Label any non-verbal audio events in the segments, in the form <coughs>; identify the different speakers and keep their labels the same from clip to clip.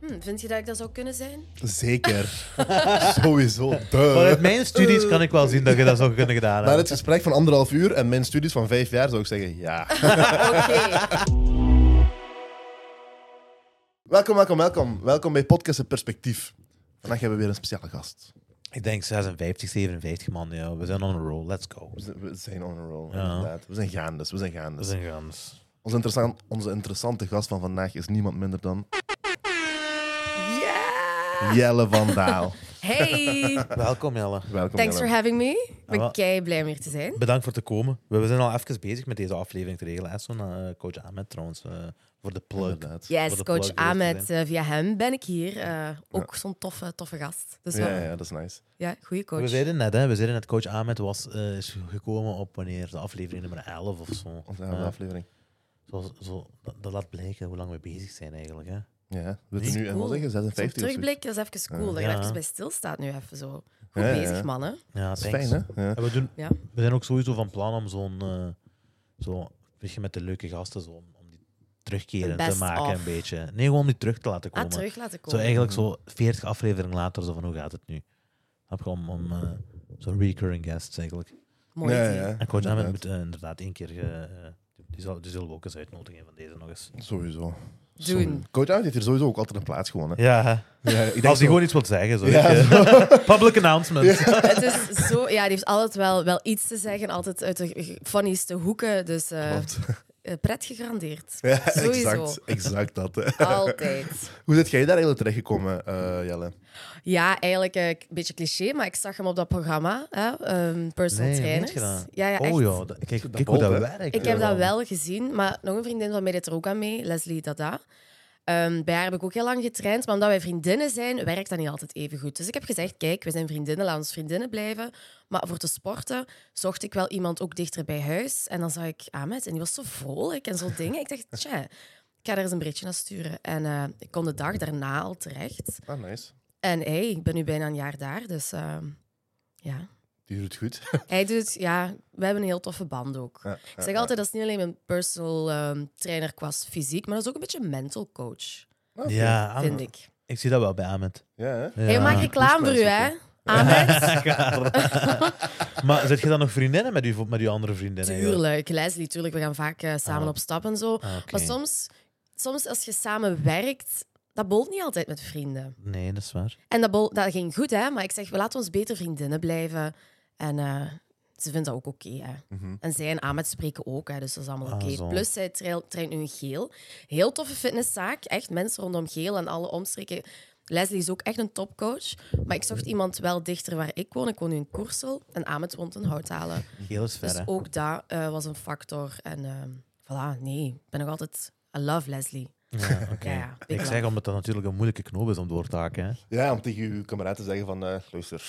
Speaker 1: Hm, vind je dat ik dat zou kunnen zijn?
Speaker 2: Zeker. <laughs> Sowieso. Duh.
Speaker 3: Vanuit mijn studies kan ik wel zien dat je dat zou kunnen gedaan
Speaker 2: Na
Speaker 3: hebben.
Speaker 2: het gesprek van anderhalf uur en mijn studies van vijf jaar zou ik zeggen
Speaker 3: <laughs>
Speaker 2: ja.
Speaker 1: Oké.
Speaker 2: welkom, welkom, welkom. Welkom bij Podcast in Perspectief. Vandaag hebben we weer een speciale gast.
Speaker 3: Ik denk 56, 57 man, ja. we zijn on a roll, let's go.
Speaker 2: We zijn- We zijn on a roll,
Speaker 3: Ja.
Speaker 2: inderdaad. We zijn gaandes, we zijn
Speaker 3: Dat
Speaker 2: gaandes.
Speaker 3: is een gans.
Speaker 2: Onze, interessant, onze interessante gast van vandaag is niemand minder dan
Speaker 1: Ja!
Speaker 2: Jelle van
Speaker 3: <laughs>
Speaker 2: Daal. <laughs>
Speaker 1: Hey!
Speaker 3: Welkom Jelle.
Speaker 2: welkom,
Speaker 1: Thanks for
Speaker 2: Jelle.
Speaker 1: having me. Ik
Speaker 3: Ah,
Speaker 1: ben
Speaker 3: wel.
Speaker 1: kei blij om hier te zijn.
Speaker 3: Bedankt voor te komen. We we zijn al even bezig met deze aflevering te regelen. En zo'n eh, coach Ahmed trouwens, eh, voor de plug.
Speaker 2: Inderdaad.
Speaker 3: Voor
Speaker 1: Yes, coach
Speaker 3: de plug geweest te
Speaker 1: Ahmed. eh, via hem ben ik hier. Eh, ook zo'n toffe, toffe gast. Dus wel-
Speaker 2: Ja,
Speaker 1: ja,
Speaker 2: ja, dat is nice.
Speaker 1: goede coach.
Speaker 3: We zeiden net, hè, we zeiden net, coach Ahmed was, eh, is gekomen op wanneer de aflevering nummer 11 of zo.
Speaker 2: Onze
Speaker 3: Ja.
Speaker 2: aflevering.
Speaker 3: Zo, zo, dat, dat laat blijken hoe lang we bezig zijn eigenlijk. Hè.
Speaker 2: Ja, we
Speaker 3: Niet
Speaker 2: zitten nu en
Speaker 1: cool.
Speaker 2: wat zeggen,
Speaker 1: Zo'n
Speaker 2: 56 of zoiets.
Speaker 1: terugblik, dat is even cool. Dat je
Speaker 3: Ja.
Speaker 1: er even bij stilstaat nu even zo. Goed
Speaker 2: Ja, ja,
Speaker 1: bezig,
Speaker 2: ja.
Speaker 1: mannen.
Speaker 3: Ja,
Speaker 2: Dat is
Speaker 3: thanks.
Speaker 2: fijn, hè? Ja.
Speaker 3: En we, doen,
Speaker 1: Ja.
Speaker 3: we zijn ook sowieso van plan om zo'n, eh, zo, weet je, met de leuke gasten, zo, om, om die terugkeren
Speaker 1: Best
Speaker 3: te maken
Speaker 1: of.
Speaker 3: een beetje. Nee, gewoon om die terug te laten komen.
Speaker 1: Ah, terug laten
Speaker 3: Zo
Speaker 1: komen.
Speaker 3: eigenlijk zo 40 afleveringen later, zo van hoe gaat het nu? Heb je om, om eh, zo'n recurring guests eigenlijk.
Speaker 1: Mooi.
Speaker 2: Ja,
Speaker 1: idee.
Speaker 2: ja,
Speaker 3: En coach Ahmed
Speaker 2: inderdaad.
Speaker 3: moet eh, inderdaad één keer, ge- eh, die, zal, die zullen we ook eens uitnodigen van deze nog eens.
Speaker 2: Sowieso.
Speaker 1: Doen.
Speaker 2: Coach Ahmed heeft hier sowieso ook altijd een plaats gewoon. Hè.
Speaker 3: Ja, hè.
Speaker 2: Ja, ik denk zo-
Speaker 3: als hij gewoon iets wilt zeggen. Zo,
Speaker 2: Ja,
Speaker 3: weet je. Public announcement.
Speaker 1: Het is zo, ja, die heeft altijd wel, wel iets te zeggen, altijd uit de g- funnieste hoeken. Dus eh,
Speaker 2: Klopt.
Speaker 1: eh, pret gegarandeerd.
Speaker 2: Ja,
Speaker 1: Sowieso.
Speaker 2: exact, exact dat. Hè.
Speaker 1: Altijd.
Speaker 2: Hoe zit jij daar eigenlijk terechtgekomen, eh Jelle?
Speaker 1: Ja, eigenlijk eh, een beetje cliché, maar ik zag hem op dat programma, hè, ehm, personal
Speaker 3: Nee,
Speaker 1: trainers.
Speaker 3: niet gedaan.
Speaker 1: Ja, ja, echt.
Speaker 3: oh joh, dat- kijk, kijk hoe
Speaker 2: bolt,
Speaker 3: dat
Speaker 2: hè?
Speaker 3: werkt.
Speaker 1: Ik heb
Speaker 3: hè.
Speaker 1: dat wel gezien, maar nog een vriendin van mij deed er ook aan mee, Leslie Dada. Ehm, bij haar heb ik ook heel lang getraind, maar omdat wij vriendinnen zijn, werkt dat niet altijd even goed. Dus ik heb gezegd, kijk, we zijn vriendinnen, laat ons vriendinnen blijven. Maar voor te sporten zocht ik wel iemand ook dichter bij huis. En dan zag ik Ahmed en die was zo vrolijk en zo dingen. Ik dacht, tja, ik ga daar eens een berichtje naar sturen. En eh, ik kon de dag daarna al terecht.
Speaker 2: Ah, nice.
Speaker 1: En hey, ik ben nu bijna een jaar daar, dus ehm, ja.
Speaker 2: Die doet het goed.
Speaker 1: Hij doet, ja, we hebben een heel toffe band ook.
Speaker 2: Ja,
Speaker 1: Ik zeg altijd, dat is niet alleen mijn personal ehm, trainer qua fysiek, maar dat is ook een beetje een mental coach,
Speaker 2: Ah, Oké.
Speaker 3: Ja, Ahmed-
Speaker 1: vind ik.
Speaker 3: ik zie dat wel bij Ahmed.
Speaker 2: Ja, hè?
Speaker 3: Ah, Ja.
Speaker 1: Hey, maak reclame voor u, hè? Ah,
Speaker 3: <laughs>
Speaker 1: Ahmed?
Speaker 3: maar zet je dan nog vriendinnen met je, met je andere vriendinnen? eigenlijk?
Speaker 1: Tuurlijk, Leslie, tuurlijk. We gaan vaak eh, samen
Speaker 3: Ah.
Speaker 1: op stap en zo.
Speaker 3: Ah, oké.
Speaker 1: Maar soms, soms als je samen werkt, dat bolt niet altijd met vrienden.
Speaker 3: Nee, dat is waar.
Speaker 1: En dat, bol, dat ging goed, hè? Maar ik zeg, we laten ons beter vriendinnen blijven. En eh, ze vindt dat ook oké, hè?
Speaker 2: Mhm.
Speaker 1: En zij en Ahmed spreken ook, hè, dus dat is allemaal
Speaker 3: Ah,
Speaker 1: oké.
Speaker 3: zo.
Speaker 1: Plus, zij trail- traint nu in Geel. Heel toffe fitnesszaak. Echt mensen rondom Geel en alle omstreken. Leslie is ook echt een topcoach. Maar ik zocht iemand wel dichter waar ik woon. Ik woon nu in Koersel en Ahmed woont in Houthalen.
Speaker 3: Geel is ver,
Speaker 1: Dus
Speaker 3: hè.
Speaker 1: ook dat eh, was een factor. En ehm voilà, nee. Ik ben nog altijd... I love Leslie.
Speaker 3: Ja, oké.
Speaker 1: Ja, ja, big
Speaker 3: ik
Speaker 1: love.
Speaker 3: zeg omdat dat natuurlijk een moeilijke knoop is om door te haken. Hè. <laughs> Dus
Speaker 2: Ja, om tegen uw kameraad te zeggen van, eh, luister.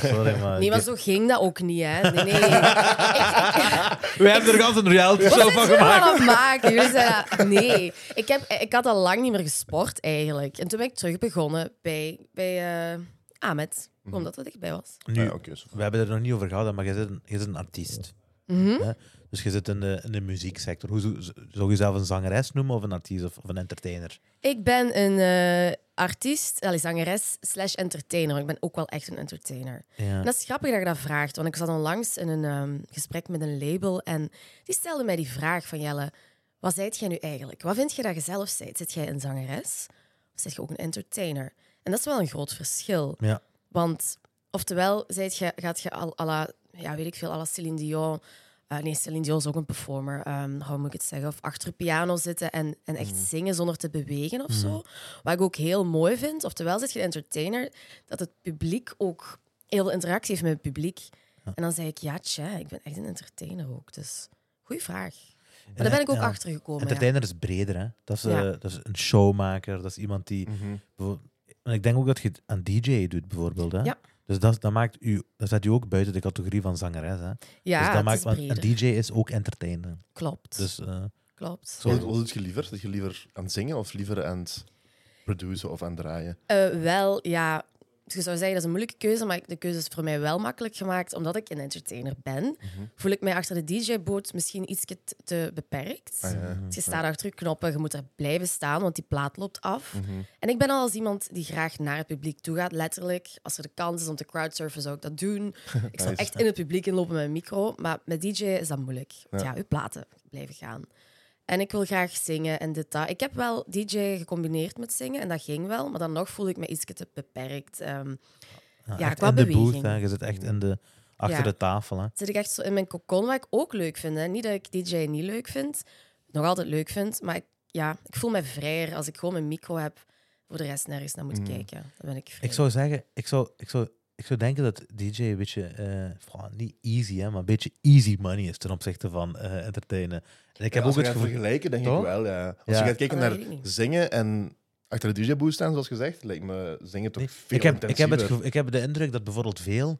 Speaker 3: Sorry, maar...
Speaker 1: Nee, maar
Speaker 3: dit-
Speaker 1: zo ging dat ook niet, hè. Nee,
Speaker 3: <laughs>
Speaker 1: nee. Ik- ik-
Speaker 3: We hebben er gans een reality show van
Speaker 1: Wat
Speaker 3: gemaakt.
Speaker 1: aan het maken? Jullie zijn dat- Nee. Ik, heb, ik had al lang niet meer gesport, eigenlijk. En toen ben ik terug begonnen bij, bij eh, Ahmed.
Speaker 3: Mhm.
Speaker 1: Omdat dat dichtbij was.
Speaker 3: Nu,
Speaker 2: Ja, Ah, oké, zo.
Speaker 3: we hebben het er nog niet over gehad, hè, maar jij zit een, jij zit een artiest.
Speaker 1: Mhm.
Speaker 3: Hè? Dus je zit in de, in de muzieksector. Hoe, zou zou je jezelf een zangeres noemen of een artiest of, of een entertainer?
Speaker 1: Ik ben een eh, artiest, allee, zangeres slash entertainer. want Ik ben ook wel echt een entertainer.
Speaker 3: Ja.
Speaker 1: En dat is grappig dat je dat vraagt. Want ik zat onlangs in een ehm, gesprek met een label. En die stelde mij die vraag van Jelle... Wat zijt jij nu eigenlijk? Wat vind je dat je zelf zijt? Zit jij een zangeres? Of zit je ook een entertainer? En dat is wel een groot verschil.
Speaker 3: Ja.
Speaker 1: Want oftewel zijt je, gaat je al à la, ja, weet ik veel, à la Céline Dion. eh, nee, Céline Dion is ook een performer, ehm, hoe moet ik het zeggen? Of achter de piano zitten en, en echt
Speaker 3: Mm.
Speaker 1: zingen zonder te bewegen of zo. Wat ik ook heel mooi vind, oftewel zit je een entertainer, dat het publiek ook heel veel interactie heeft met het publiek. En dan zei ik, ja, tja, ik ben echt een entertainer ook. Dus goede vraag. Maar daar ben ik ook
Speaker 3: Ja.
Speaker 1: achter gekomen.
Speaker 3: Entertainer is breder, hè? Dat is, eh,
Speaker 1: Ja.
Speaker 3: dat is een showmaker, dat is iemand die. bijvoorbeeld- En ik denk ook dat je het aan DJ doet, bijvoorbeeld. Hè?
Speaker 1: Ja.
Speaker 3: Dus dat, dat, maakt u, dat zet u ook buiten de categorie van zangeres. Hè?
Speaker 1: Ja,
Speaker 3: dus dat
Speaker 1: het
Speaker 3: maakt,
Speaker 1: is
Speaker 3: want
Speaker 1: breder.
Speaker 3: Een DJ is ook entertainer.
Speaker 1: Klopt,
Speaker 3: Dus eh,
Speaker 1: klopt.
Speaker 3: zo-
Speaker 2: Wat, wat doet je liever? Zit je liever aan het zingen of liever aan het produceren of aan het draaien?
Speaker 1: Eh, wel, ja, Dus je zou zeggen, dat is een moeilijke keuze, maar de keuze is voor mij wel makkelijk gemaakt, omdat ik een entertainer ben.
Speaker 2: Mhm.
Speaker 1: Voel ik mij achter de DJ-boot misschien iets te beperkt.
Speaker 2: Ah, ja.
Speaker 1: Dus je staat achter je knoppen, je moet er blijven staan, want die plaat loopt af.
Speaker 2: Mhm.
Speaker 1: En ik ben al als iemand die graag naar het publiek toe gaat, letterlijk. Als er de kans is om te crowdsurfen, zou ik dat
Speaker 2: <laughs>
Speaker 1: doen. Ik zou
Speaker 2: Nice.
Speaker 1: echt in het publiek inlopen met een micro, maar met DJ is dat moeilijk. Want ja, uw platen blijven gaan. En ik wil graag zingen en dit, dat. Ik heb wel DJ gecombineerd met zingen en dat ging wel, maar dan nog voel ik me iets te beperkt. Ehm, Ja,
Speaker 3: echt
Speaker 1: qua
Speaker 3: in de booth,
Speaker 1: beweging.
Speaker 3: hè. je zit echt in de, achter
Speaker 1: Ja.
Speaker 3: de tafel. Hè.
Speaker 1: zit ik echt zo in mijn cocon, wat ik ook leuk vind. Hè. Niet dat ik DJ niet leuk vind, nog altijd leuk vind, maar ik, ja, ik voel me vrijer als ik gewoon mijn micro heb voor de rest nergens naar moet kijken. Dan ben ik vrij.
Speaker 3: Mm. Ik zou zeggen, ik zou, ik zou, ik zou denken dat DJ een beetje, eh, goh, niet easy, hè, maar een beetje easy money is ten opzichte van eh, entertainen. En ik heb
Speaker 2: Als
Speaker 3: ook
Speaker 2: we
Speaker 3: het
Speaker 2: gaan
Speaker 3: gevoel.
Speaker 2: vergelijken, denk
Speaker 3: Toch?
Speaker 2: ik wel. Ja. Als
Speaker 3: Ja.
Speaker 2: je gaat kijken
Speaker 1: Ah, dat
Speaker 2: naar
Speaker 1: weet ik niet.
Speaker 2: zingen en achter de DJ-booth staan, zoals gezegd, lijkt me zingen toch
Speaker 3: Nee,
Speaker 2: veel
Speaker 3: Ik heb, ik, heb het
Speaker 2: intensiever.
Speaker 3: gevo- ik heb de indruk dat bijvoorbeeld veel,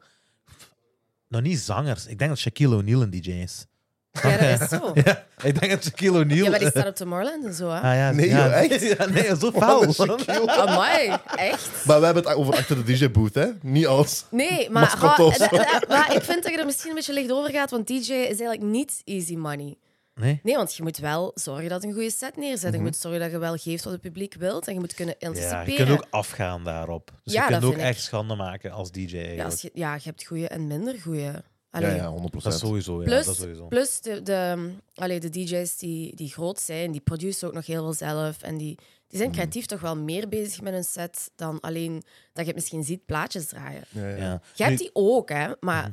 Speaker 3: nog niet zangers, ik denk dat Shaquille O'Neal een DJ
Speaker 2: <laughs>
Speaker 3: is.
Speaker 1: Ja, dat is zo.
Speaker 3: <laughs> Ja, ik denk dat Shaquille O'Neal.
Speaker 1: Ja, maar die
Speaker 3: eh,
Speaker 1: staat op Tomorrowland en zo, hè?
Speaker 3: ah, ja,
Speaker 2: Nee,
Speaker 3: ja,
Speaker 2: joh, echt?
Speaker 3: <laughs> Ja, nee,
Speaker 2: <laughs>
Speaker 3: zo
Speaker 2: Wat een
Speaker 3: fout.
Speaker 2: Shaquille.
Speaker 1: Amai, echt?
Speaker 2: Maar we hebben het over achter de DJ-booth, hè? Niet als.
Speaker 1: Nee, maar,
Speaker 2: Mascot of
Speaker 1: Ah,
Speaker 2: zo.
Speaker 1: da- da- maar ik vind dat je er misschien een beetje licht over gaat, want DJ is eigenlijk niet easy money.
Speaker 3: Nee?
Speaker 1: Nee, want je moet wel zorgen dat je een goede set neerzet. Je moet zorgen dat je wel geeft wat het publiek wilt en je moet kunnen
Speaker 3: Mhm. Ja,
Speaker 1: anticiperen.
Speaker 3: je kunt ook afgaan daarop. Dus
Speaker 1: Ja,
Speaker 3: je kunt
Speaker 1: dat
Speaker 3: ook
Speaker 1: vind ik.
Speaker 3: echt schande maken als DJ.
Speaker 1: Ja,
Speaker 3: eigenlijk.
Speaker 1: als je, ja, je hebt goede en minder goede.
Speaker 2: Ja, ja, 100
Speaker 3: Dat is sowieso, ja.
Speaker 1: Plus,
Speaker 3: dat is sowieso.
Speaker 1: plus de, de, mm, allee, de DJ's die, die groot zijn, die produceren ook nog heel veel zelf. En die, die
Speaker 3: Mhm.
Speaker 1: zijn creatief toch wel meer bezig met hun set dan alleen dat je het misschien ziet plaatjes draaien.
Speaker 2: Ja, ja.
Speaker 3: ja.
Speaker 1: Je
Speaker 3: Nu- Mhm.
Speaker 1: hebt die ook, hè, maar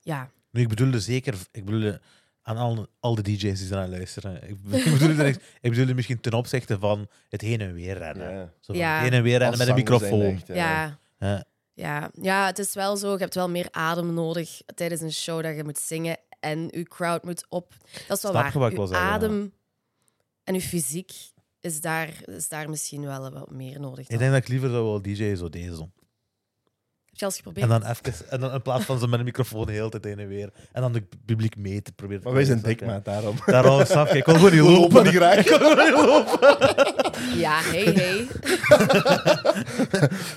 Speaker 1: ja.
Speaker 3: Nu, ik bedoelde zeker, ik bedoelde aan al, al de DJ's die eraan luisteren. <laughs> Ik be- ik bedoelde, niks- ik bedoelde misschien ten opzichte van het heen en weer rennen.
Speaker 2: Ja.
Speaker 3: Zo van
Speaker 1: Ja.
Speaker 3: Het heen en weer rennen met een
Speaker 2: Als zanger zijn
Speaker 3: microfoon.
Speaker 2: echt,
Speaker 1: ja.
Speaker 3: Ja.
Speaker 1: Ja. ja, het is wel zo. Je hebt wel meer adem nodig tijdens een show dat je moet zingen en je crowd moet op. Dat is wel
Speaker 3: Snap je wat
Speaker 1: waar.
Speaker 3: ik
Speaker 1: Je
Speaker 3: wil zeggen, ja.
Speaker 1: adem en je fysiek is daar, is daar misschien wel wat meer nodig.
Speaker 3: Ik
Speaker 1: dan.
Speaker 3: denk dat ik liever zou wel DJ zo deze doen.
Speaker 1: Heb je al eens geprobeerd?
Speaker 3: En dan even, en dan in plaats van ze met een microfoon de hele tijd heen en weer. En dan het publiek mee te proberen. te
Speaker 2: Maar wij zijn
Speaker 3: krijgen,
Speaker 2: dik,
Speaker 3: snap je?
Speaker 2: maat, <laughs> daarom.
Speaker 3: Daarom, snap je, ik wil gewoon niet
Speaker 2: <laughs> We
Speaker 3: <laughs>
Speaker 2: lopen niet
Speaker 3: lopen.
Speaker 2: graag.
Speaker 1: Ja, hey,
Speaker 3: <laughs>
Speaker 1: hey.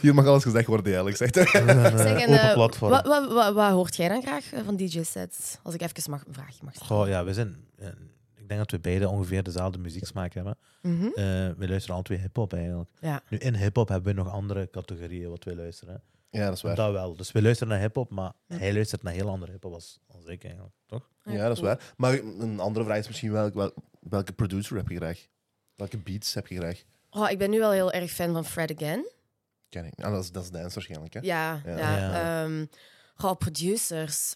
Speaker 2: Hier mag alles gezegd worden, eerlijk gezegd.
Speaker 1: Zeg, en,
Speaker 3: open
Speaker 1: eh,
Speaker 3: platform.
Speaker 1: Wat, wat, wat, wat hoort jij dan graag eh, van DJ-sets? Als ik even mag, een vraagje mag stellen.
Speaker 3: Goh, ja, we zijn. eh, Ik denk dat we beide ongeveer dezelfde muzieksmaak hebben.
Speaker 1: Mhm.
Speaker 3: Eh, we luisteren al twee hip-hop eigenlijk.
Speaker 1: Ja.
Speaker 3: Nu, in hip-hop hebben we nog andere categorieën wat wij luisteren.
Speaker 2: Ja, dat is waar.
Speaker 3: Dat wel. Dus we luisteren naar hip-hop, maar hij luistert naar heel andere hip-hop als, als ik eigenlijk, toch?
Speaker 2: Ja, dat is waar. Maar een andere vraag is misschien wel, wel- welke producer heb je graag? Welke beats heb je graag?
Speaker 1: Oh, ik ben nu wel heel erg fan van Fred Again.
Speaker 2: Ken ik. Ah, dat, is, dat is dance waarschijnlijk, hè?
Speaker 1: Ja,
Speaker 2: Ja.
Speaker 1: ja.
Speaker 3: Ja.
Speaker 1: ehm, goh, producers.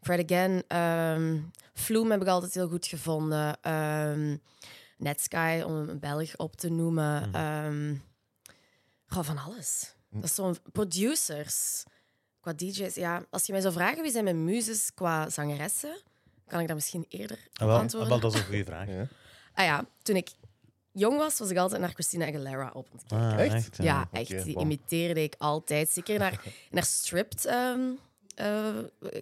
Speaker 1: Fred Again. ehm Vloem heb ik altijd heel goed gevonden. ehm Netsky, om een Belg op te noemen. ehm, goh, van alles. Dat is zo'n... Producers. Qua DJ's, ja. Als je mij zou vragen wie zijn mijn muzes qua zangeressen, kan ik dat misschien eerder
Speaker 3: Ah, wel,
Speaker 1: antwoorden.
Speaker 3: ah, wel, dat is een goede vraag.
Speaker 2: Ja.
Speaker 1: Ah ja, toen ik jong was, was ik altijd naar Christina Aguilera op. aan het kijken.
Speaker 3: Ah,
Speaker 2: Echt?
Speaker 1: Ja, echt. Die
Speaker 2: bom.
Speaker 1: imiteerde ik altijd. Zeker
Speaker 3: <laughs>
Speaker 1: naar, naar stripped ehm, eh,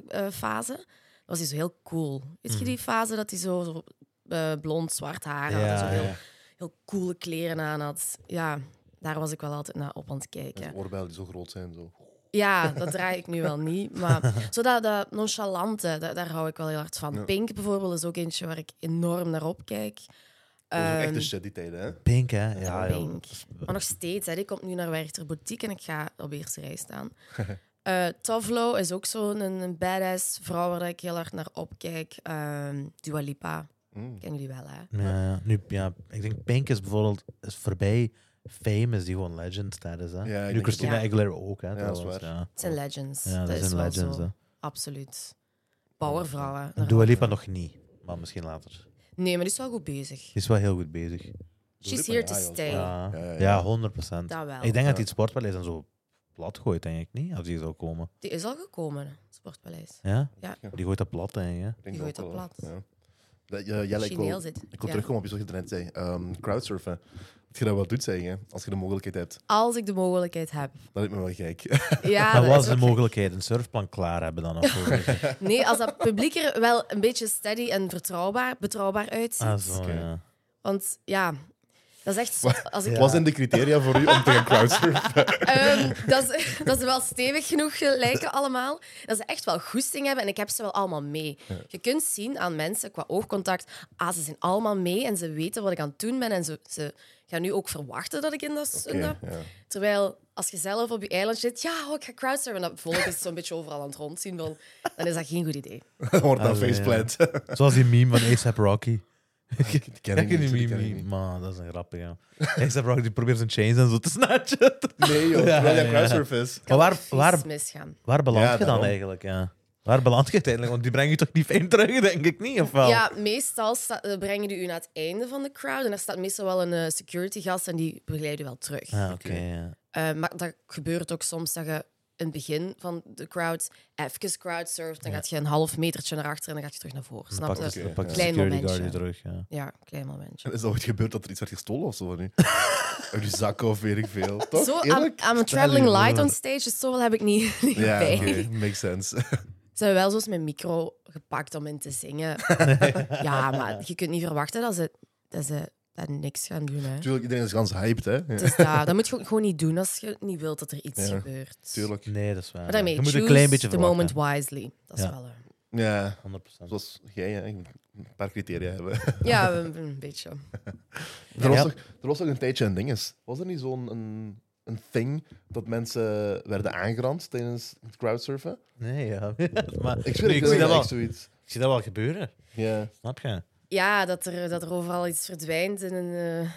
Speaker 1: eh, fase. was hij zo heel cool. Weet
Speaker 3: Mhm.
Speaker 1: je die fase dat hij zo, zo, eh, blond, zwart haar had? en zo
Speaker 3: Ja,
Speaker 1: heel,
Speaker 3: ja.
Speaker 1: heel coole kleren aan had. Ja, daar was ik wel altijd naar op aan het kijken.
Speaker 2: Met Oorbellen die zo groot zijn. Zo.
Speaker 3: <laughs>
Speaker 1: Ja, dat draai ik nu wel niet. Maar zo dat, dat nonchalante, daar, daar hou ik wel heel hard van. Pink bijvoorbeeld is ook eentje waar ik enorm naar opkijk.
Speaker 2: Dat is ook echt
Speaker 1: Ehm,
Speaker 2: de shit die tijden, hè?
Speaker 3: Pink, hè?
Speaker 2: Ah,
Speaker 3: Ja, joh.
Speaker 1: Pink. Maar nog steeds, hè. die komt nu naar Werchter Boutique en ik ga op eerste rij
Speaker 2: <laughs>
Speaker 1: staan. Eh Tovlo is ook zo'n een, een badass vrouw waar ik heel hard naar opkijk. Ehm Dua Lipa,
Speaker 2: Mm.
Speaker 1: kennen jullie wel, hè?
Speaker 3: Ja, ja. nu, ja, ik denk Pink is bijvoorbeeld is voorbij Famous, die gewoon legend status. Hè?
Speaker 2: ik denk
Speaker 3: nu
Speaker 2: het
Speaker 3: Christina
Speaker 1: ook.
Speaker 3: Aguilera ook, hè?
Speaker 2: dat is
Speaker 3: trouwens,
Speaker 2: waar.
Speaker 3: Ja,
Speaker 1: Het zijn legends.
Speaker 3: ja dat,
Speaker 1: is
Speaker 3: zijn
Speaker 1: wel
Speaker 3: legends.
Speaker 1: zo.
Speaker 3: Hè?
Speaker 1: Absoluut. Powervrouwen.
Speaker 3: En Dua Lipa nog niet, maar misschien later.
Speaker 1: Nee, maar die is wel goed bezig.
Speaker 3: Die is wel heel goed bezig.
Speaker 1: She's
Speaker 2: Lipa,
Speaker 1: here to
Speaker 2: ja, joh.
Speaker 1: stay.
Speaker 3: Ja,
Speaker 2: Ja, ja,
Speaker 3: ja,
Speaker 2: ja.
Speaker 3: 100
Speaker 1: Dat wel.
Speaker 3: Ik denk dat
Speaker 2: Ja.
Speaker 3: die sport wel eens en zo plat gooit, denk ik niet. Als die zou komen.
Speaker 1: Die is al gekomen, Sportpaleis.
Speaker 3: Ja?
Speaker 1: Ja. Ah,
Speaker 3: Die gooit dat plat, denk ik. hè.
Speaker 2: Ik denk
Speaker 1: Die gooit
Speaker 2: ook
Speaker 1: dat
Speaker 2: wel,
Speaker 1: plat.
Speaker 2: Ja. Dat, ja, Jelle, ik
Speaker 1: Chineel
Speaker 2: wil,
Speaker 1: zit.
Speaker 2: ik
Speaker 1: Ja.
Speaker 2: wil terugkomen op iets wat je net zei. Ehm, crowdsurfen. Dat je dat wel doet, zeg je, als je de mogelijkheid hebt.
Speaker 1: Als ik de mogelijkheid
Speaker 3: <laughs>
Speaker 1: heb.
Speaker 2: Dat lijkt me wel gek.
Speaker 1: Ja,
Speaker 3: Dan
Speaker 1: dat
Speaker 3: was
Speaker 1: is
Speaker 3: de
Speaker 1: ook-
Speaker 3: mogelijkheid een surfplan klaar hebben dan. Of zo.
Speaker 1: Nee, als dat publiek er wel een beetje steady en vertrouwbaar, betrouwbaar uitziet.
Speaker 3: ah, zo,
Speaker 2: Oké.
Speaker 3: ja.
Speaker 1: Want ja, Dat is echt zot. Als ik,
Speaker 3: Ja.
Speaker 2: <laughs> Wat zijn de criteria voor u om te gaan crowdsurfen?
Speaker 1: Ehm, dat, is, <laughs> dat ze wel stevig genoeg eh, lijken allemaal. Dat ze echt wel goesting hebben en ik heb ze wel allemaal mee. Je kunt zien aan mensen qua oogcontact, ah, ze zijn allemaal mee en ze weten wat ik aan het doen ben en ze, ze gaan nu ook verwachten dat ik in dat... in dat-
Speaker 2: Oké, ja. <laughs>
Speaker 1: Terwijl als je zelf op je eiland zit, ja, oh, ik ga crowdsurfen, dan volk is zo'n beetje overal aan het rondzien, van, dan is dat geen goed idee.
Speaker 2: Dan wordt dat
Speaker 3: Ah, zo, ja. <laughs>
Speaker 2: faceplant.
Speaker 3: Zoals die meme van A$AP Rocky.
Speaker 2: Dat ken
Speaker 3: Ken
Speaker 2: ik
Speaker 3: je die
Speaker 2: niet, die
Speaker 3: meme?
Speaker 2: ken ik
Speaker 3: meme?
Speaker 2: niet.
Speaker 3: Man, dat is een grappig, ja. <laughs> A$AP Rocky die probeert zijn chains en zo te snatchen. <laughs>
Speaker 2: Nee, joh.
Speaker 3: Ja,
Speaker 2: Terwijl dat
Speaker 3: ja.
Speaker 2: crowdsurf is.
Speaker 3: Maar waar,
Speaker 1: Vies
Speaker 3: waar,
Speaker 1: misgaan.
Speaker 3: waar beland
Speaker 2: Ja,
Speaker 3: je dan
Speaker 2: daarom.
Speaker 3: eigenlijk? Ja. Waar beland je uiteindelijk? Want die breng je toch niet fame terug, <laughs> denk ik niet? Of wel?
Speaker 1: Ja, meestal sta- eh, brengen die u naar het einde van de crowd en daar staat meestal wel een eh, security gast en die begeleiden wel terug.
Speaker 3: Ah, oké. ja.
Speaker 1: Eh, maar dat gebeurt ook soms dat je in het begin van de crowd even crowdsurft, dan gaat je een half metertje naar achter en dan gaat je terug naar voren.
Speaker 3: Dan
Speaker 1: Snap
Speaker 3: pakt
Speaker 1: je?
Speaker 3: de,
Speaker 2: Oké,
Speaker 3: dan pakt de
Speaker 1: ja. Klein
Speaker 3: security guard
Speaker 1: momentje.
Speaker 3: je terug. Ja.
Speaker 1: Ja, klein momentje.
Speaker 2: Is dat ooit gebeurd dat er iets werd gestolen of
Speaker 3: <laughs>
Speaker 2: zo? Nu? Uit je zak of weet ik veel. Toch?
Speaker 1: Zo, I'm,
Speaker 2: Eh, Eerlijk?
Speaker 1: I'm a traveling light on stage, dus zoveel heb ik niet, <laughs> niet
Speaker 2: Ja,
Speaker 1: bij.
Speaker 2: oké. Makes
Speaker 1: <laughs>
Speaker 2: sense.
Speaker 1: Ze hebben wel zoals mijn micro gepakt om in te
Speaker 3: <laughs>
Speaker 1: zingen. ja, maar je kunt niet verwachten dat ze, dat ze dat niks gaan doen. Hè.
Speaker 2: Tuurlijk, iedereen is gans hyped, hè? Ja.
Speaker 1: Dus dat, dat moet je ook gewoon niet doen als je niet wilt dat er iets
Speaker 2: Ja,
Speaker 1: gebeurt.
Speaker 2: Tuurlijk.
Speaker 3: Nee, dat is waar.
Speaker 1: Maar
Speaker 3: ja.
Speaker 1: daarmee,
Speaker 3: je moet een
Speaker 1: choose
Speaker 3: klein beetje
Speaker 1: the
Speaker 3: verwachten.
Speaker 1: moment wisely. Dat is
Speaker 3: Ja.
Speaker 1: wel... eh,
Speaker 2: Ja,
Speaker 3: 100%.
Speaker 2: zoals jij, hè? Je moet een paar criteria hebben.
Speaker 1: ja, een, een beetje.
Speaker 2: Er was,
Speaker 3: Ja.
Speaker 2: toch, er was toch een tijdje een ding is. Was er niet zo'n een, een thing dat mensen werden aangerand tijdens het crowdsurfen?
Speaker 3: Nee, ja. <laughs> maar,
Speaker 2: Ik
Speaker 3: nee,
Speaker 2: zweer,
Speaker 3: ik, zie dat wel,
Speaker 2: echt zoiets.
Speaker 3: ik zie dat wel gebeuren.
Speaker 2: Ja.
Speaker 3: Snap je?
Speaker 1: Ja, dat er, dat er overal iets verdwijnt in een... eh,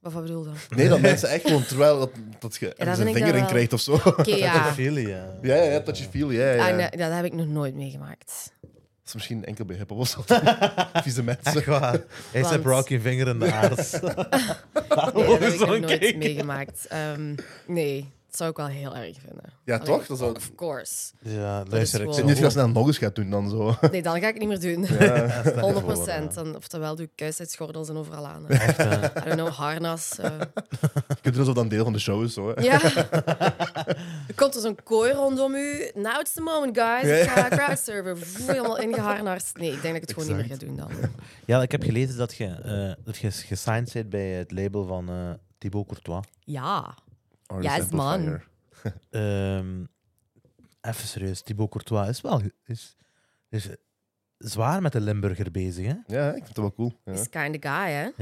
Speaker 1: wat, wat
Speaker 2: <laughs>
Speaker 1: bedoel je dan?
Speaker 2: Nee, dat mensen echt gewoon terwijl dat, dat je
Speaker 1: vind
Speaker 2: ergens een
Speaker 1: ik
Speaker 2: vinger
Speaker 1: dat
Speaker 2: in
Speaker 1: wel.
Speaker 2: krijgt of zo. <laughs>
Speaker 1: Oké, ja.
Speaker 3: Ophelia, ja.
Speaker 2: Ja, ja, ja, dat je viel. Ja, ja.
Speaker 1: Ah, nee, dat heb ik nog nooit meegemaakt.
Speaker 2: Dat is misschien enkel bij hip-hop of zo. <laughs> Vieze mensen.
Speaker 3: Zeg
Speaker 1: <laughs>
Speaker 3: waar. Hij
Speaker 1: Want-
Speaker 3: zet Rocky een
Speaker 1: <laughs>
Speaker 3: vinger in de aars.
Speaker 2: Oh,
Speaker 1: Nee, dat heb ik
Speaker 3: <laughs> Zo'n
Speaker 1: nog nooit
Speaker 3: kijk.
Speaker 1: meegemaakt. Ehm, nee, dat zou ik wel heel erg vinden.
Speaker 2: Ja,
Speaker 1: Allee,
Speaker 2: toch? Dat zou-
Speaker 1: Of course.
Speaker 3: Ja, luister, ik
Speaker 1: gewoon-
Speaker 2: En
Speaker 3: zit
Speaker 2: niet
Speaker 3: niet
Speaker 2: dat je dat nog eens gaat doen dan zo. <laughs>
Speaker 1: Nee, dan ga ik het niet meer doen. <laughs>
Speaker 2: Ja.
Speaker 1: 100
Speaker 3: voor,
Speaker 1: Dan, oftewel doe ik kuisheidsgordels en overal aan.
Speaker 3: Echt, eh,
Speaker 1: I don't know, harnas. eh.
Speaker 2: Je kunt er zo dan deel van de show is. Zo, hè. <laughs>
Speaker 1: Ja. Er komt er zo'n kooi rondom u. Now it's the moment, guys. Ik ga crowdsurfen. Voel helemaal ingeharnast. Nee, ik denk dat ik het gewoon niet meer ga doen dan.
Speaker 2: <laughs>
Speaker 3: ja, ik heb gelezen dat je, eh, dat je gesigned bent bij het label van eh Thibaut Courtois.
Speaker 1: Ja.
Speaker 2: Artist
Speaker 1: Yes, man.
Speaker 2: Amplifier.
Speaker 3: Ehm, even serieus, Thibaut Courtois is wel is, is zwaar met de Limburger bezig, hè?
Speaker 2: Ja, ik vind het wel cool. Ja.
Speaker 1: Is kind of guy, hè?
Speaker 3: Ja,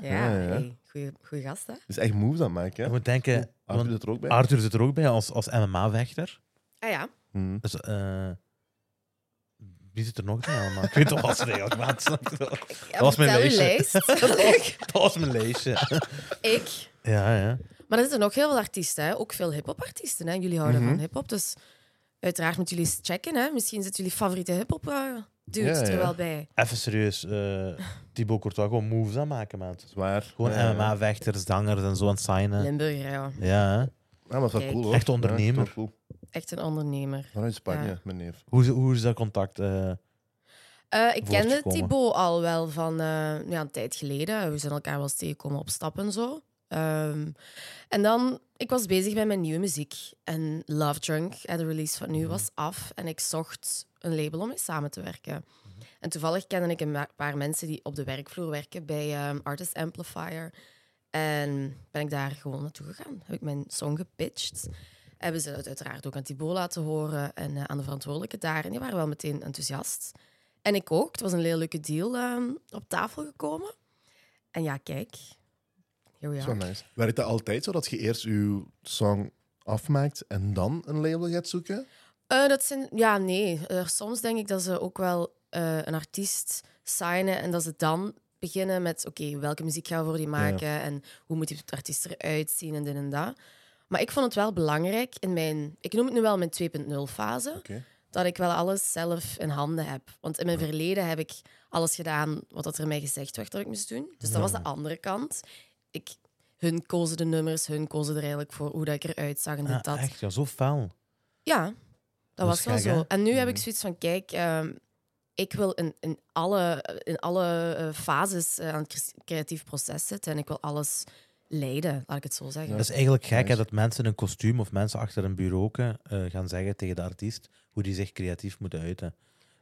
Speaker 3: hè?
Speaker 1: Ja,
Speaker 2: Ja, ja.
Speaker 1: hey, goeie, goeie gast, hè?
Speaker 2: Is echt moves aan het maken.
Speaker 3: Je
Speaker 2: Hè?
Speaker 3: moet denken,
Speaker 2: Arthur
Speaker 3: want
Speaker 2: doet er ook bij.
Speaker 3: Arthur zit er ook bij als, als MMA-vechter.
Speaker 1: Ah ja.
Speaker 2: Hm.
Speaker 3: Dus, eh, wie zit er nog bij allemaal? Ik weet toch als regel, maat.
Speaker 1: Dat
Speaker 3: was mijn
Speaker 1: lijst.
Speaker 3: <laughs>
Speaker 2: <laughs>
Speaker 1: <laughs>
Speaker 3: Dat was mijn lijstje.
Speaker 1: ik.
Speaker 3: Ja, ja.
Speaker 1: Maar er zitten ook heel veel artiesten, hè? ook veel hip-hop artiesten. Hè? Jullie houden
Speaker 2: Mhm.
Speaker 1: van hip-hop, dus uiteraard moeten jullie eens checken. Hè? Misschien zit jullie favoriete hip-hop eh, dude
Speaker 2: Ja, ja.
Speaker 1: er wel bij.
Speaker 3: Even serieus, eh Thibaut Courtois gewoon moves aan maken, maat.
Speaker 2: Zwaar.
Speaker 3: Gewoon
Speaker 2: Ja, ja.
Speaker 3: MMA-vechters, zangers en zo aan het signen.
Speaker 1: Limburger, ja.
Speaker 3: Ja, hè.
Speaker 2: Ja, maar dat is wel
Speaker 1: Kijk.
Speaker 2: cool hoor.
Speaker 3: Echt
Speaker 2: Ja,
Speaker 3: ondernemer.
Speaker 2: dat is wel cool.
Speaker 1: Echt een ondernemer.
Speaker 2: Vanuit Spanje,
Speaker 1: Ja.
Speaker 2: mijn neef.
Speaker 3: Hoe, is- hoe is dat contact? eh,
Speaker 1: Eh, ik kende
Speaker 3: Voortgekomen.
Speaker 1: Thibaut al wel van eh, ja, een tijd geleden. We zijn elkaar wel eens tegengekomen op stap en zo. Ehm, en dan, ik was bezig met mijn nieuwe muziek. En Love Drunk, eh, de release van nu, was af. En ik zocht een label om mee samen te werken. En toevallig kende ik een ma- paar mensen die op de werkvloer werken bij ehm, Artist Amplifier. En ben ik daar gewoon naartoe gegaan. Heb ik mijn song gepitcht. Hebben ze het uiteraard ook aan Thibaut laten horen en eh, aan de verantwoordelijke daar. En die waren wel meteen enthousiast. En ik ook. Het was een heel leuke deal ehm, op tafel gekomen. En ja, kijk. Here we
Speaker 2: Dat is
Speaker 1: are.
Speaker 2: wel nice. Werkt dat altijd zo dat je eerst je song afmaakt en dan een label gaat zoeken?
Speaker 1: Eh, dat zijn, ja, nee. Eh, soms denk ik dat ze ook wel eh, een artiest signen en dat ze dan beginnen met: oké, welke muziek gaan we voor die maken en hoe moet die artiest eruit zien en dit en dat. Maar ik vond het wel belangrijk in mijn, ik noem het nu wel mijn 2.0-fase,
Speaker 2: Oké.
Speaker 1: dat ik wel alles zelf in handen heb. Want in mijn verleden heb ik alles gedaan wat dat er mij gezegd werd dat ik moest doen. Dus dat was de andere kant. Ik, hun kozen de nummers, hun kozen er eigenlijk voor hoe dat ik eruit zag en dit,
Speaker 3: ah,
Speaker 1: dat.
Speaker 3: Echt, ja, zo fel.
Speaker 1: Ja, dat,
Speaker 3: Dat
Speaker 1: was
Speaker 3: is
Speaker 1: wel
Speaker 3: gek,
Speaker 1: zo.
Speaker 3: hè?
Speaker 1: En nu heb ik zoiets van, kijk, ehm, ik wil in, in alle, in alle eh, fases eh, aan het cre- creatief proces zitten en ik wil alles leiden, laat ik het zo zeggen.
Speaker 3: Dat is eigenlijk gek hè,
Speaker 2: Nice.
Speaker 3: dat mensen in een kostuum of mensen achter een bureau eh, gaan zeggen tegen de artiest hoe die zich creatief moeten uiten.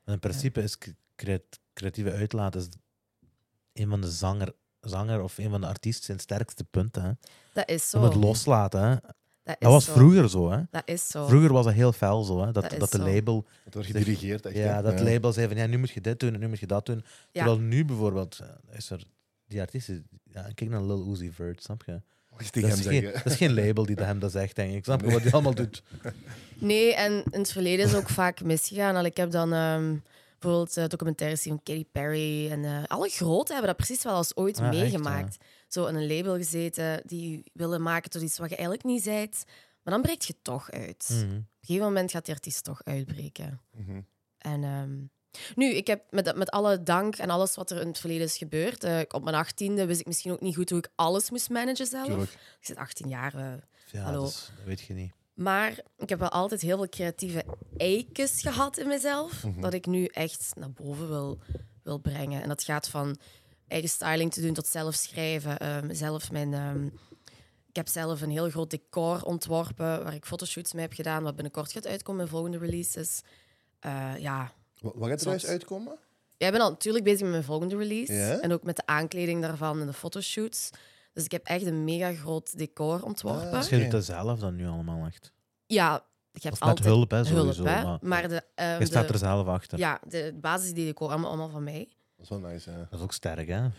Speaker 3: Want in principe is cre- creat- creatieve uitlaat is een van de zanger, zanger of een van de artiesten zijn sterkste punten. Hè.
Speaker 1: Dat is zo.
Speaker 3: Om het loslaten. Hè.
Speaker 1: Dat, is
Speaker 3: Dat was
Speaker 1: zo.
Speaker 3: vroeger zo. Hè.
Speaker 1: Dat is zo.
Speaker 3: Vroeger was dat heel fel zo. Hè. Dat,
Speaker 1: Dat is
Speaker 3: dat, de
Speaker 1: zo.
Speaker 3: label,
Speaker 2: Het wordt gedirigeerd, echt.
Speaker 3: ja,
Speaker 2: hè?
Speaker 3: dat label zei van ja, nu moet je dit doen en nu moet je dat doen. Terwijl nu bijvoorbeeld eh, is er die artiesten. Ja, kijk naar Lil Uzi Vert, snap je?
Speaker 2: Mag je
Speaker 3: Dat
Speaker 2: tegen
Speaker 3: is,
Speaker 2: hem
Speaker 3: geen,
Speaker 2: zeggen?
Speaker 3: dat is geen label die dat hem dat zegt, denk ik. Snap je wat hij allemaal doet?
Speaker 1: Nee, en in het verleden is ook vaak misgegaan. Al, ik heb dan ehm, bijvoorbeeld eh, documentaires gezien van Katy Perry. En eh, alle groten hebben dat precies wel als ooit
Speaker 3: Ja, Ah, echt,
Speaker 1: meegemaakt. Zo in een label gezeten die je willen maken tot iets wat je eigenlijk niet zijt. Maar dan breekt je toch uit.
Speaker 3: Mhm.
Speaker 1: Op een gegeven moment gaat die artiest toch uitbreken.
Speaker 2: <laughs> Mhm.
Speaker 1: En ehm, nu, ik heb met, met alle dank en alles wat er in het verleden is gebeurd. eh, op mijn achttiende wist ik misschien ook niet goed hoe ik alles moest managen zelf.
Speaker 2: Tuurlijk.
Speaker 1: Ik zit 18 jaar. eh,
Speaker 3: Ja,
Speaker 1: Hallo.
Speaker 3: dus dat weet je niet.
Speaker 1: maar ik heb wel altijd heel veel creatieve eikens gehad in mezelf.
Speaker 2: Mhm.
Speaker 1: Dat ik nu echt naar boven wil, wil brengen. En dat gaat van eigen styling te doen tot zelf schrijven. Ehm, zelf mijn, ehm, ik heb zelf een heel groot decor ontworpen waar ik fotoshoots mee heb gedaan. Wat binnenkort gaat uitkomen in volgende releases. Eh, ja.
Speaker 2: Wa- Wat gaat er
Speaker 1: Zot.
Speaker 2: juist uitkomen?
Speaker 1: Jij bent al natuurlijk bezig met mijn volgende release.
Speaker 2: Ja?
Speaker 1: En ook met de aankleding daarvan en de fotoshoots. Dus ik heb echt een mega groot decor ontworpen.
Speaker 2: Ah.
Speaker 3: Dus jij doet
Speaker 2: Oké.
Speaker 3: dat zelf dan nu allemaal echt.
Speaker 1: Ja, ik heb
Speaker 3: Of met
Speaker 1: altijd
Speaker 3: hulp, hè,
Speaker 1: hulp,
Speaker 3: sowieso.
Speaker 1: hè.
Speaker 3: maar
Speaker 1: Maar de, eh,
Speaker 3: je staat
Speaker 1: de-
Speaker 3: er zelf achter.
Speaker 1: ja, de basis die ik hoor, allemaal, allemaal van mij.
Speaker 2: Dat is wel nice, hè?
Speaker 3: Dat is ook sterk, hè? Ik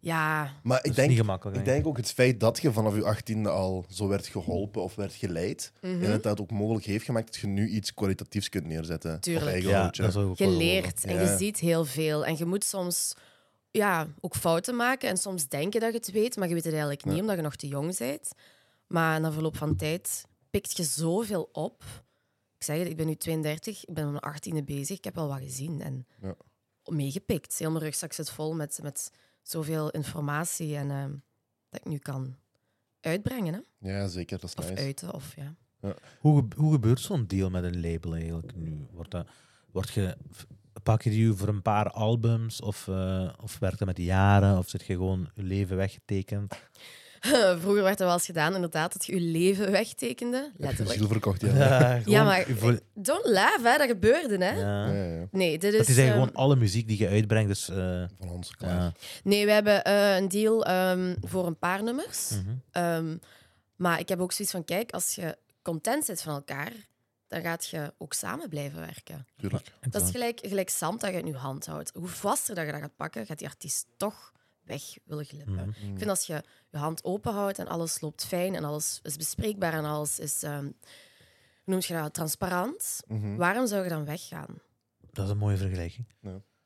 Speaker 1: Ja,
Speaker 2: Maar ik
Speaker 3: is niet
Speaker 2: denk,
Speaker 3: gemakkelijk.
Speaker 2: ik
Speaker 3: denk ik.
Speaker 2: denk ook het feit dat je vanaf je achttiende al zo werd geholpen of werd geleid,
Speaker 1: Mhm.
Speaker 2: en dat dat ook mogelijk heeft gemaakt dat je nu iets kwalitatiefs kunt neerzetten.
Speaker 1: Tuurlijk.
Speaker 2: Op eigen
Speaker 3: Ja,
Speaker 2: houtje.
Speaker 3: dat is ook wel
Speaker 1: je
Speaker 3: gewoon-
Speaker 1: leert en je
Speaker 2: Ja.
Speaker 1: ziet heel veel. En je moet soms ja, ook fouten maken en soms denken dat je het weet, maar je weet het eigenlijk niet
Speaker 2: Ja.
Speaker 1: omdat je nog te jong bent. Maar na verloop van tijd pikt je zoveel op. Ik zeg het, ik ben nu 32, ik ben om mijn 18e bezig, ik heb al wat gezien en
Speaker 2: Ja.
Speaker 1: meegepikt. Heel mijn rugzak zit vol met, met zoveel informatie en ehm, dat ik nu kan uitbrengen hè?
Speaker 2: Ja, zeker. Dat is
Speaker 1: of
Speaker 2: nice.
Speaker 1: uiten. Of, ja. <laughs>
Speaker 3: Hoe, gebe- hoe gebeurt zo'n deal met een label eigenlijk nu? Wordt dat, wordt je, f- pak je die voor een paar albums of, eh, of werkt dat met jaren? Of zit je gewoon je leven weggetekend?
Speaker 1: Vroeger werd dat wel eens gedaan, inderdaad, dat je je leven wegtekende.
Speaker 2: Heb je
Speaker 1: Letterlijk.
Speaker 2: ziel verkocht,
Speaker 3: <laughs>
Speaker 2: ja.
Speaker 1: Ja,
Speaker 3: gewoon
Speaker 1: maar
Speaker 3: je vo-
Speaker 1: don't laugh, hè, dat gebeurde. Hè?
Speaker 3: ja.
Speaker 2: Ja, ja, ja.
Speaker 1: Nee, dit is.
Speaker 3: dat is eigenlijk
Speaker 1: ehm,
Speaker 3: gewoon alle muziek die je uitbrengt. Dus, eh,
Speaker 2: Van ons, klaar.
Speaker 3: ja.
Speaker 1: Nee, we hebben eh, een deal ehm, voor een paar nummers.
Speaker 3: Mhm.
Speaker 1: Ehm, maar ik heb ook zoiets van: kijk, als je content zit van elkaar, dan gaat je ook samen blijven werken.
Speaker 2: Tuurlijk.
Speaker 1: Dat is
Speaker 3: Exact.
Speaker 1: gelijk, gelijk zand dat je uit je hand houdt. Hoe vaster dat je dat gaat pakken, gaat die artiest toch weg willen glippen.
Speaker 3: Mhm.
Speaker 1: Ik vind als je je hand openhoudt en alles loopt fijn en alles is bespreekbaar en alles is, ehm, hoe noem je dat, transparant,
Speaker 2: Mhm.
Speaker 1: waarom zou je dan weggaan?
Speaker 3: Dat is een mooie vergelijking.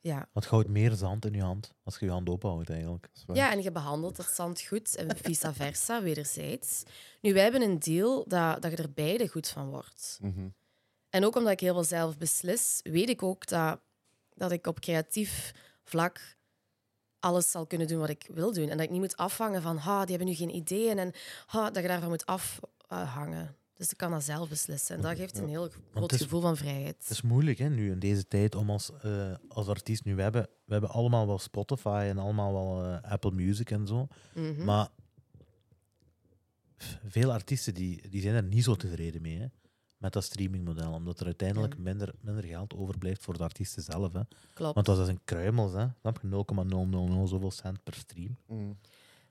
Speaker 1: Ja.
Speaker 3: Want je houdt meer zand in je hand als je je hand openhoudt eigenlijk.
Speaker 2: Dat is waar.
Speaker 1: ja, en je behandelt dat zand goed en vice versa, wederzijds. Nu, wij hebben een deal dat, dat je er beide goed van wordt.
Speaker 2: Mhm.
Speaker 1: En ook omdat ik heel veel zelf beslis, weet ik ook dat, dat ik op creatief vlak alles zal kunnen doen wat ik wil doen. En dat ik niet moet afhangen van, ha, die hebben nu geen ideeën. En ha, dat je daarvan moet afhangen. Dus ik kan dat zelf beslissen. En dat geeft een heel groot
Speaker 3: het is-
Speaker 1: gevoel van
Speaker 3: Het
Speaker 1: vrijheid.
Speaker 3: is moeilijk hè, nu in deze tijd om als, eh, als artiest nu. We hebben, we hebben allemaal wel Spotify en allemaal wel eh, Apple Music en zo.
Speaker 1: Mhm.
Speaker 3: Maar f- veel artiesten die, die zijn er niet zo tevreden mee hè, met dat streamingmodel. Omdat er uiteindelijk
Speaker 1: Ja.
Speaker 3: minder, minder geld overblijft voor de artiesten zelf. Hè.
Speaker 1: Klopt.
Speaker 3: Want dat is een kruimels, hè? Snap je? 0,000 zoveel cent per stream.
Speaker 2: Mhm.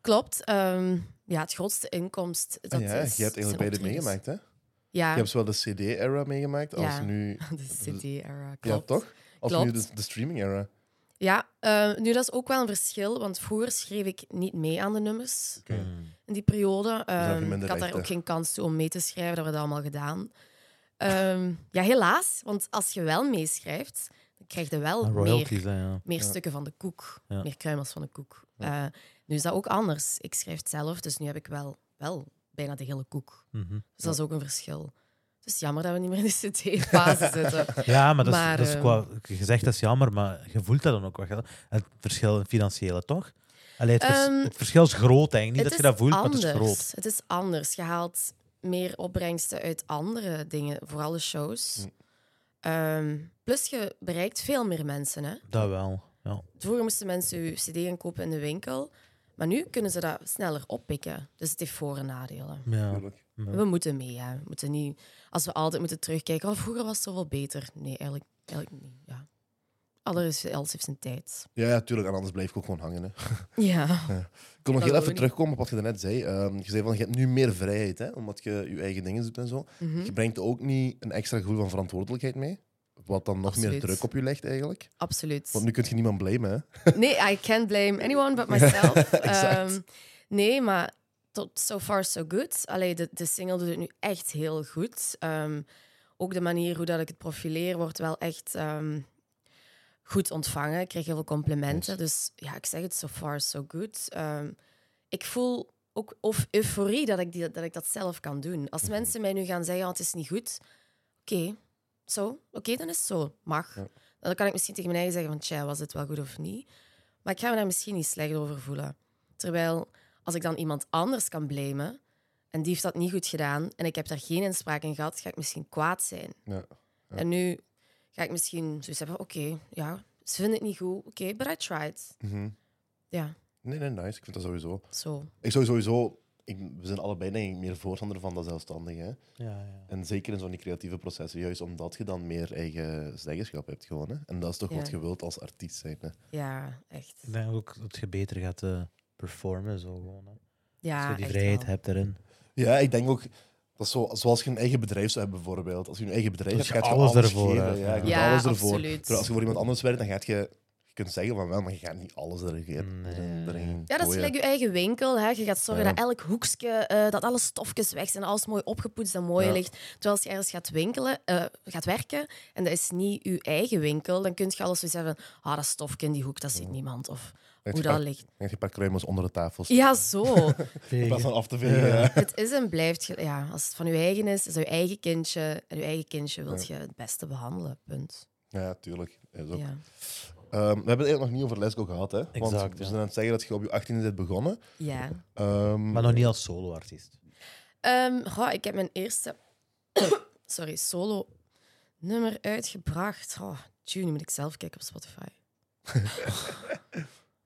Speaker 1: Klopt. ehm, ja, het grootste inkomst. Dat
Speaker 2: Ah
Speaker 1: is,
Speaker 2: ja, je hebt
Speaker 1: zijn
Speaker 2: eigenlijk beide
Speaker 1: optredens.
Speaker 2: meegemaakt, hè?
Speaker 1: Ja,
Speaker 2: Je hebt zowel de CD-era meegemaakt als
Speaker 1: Ja.
Speaker 2: nu.
Speaker 1: <laughs> de CD-era.
Speaker 2: Ja,
Speaker 1: Klopt.
Speaker 2: toch? Als
Speaker 1: Klopt.
Speaker 2: nu de, de streaming-era.
Speaker 1: Ja, eh, nu dat is ook wel een verschil, want vroeger schreef ik niet mee aan de nummers
Speaker 2: Oké.
Speaker 3: Mm.
Speaker 1: in die periode.
Speaker 2: had je
Speaker 1: Ehm,
Speaker 2: minder
Speaker 1: ik had daar
Speaker 2: rechten.
Speaker 1: ook geen kans toe om mee te schrijven, dat hebben we dat allemaal gedaan. Ehm, ja, helaas, want als je wel meeschrijft, dan krijg je wel
Speaker 3: En
Speaker 1: meer,
Speaker 3: Ah, royalties, hè, ja.
Speaker 1: meer
Speaker 2: Ja.
Speaker 1: stukken van de koek,
Speaker 3: Ja.
Speaker 1: meer kruimels van de koek. Eh, nu is dat ook anders. Ik schrijf het zelf, dus nu heb ik wel, wel bijna de hele koek.
Speaker 3: Mhm.
Speaker 1: Dus dat is ook een verschil. Het is jammer dat we niet meer in de
Speaker 3: <laughs>
Speaker 1: CD-fase zitten.
Speaker 3: Eh, Ja, maar dat is,
Speaker 1: Maar,
Speaker 3: dat is
Speaker 1: ehm,
Speaker 3: qua gezegd, dat is jammer, maar je voelt dat dan ook wel. Het verschil in financiële, toch? Allee, het, vers-
Speaker 1: Ehm,
Speaker 3: het verschil is groot, denk ik. Niet dat je
Speaker 1: is
Speaker 3: dat voelt,
Speaker 1: anders.
Speaker 3: maar het is groot.
Speaker 1: Het is anders. Je haalt meer opbrengsten uit andere dingen, vooral de shows.
Speaker 3: Mm.
Speaker 1: Ehm, plus je bereikt veel meer mensen. Hè?
Speaker 3: Dat wel. Ja.
Speaker 1: Vroeger moesten mensen hun cd gaan kopen in de winkel. Maar nu kunnen ze dat sneller oppikken. Dus het heeft voor- en nadelen.
Speaker 3: Ja.
Speaker 2: Tuurlijk.
Speaker 1: We moeten mee. Hè. We moeten niet, als we altijd moeten terugkijken, oh, vroeger was het zoveel beter. Nee, eigenlijk, eigenlijk niet. Ja. alles, alles heeft zijn tijd.
Speaker 2: Ja, ja, tuurlijk. En anders blijf ik ook gewoon hangen. Hè. <laughs>
Speaker 1: Ja. Dat
Speaker 2: Ik wil nog heel
Speaker 1: doen
Speaker 2: even
Speaker 1: we
Speaker 2: terugkomen op wat je daarnet zei. Ehm, je zei van, je hebt nu meer vrijheid, hè, omdat je je eigen dingen doet en zo.
Speaker 1: Hm? Mhm.
Speaker 2: Je brengt ook niet een extra gevoel van verantwoordelijkheid mee, wat dan nog meer
Speaker 1: Absoluut.
Speaker 2: druk op je legt eigenlijk.
Speaker 1: Absoluut.
Speaker 2: Want nu kun je niemand blamen, hè.
Speaker 1: Nee, I can't blame anyone but
Speaker 2: <laughs>
Speaker 1: myself.
Speaker 2: Exact.
Speaker 1: Ehm, nee, maar tot so far so good. Allee, de, de single doet het nu echt heel goed. Ehm, ook de manier hoe dat ik het profileer wordt wel echt ehm, goed ontvangen. Ik kreeg heel veel complimenten. Dus ja, ik zeg het so far so good. Ehm, ik voel ook of euforie dat ik, die, dat ik dat zelf kan doen.
Speaker 2: Mhm.
Speaker 1: Als mensen mij nu gaan zeggen, "Oh, het is niet goed. Oké, zo. Oké, dan is het zo. Mag.
Speaker 2: Ja.
Speaker 1: Dan kan ik misschien tegen mijn eigen zeggen van, tja, was het wel goed of niet? Maar ik ga me daar misschien niet slecht over voelen. Terwijl als ik dan iemand anders kan blamen en die heeft dat niet goed gedaan en ik heb daar geen inspraak in gehad, ga ik misschien kwaad zijn.
Speaker 2: Ja, ja.
Speaker 1: En nu ga ik misschien zoiets hebben: oké, ja, ze vinden het niet goed, oké, but I tried.
Speaker 2: Mhm.
Speaker 1: Ja,
Speaker 2: Nee, nee, nice. Ik vind dat sowieso.
Speaker 1: zo.
Speaker 2: Ik zou sowieso... Ik, we zijn allebei denk ik meer voorstander van dat zelfstandige. Hè?
Speaker 3: Ja, ja.
Speaker 2: En zeker in zo'n creatieve processen, juist omdat je dan meer eigen zeggenschap hebt gewoon. Hè? En dat is toch
Speaker 1: Ja.
Speaker 2: wat je wilt als artiest zijn. Hè?
Speaker 1: Ja, echt.
Speaker 3: Ik denk ook dat je beter gaat eh, performen. Zo gewoon, hè.
Speaker 1: Ja,
Speaker 3: Als je die
Speaker 1: echt
Speaker 3: vrijheid
Speaker 1: wel.
Speaker 3: hebt daarin.
Speaker 2: Ja, ik denk ook... Dat is zo, zoals je een eigen bedrijf zou hebben, bijvoorbeeld. Als je een eigen bedrijf
Speaker 3: Dat
Speaker 2: hebt,
Speaker 3: je
Speaker 2: gaat je
Speaker 3: alles
Speaker 2: alles,
Speaker 3: ervoor
Speaker 2: geven.
Speaker 3: hebt,
Speaker 2: Ja, je
Speaker 3: ja.
Speaker 2: doet
Speaker 1: Ja,
Speaker 2: alles ervoor.
Speaker 1: absoluut.
Speaker 2: Terwijl als je voor iemand anders werkt, dan gaat je... Je kunt zeggen van wel, maar je gaat niet alles erin geven.
Speaker 3: Nee.
Speaker 1: Ja, dat is gelijk je eigen winkel. Hè. Je gaat zorgen
Speaker 2: Oh, Ja.
Speaker 1: dat elk hoekje, eh, dat alle stofjes weg zijn, alles mooi opgepoetst en mooi
Speaker 2: Ja.
Speaker 1: ligt. Terwijl als je ergens gaat winkelen, eh, gaat werken, en dat is niet je eigen winkel, dan kun je alles zo zeggen, ah, dat stofje in die hoek, dat ziet niemand. Of hoe dat ligt.
Speaker 2: Je een paar kruimels onder de tafel.
Speaker 1: Ja, zo. <laughs>
Speaker 2: In plaats van af te vegen. Ja.
Speaker 1: het is en blijft... ge- Ja, als het van je eigen is, is het je eigen kindje. En je eigen kindje wilt je het beste behandelen, punt.
Speaker 2: ja, tuurlijk. Is ook.
Speaker 1: Ja.
Speaker 2: Ehm, we hebben het eigenlijk nog niet over Lesgo gehad. Hè? Want
Speaker 3: Exact,
Speaker 2: we
Speaker 3: ja.
Speaker 2: zijn aan het zeggen dat je op je 18e bent begonnen.
Speaker 1: ja.
Speaker 2: Ehm,
Speaker 3: Maar nog niet als solo-artiest.
Speaker 1: Ehm, goh, ik heb mijn eerste <coughs> sorry, solo nummer uitgebracht. Oh, tune, nu moet ik zelf kijken op Spotify.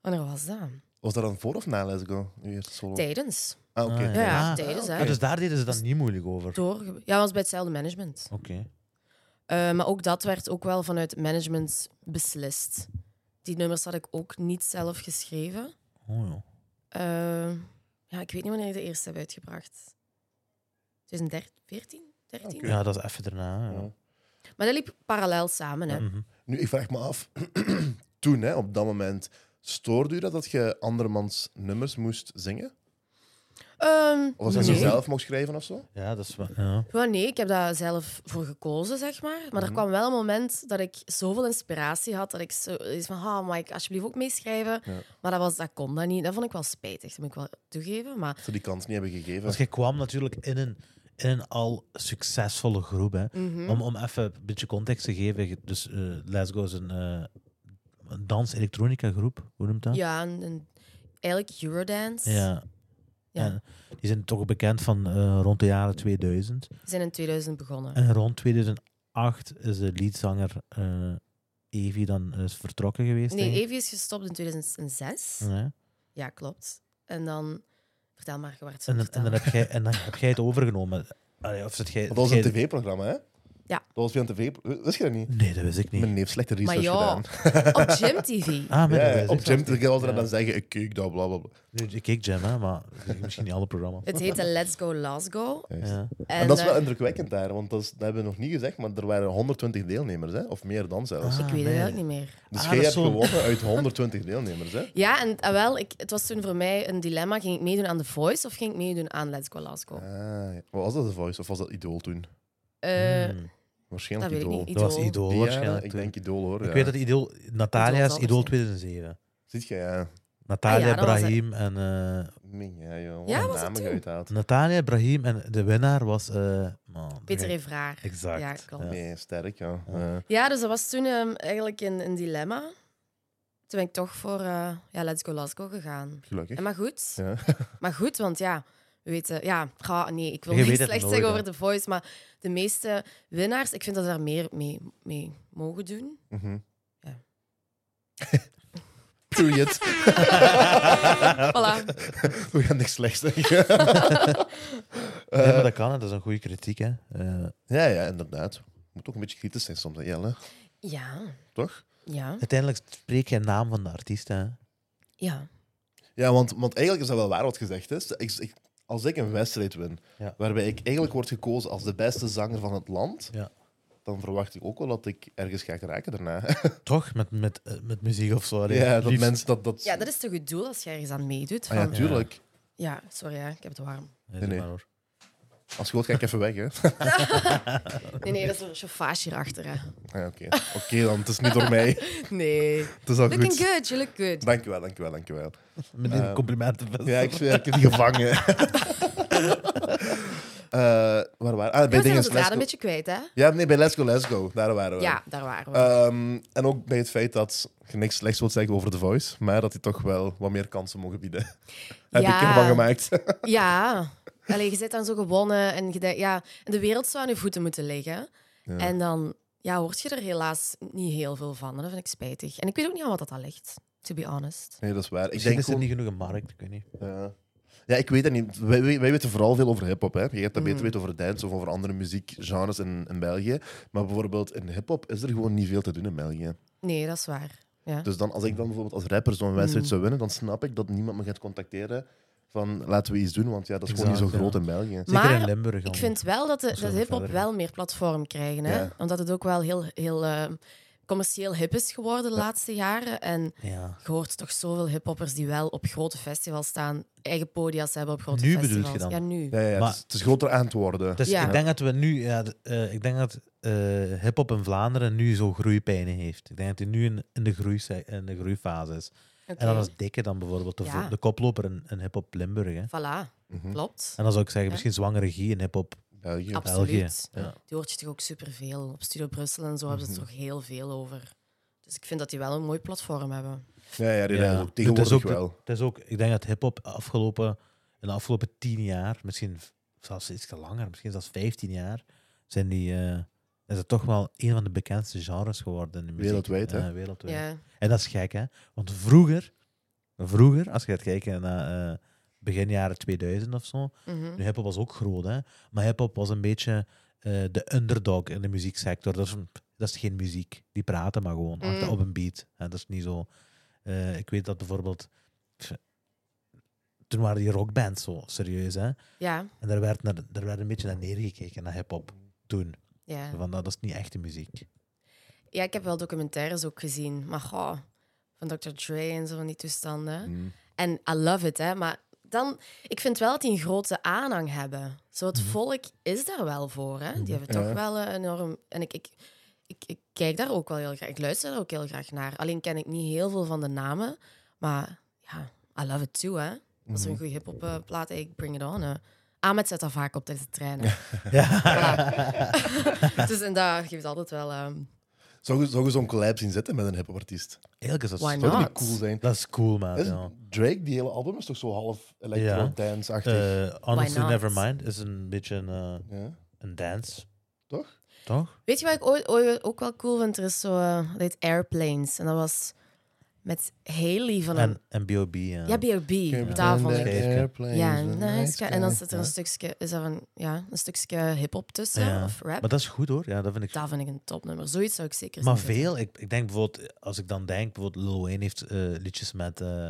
Speaker 1: Wanneer was dat?
Speaker 2: Was dat dan voor of na Lesgo? Je eerste solo?
Speaker 1: Tijdens.
Speaker 2: Ah, oké.
Speaker 3: Ah,
Speaker 1: Ja, ja,
Speaker 3: Ah,
Speaker 1: tijdens.
Speaker 3: Ah,
Speaker 1: hè.
Speaker 3: dus daar deden ze dan niet moeilijk over. Oké.
Speaker 1: Door, ja, dat was bij hetzelfde management. Eh, maar ook dat werd ook wel vanuit het management beslist. Die nummers had ik ook niet zelf geschreven.
Speaker 3: Oh, ja.
Speaker 1: Eh, ja, ik weet niet wanneer ik de eerste heb uitgebracht. 2014? 13?
Speaker 2: Oké.
Speaker 3: ja, dat is even daarna. Ja.
Speaker 2: Ja.
Speaker 1: Maar dat liep parallel samen, hè.
Speaker 3: Mhm.
Speaker 2: Nu, ik vraag me af, <clears throat> toen, hè, op dat moment, stoorde u dat dat je andermans nummers moest zingen?
Speaker 1: Ehm,
Speaker 2: Of als je
Speaker 1: nee.
Speaker 2: ze zelf mocht schrijven of zo?
Speaker 3: ja, dat is wel. Ja.
Speaker 1: Ja, nee, ik heb daar zelf voor gekozen, zeg maar. Maar er
Speaker 2: Mhm.
Speaker 1: kwam wel een moment dat ik zoveel inspiratie had dat ik zo is van, ah, mag ik alsjeblieft ook meeschrijven?
Speaker 2: Ja.
Speaker 1: Maar dat, was, dat kon dat niet. Dat vond ik wel spijtig, dat moet ik wel toegeven. Maar
Speaker 2: Dat ze die kans niet hebben gegeven.
Speaker 3: Want je kwam natuurlijk in een, in een al succesvolle groep. Hè.
Speaker 1: Mhm.
Speaker 3: Om, om even een beetje context te geven. je- Dus eh, Let's Go is een, eh, een dans-elektronica groep. Hoe noemt dat?
Speaker 1: ja, en, en eigenlijk Eurodance.
Speaker 3: Ja.
Speaker 1: Ja.
Speaker 3: En die zijn toch bekend van eh, rond de jaren 2000.
Speaker 1: We zijn in 2000 begonnen.
Speaker 3: En rond 2008 is de leadzanger eh Evie dan is vertrokken geweest.
Speaker 1: Nee,
Speaker 3: denk ik.
Speaker 1: Evie is gestopt in 2006.
Speaker 3: Ja.
Speaker 1: Ja, klopt. En dan... Vertel maar, je werd zo
Speaker 3: En, dan- en, dan
Speaker 1: vertellen.
Speaker 3: heb jij, en dan heb jij het overgenomen. Allee, of zit jij,
Speaker 2: Dat was
Speaker 3: jij-
Speaker 2: een tv-programma, hè?
Speaker 1: Ja.
Speaker 2: Dat was via een tv Wist je dat niet?
Speaker 3: Nee, dat wist ik niet.
Speaker 2: Mijn neef slechte
Speaker 1: Maar
Speaker 2: research
Speaker 1: ja,
Speaker 2: gedaan.
Speaker 1: op Gym TV.
Speaker 3: <laughs> Ah, maar
Speaker 2: Ja,
Speaker 3: dat wist
Speaker 2: op
Speaker 3: ik
Speaker 2: Jim
Speaker 3: niet.
Speaker 2: te wilde
Speaker 3: Ja.
Speaker 2: dan zeggen, ik keek dat, bla bla bla.
Speaker 3: Nu, ik keek Jam, hè, maar misschien niet alle programma's.
Speaker 1: Het heette Let's Go, Last Go.
Speaker 2: Juist.
Speaker 3: Ja.
Speaker 1: En,
Speaker 2: En dat is
Speaker 1: eh,
Speaker 2: wel indrukwekkend daar, want dat, is- dat hebben we nog niet gezegd, maar er waren 120 deelnemers, hè? of meer dan zelfs.
Speaker 1: ik
Speaker 3: Ah,
Speaker 1: weet het
Speaker 3: nee.
Speaker 1: eigenlijk niet meer.
Speaker 2: Dus jij
Speaker 3: Ah, dat
Speaker 2: hebt
Speaker 3: is zo'n-
Speaker 2: gewonnen uit 120 deelnemers. Hè?
Speaker 1: Ja, en ah, wel, ik, het was toen voor mij een dilemma. Ging ik meedoen aan The Voice of ging ik meedoen aan Let's Go Last Go?
Speaker 2: Ah, ja. was dat de voice of was dat idool toen?
Speaker 1: Eh,
Speaker 3: Hmm.
Speaker 1: dat
Speaker 2: Waarschijnlijk
Speaker 1: weet ik
Speaker 2: idool.
Speaker 1: niet.
Speaker 3: Dat was
Speaker 1: Idol.
Speaker 3: Idool
Speaker 2: Die jaren,
Speaker 3: Oh, waarschijnlijk.
Speaker 2: ik
Speaker 3: toen.
Speaker 2: denk idool hoor.
Speaker 3: Ik
Speaker 2: ja.
Speaker 3: weet dat Idool, Natalia
Speaker 1: Idool
Speaker 3: is
Speaker 1: zal
Speaker 3: Idool
Speaker 1: zijn.
Speaker 3: 2007.
Speaker 2: Ziet je, ja.
Speaker 3: Natalia,
Speaker 1: Ah ja, dat was
Speaker 3: Brahim en... eh,
Speaker 2: Ming, ja, joh.
Speaker 1: Ja,
Speaker 2: Wat een
Speaker 1: was dat
Speaker 2: namen
Speaker 1: toen?
Speaker 2: je uithaalt.
Speaker 3: Natalia, Brahim en de winnaar was... eh, man,
Speaker 1: Peter
Speaker 3: nee.
Speaker 1: Evraar.
Speaker 3: Exact.
Speaker 1: Ja, klopt.
Speaker 3: Ja.
Speaker 2: Nee, sterk, ja.
Speaker 3: Ja.
Speaker 2: Ja.
Speaker 1: Ja, dus dat was toen ehm, eigenlijk een, een dilemma. Toen ben ik toch voor eh, ja, Let's Go Last Go gegaan.
Speaker 2: gelukkig.
Speaker 1: En maar goed,
Speaker 2: Ja.
Speaker 3: <laughs>
Speaker 1: maar goed, want ja, we weten... Ja, ga- nee, ik wil
Speaker 3: Je
Speaker 1: niet
Speaker 3: weet het
Speaker 1: slecht
Speaker 3: nooit,
Speaker 1: zeggen
Speaker 3: hè.
Speaker 1: over The Voice, maar de meeste winnaars, ik vind dat ze daar meer mee, mee mogen doen.
Speaker 2: Mhm.
Speaker 1: Ja.
Speaker 2: <laughs> Period.
Speaker 1: voilà.
Speaker 2: <laughs> We gaan niks slechts
Speaker 3: <laughs>
Speaker 2: zeggen.
Speaker 3: Nee, maar dat kan, hè. dat is een goede kritiek. Hè. Eh,
Speaker 2: Ja, ja, inderdaad. Moet ook een beetje kritisch zijn soms, hè, Jelle.
Speaker 1: Ja.
Speaker 2: Toch?
Speaker 1: Ja,
Speaker 3: Uiteindelijk spreek je naam van de artiest. Hè.
Speaker 1: ja.
Speaker 2: Ja, want, want eigenlijk is dat wel waar wat gezegd is. Ik, ik- als ik een wedstrijd win,
Speaker 3: Ja.
Speaker 2: waarbij ik eigenlijk word gekozen als de beste zanger van het land,
Speaker 3: Ja.
Speaker 2: dan verwacht ik ook wel dat ik ergens ga geraken daarna.
Speaker 3: Toch? Met, met, eh, met muziek of zo. <laughs> allee,
Speaker 2: ja, dat
Speaker 3: liefst.
Speaker 2: mensen dat... dat...
Speaker 1: ja, dat is toch het doel als je ergens aan meedoet?
Speaker 2: Ah ja,
Speaker 1: van-
Speaker 2: tuurlijk.
Speaker 1: ja, sorry, hè, ik heb het warm.
Speaker 3: Nee,
Speaker 2: Nee,
Speaker 3: zeg
Speaker 2: nee.
Speaker 3: maar hoor.
Speaker 2: Als je wilt, ga ik even weg, hè. <laughs>
Speaker 1: Nee, nee, dat is een chauffage hierachter. Hè.
Speaker 2: Ah, Oké, Oké dan. Het is niet door
Speaker 1: <laughs>
Speaker 2: mij.
Speaker 1: Nee.
Speaker 2: Het is al
Speaker 1: Looking
Speaker 2: goed.
Speaker 1: good, you look good.
Speaker 2: Dankjewel, dankjewel, dankjewel.
Speaker 3: Meteen een compliment.
Speaker 2: Ja, ik, ja, ik heb die
Speaker 1: <laughs>
Speaker 2: gevangen. Eh waar waren ah,
Speaker 1: We
Speaker 2: bij
Speaker 1: zijn
Speaker 2: dingen
Speaker 1: ons raad
Speaker 2: Let's
Speaker 1: een
Speaker 2: Go.
Speaker 1: beetje kwijt, hè?
Speaker 2: Ja, nee, bij Let's Go, Let's Go. Daar waren we.
Speaker 1: Ja, daar waren we.
Speaker 2: Ehm, en ook bij het feit dat je niks slechts wilt zeggen over The Voice, maar dat die toch wel wat meer kansen mogen bieden. <laughs> Heb
Speaker 1: Ja.
Speaker 2: ik ervan gemaakt. <laughs>
Speaker 1: Eh. Ja. Allee, je zit dan zo gewonnen en je denkt, ja, en de wereld zou aan je voeten moeten liggen.
Speaker 2: Ja.
Speaker 1: En dan ja, hoort je er helaas niet heel veel van. En Dat vind ik spijtig. En ik weet ook niet aan wat dat aan ligt, to be honest.
Speaker 2: Nee, dat is waar. Ik
Speaker 3: Misschien
Speaker 2: denk
Speaker 3: is er
Speaker 2: gewoon-
Speaker 3: niet genoeg een markt, ik weet niet.
Speaker 2: Ja. Ja, ik weet dat niet. Wij, wij, wij weten vooral veel over hip-hop. hè. Je hebt dat
Speaker 1: Mhm.
Speaker 2: beter weten over dance of over andere muziekgenres in, in België. Maar bijvoorbeeld in hip-hop is er gewoon niet veel te doen in België.
Speaker 1: Nee, dat is waar. Ja.
Speaker 2: Dus dan, als ik dan bijvoorbeeld als rapper zo'n
Speaker 1: Mm.
Speaker 2: wedstrijd zou winnen, dan snap ik dat niemand me gaat contacteren van laten we iets doen, want ja, dat is gewoon niet zo
Speaker 3: Exact,
Speaker 2: groot
Speaker 3: ja.
Speaker 2: in België.
Speaker 3: Zeker
Speaker 1: Maar
Speaker 3: in Limburg.
Speaker 1: Ik vind wel dat, de,
Speaker 3: Zullen
Speaker 1: dat
Speaker 3: we
Speaker 1: hip-hop
Speaker 3: verder gaan?
Speaker 1: wel meer platform krijgen. Hè?
Speaker 2: Ja.
Speaker 1: Omdat het ook wel heel, heel eh, commercieel hip is geworden de laatste jaren. En
Speaker 3: Ja.
Speaker 1: je hoort toch zoveel hip-hoppers die wel op grote festivals staan, eigen podia's hebben op grote
Speaker 3: Nu bedoel je
Speaker 1: festivals.
Speaker 3: dan?
Speaker 1: Ja, nu.
Speaker 2: Ja, ja, het,
Speaker 3: Maar-
Speaker 2: is, het is groter aan het worden.
Speaker 3: Dus
Speaker 1: Ja.
Speaker 3: ik denk dat we nu, ja, d- eh, ik denk dat eh hip-hop in Vlaanderen nu zo groeipijnen heeft. Ik denk dat hij nu in, in, de, groei, in de groeifase is.
Speaker 1: Oké.
Speaker 3: En dan is Dikke dan bijvoorbeeld de, vo-
Speaker 1: Ja.
Speaker 3: de koploper in, in hip-hop Limburg. Hè.
Speaker 1: Voilà,
Speaker 2: Mhm.
Speaker 1: klopt.
Speaker 3: En dan zou ik zeggen, misschien zwangere G in hip-hop
Speaker 2: België.
Speaker 1: Absoluut.
Speaker 3: België. Ja.
Speaker 1: Die hoort je toch ook superveel. Op Studio Brussel en zo hebben
Speaker 2: Mhm.
Speaker 1: ze er toch heel veel over. Dus ik vind dat die wel een mooi platform hebben.
Speaker 2: Ja, ja, die
Speaker 3: Ja.
Speaker 2: ja.
Speaker 3: Het is
Speaker 2: tegenwoordig
Speaker 3: ook de-
Speaker 2: wel.
Speaker 3: Het is ook, ik denk dat hip-hop afgelopen, in de afgelopen tien jaar, misschien v- zelfs iets langer, misschien zelfs 15 jaar, zijn die, eh, is het toch wel een van de bekendste genres geworden. In de muziek.
Speaker 2: Wereldwijd, hè?
Speaker 3: Ja, wereldwijd.
Speaker 1: Ja.
Speaker 3: En dat is gek, hè? Want vroeger, vroeger als je gaat kijken naar eh, begin jaren 2000 of zo,
Speaker 1: Mhm.
Speaker 3: nu hip-hop was ook groot, hè? Maar hip-hop was een beetje eh, de underdog in de muzieksector. Dat is, dat is geen muziek. Die praten maar gewoon achter
Speaker 1: Mm.
Speaker 3: op een beat. Hè? Dat is niet zo. eh, ik weet dat bijvoorbeeld. pff, Toen waren die rockbands zo serieus, hè?
Speaker 1: ja,
Speaker 3: En daar werd, naar, daar werd een beetje naar neergekeken, naar hip-hop toen.
Speaker 1: ja.
Speaker 3: Van, nou, dat is niet echte muziek.
Speaker 1: Ja, ik heb wel documentaires ook gezien. Maar goh, van Dr. Dre en zo van die toestanden.
Speaker 2: Mhm.
Speaker 1: En I love it, hè. Maar dan, ik vind wel dat die een grote aanhang hebben. Zo het volk is daar wel voor, hè. Die hebben
Speaker 2: Mhm. Ja.
Speaker 1: toch wel eh, enorm... En ik, ik, ik, ik kijk daar ook wel heel graag. Ik luister daar ook heel graag naar. Alleen ken ik niet heel veel van de namen. Maar ja, I love it too, hè. Als er
Speaker 2: Mhm.
Speaker 1: een goede hip-hop eh, plaat is, ik bring it on. hè. Ahmed zet dat vaak op tijdens de
Speaker 2: <laughs>
Speaker 1: treinen. Voilà. <laughs> dus en dat geeft altijd wel... ehm,
Speaker 2: Zou je, zou je zo'n collab zien zitten met een hip artiest?
Speaker 3: Eigenlijk is
Speaker 1: Why
Speaker 3: dat,
Speaker 2: Zou
Speaker 1: not?
Speaker 2: dat niet cool zijn?
Speaker 3: dat is cool, man.
Speaker 2: Is-
Speaker 3: ja.
Speaker 2: Drake, die hele album is toch zo half electro-dance-achtig?
Speaker 3: Eh, honestly,
Speaker 1: not?
Speaker 3: Nevermind is een beetje een, eh,
Speaker 2: Ja.
Speaker 3: een dance.
Speaker 2: Toch?
Speaker 3: Toch?
Speaker 1: Weet je wat ik ooit, ooit ook wel cool vind? Er is zo, eh, dat heet Airplanes. En dat was met Haley van een...
Speaker 3: En, eh, en B.O.B. Ja.
Speaker 1: Ja, B.O.B.
Speaker 2: Can't
Speaker 1: Daar vond
Speaker 2: pretend
Speaker 1: ik.
Speaker 2: that
Speaker 3: Geefke.
Speaker 2: airplanes
Speaker 1: Ja,
Speaker 2: are
Speaker 1: nice guy. En dan zit er een
Speaker 2: Ja.
Speaker 1: stukje, is er een, ja, een stukje hip-hop tussen,
Speaker 3: Ja.
Speaker 1: of rap.
Speaker 3: Maar dat is goed hoor, ja, dat vind ik.
Speaker 1: Dat vind ik een topnummer. Zoiets zou ik zeker
Speaker 3: maar
Speaker 1: zien zitten.
Speaker 3: veel, ik, ik denk bijvoorbeeld, eh, als ik dan denk, bijvoorbeeld Lil Wayne heeft eh, liedjes met, eh,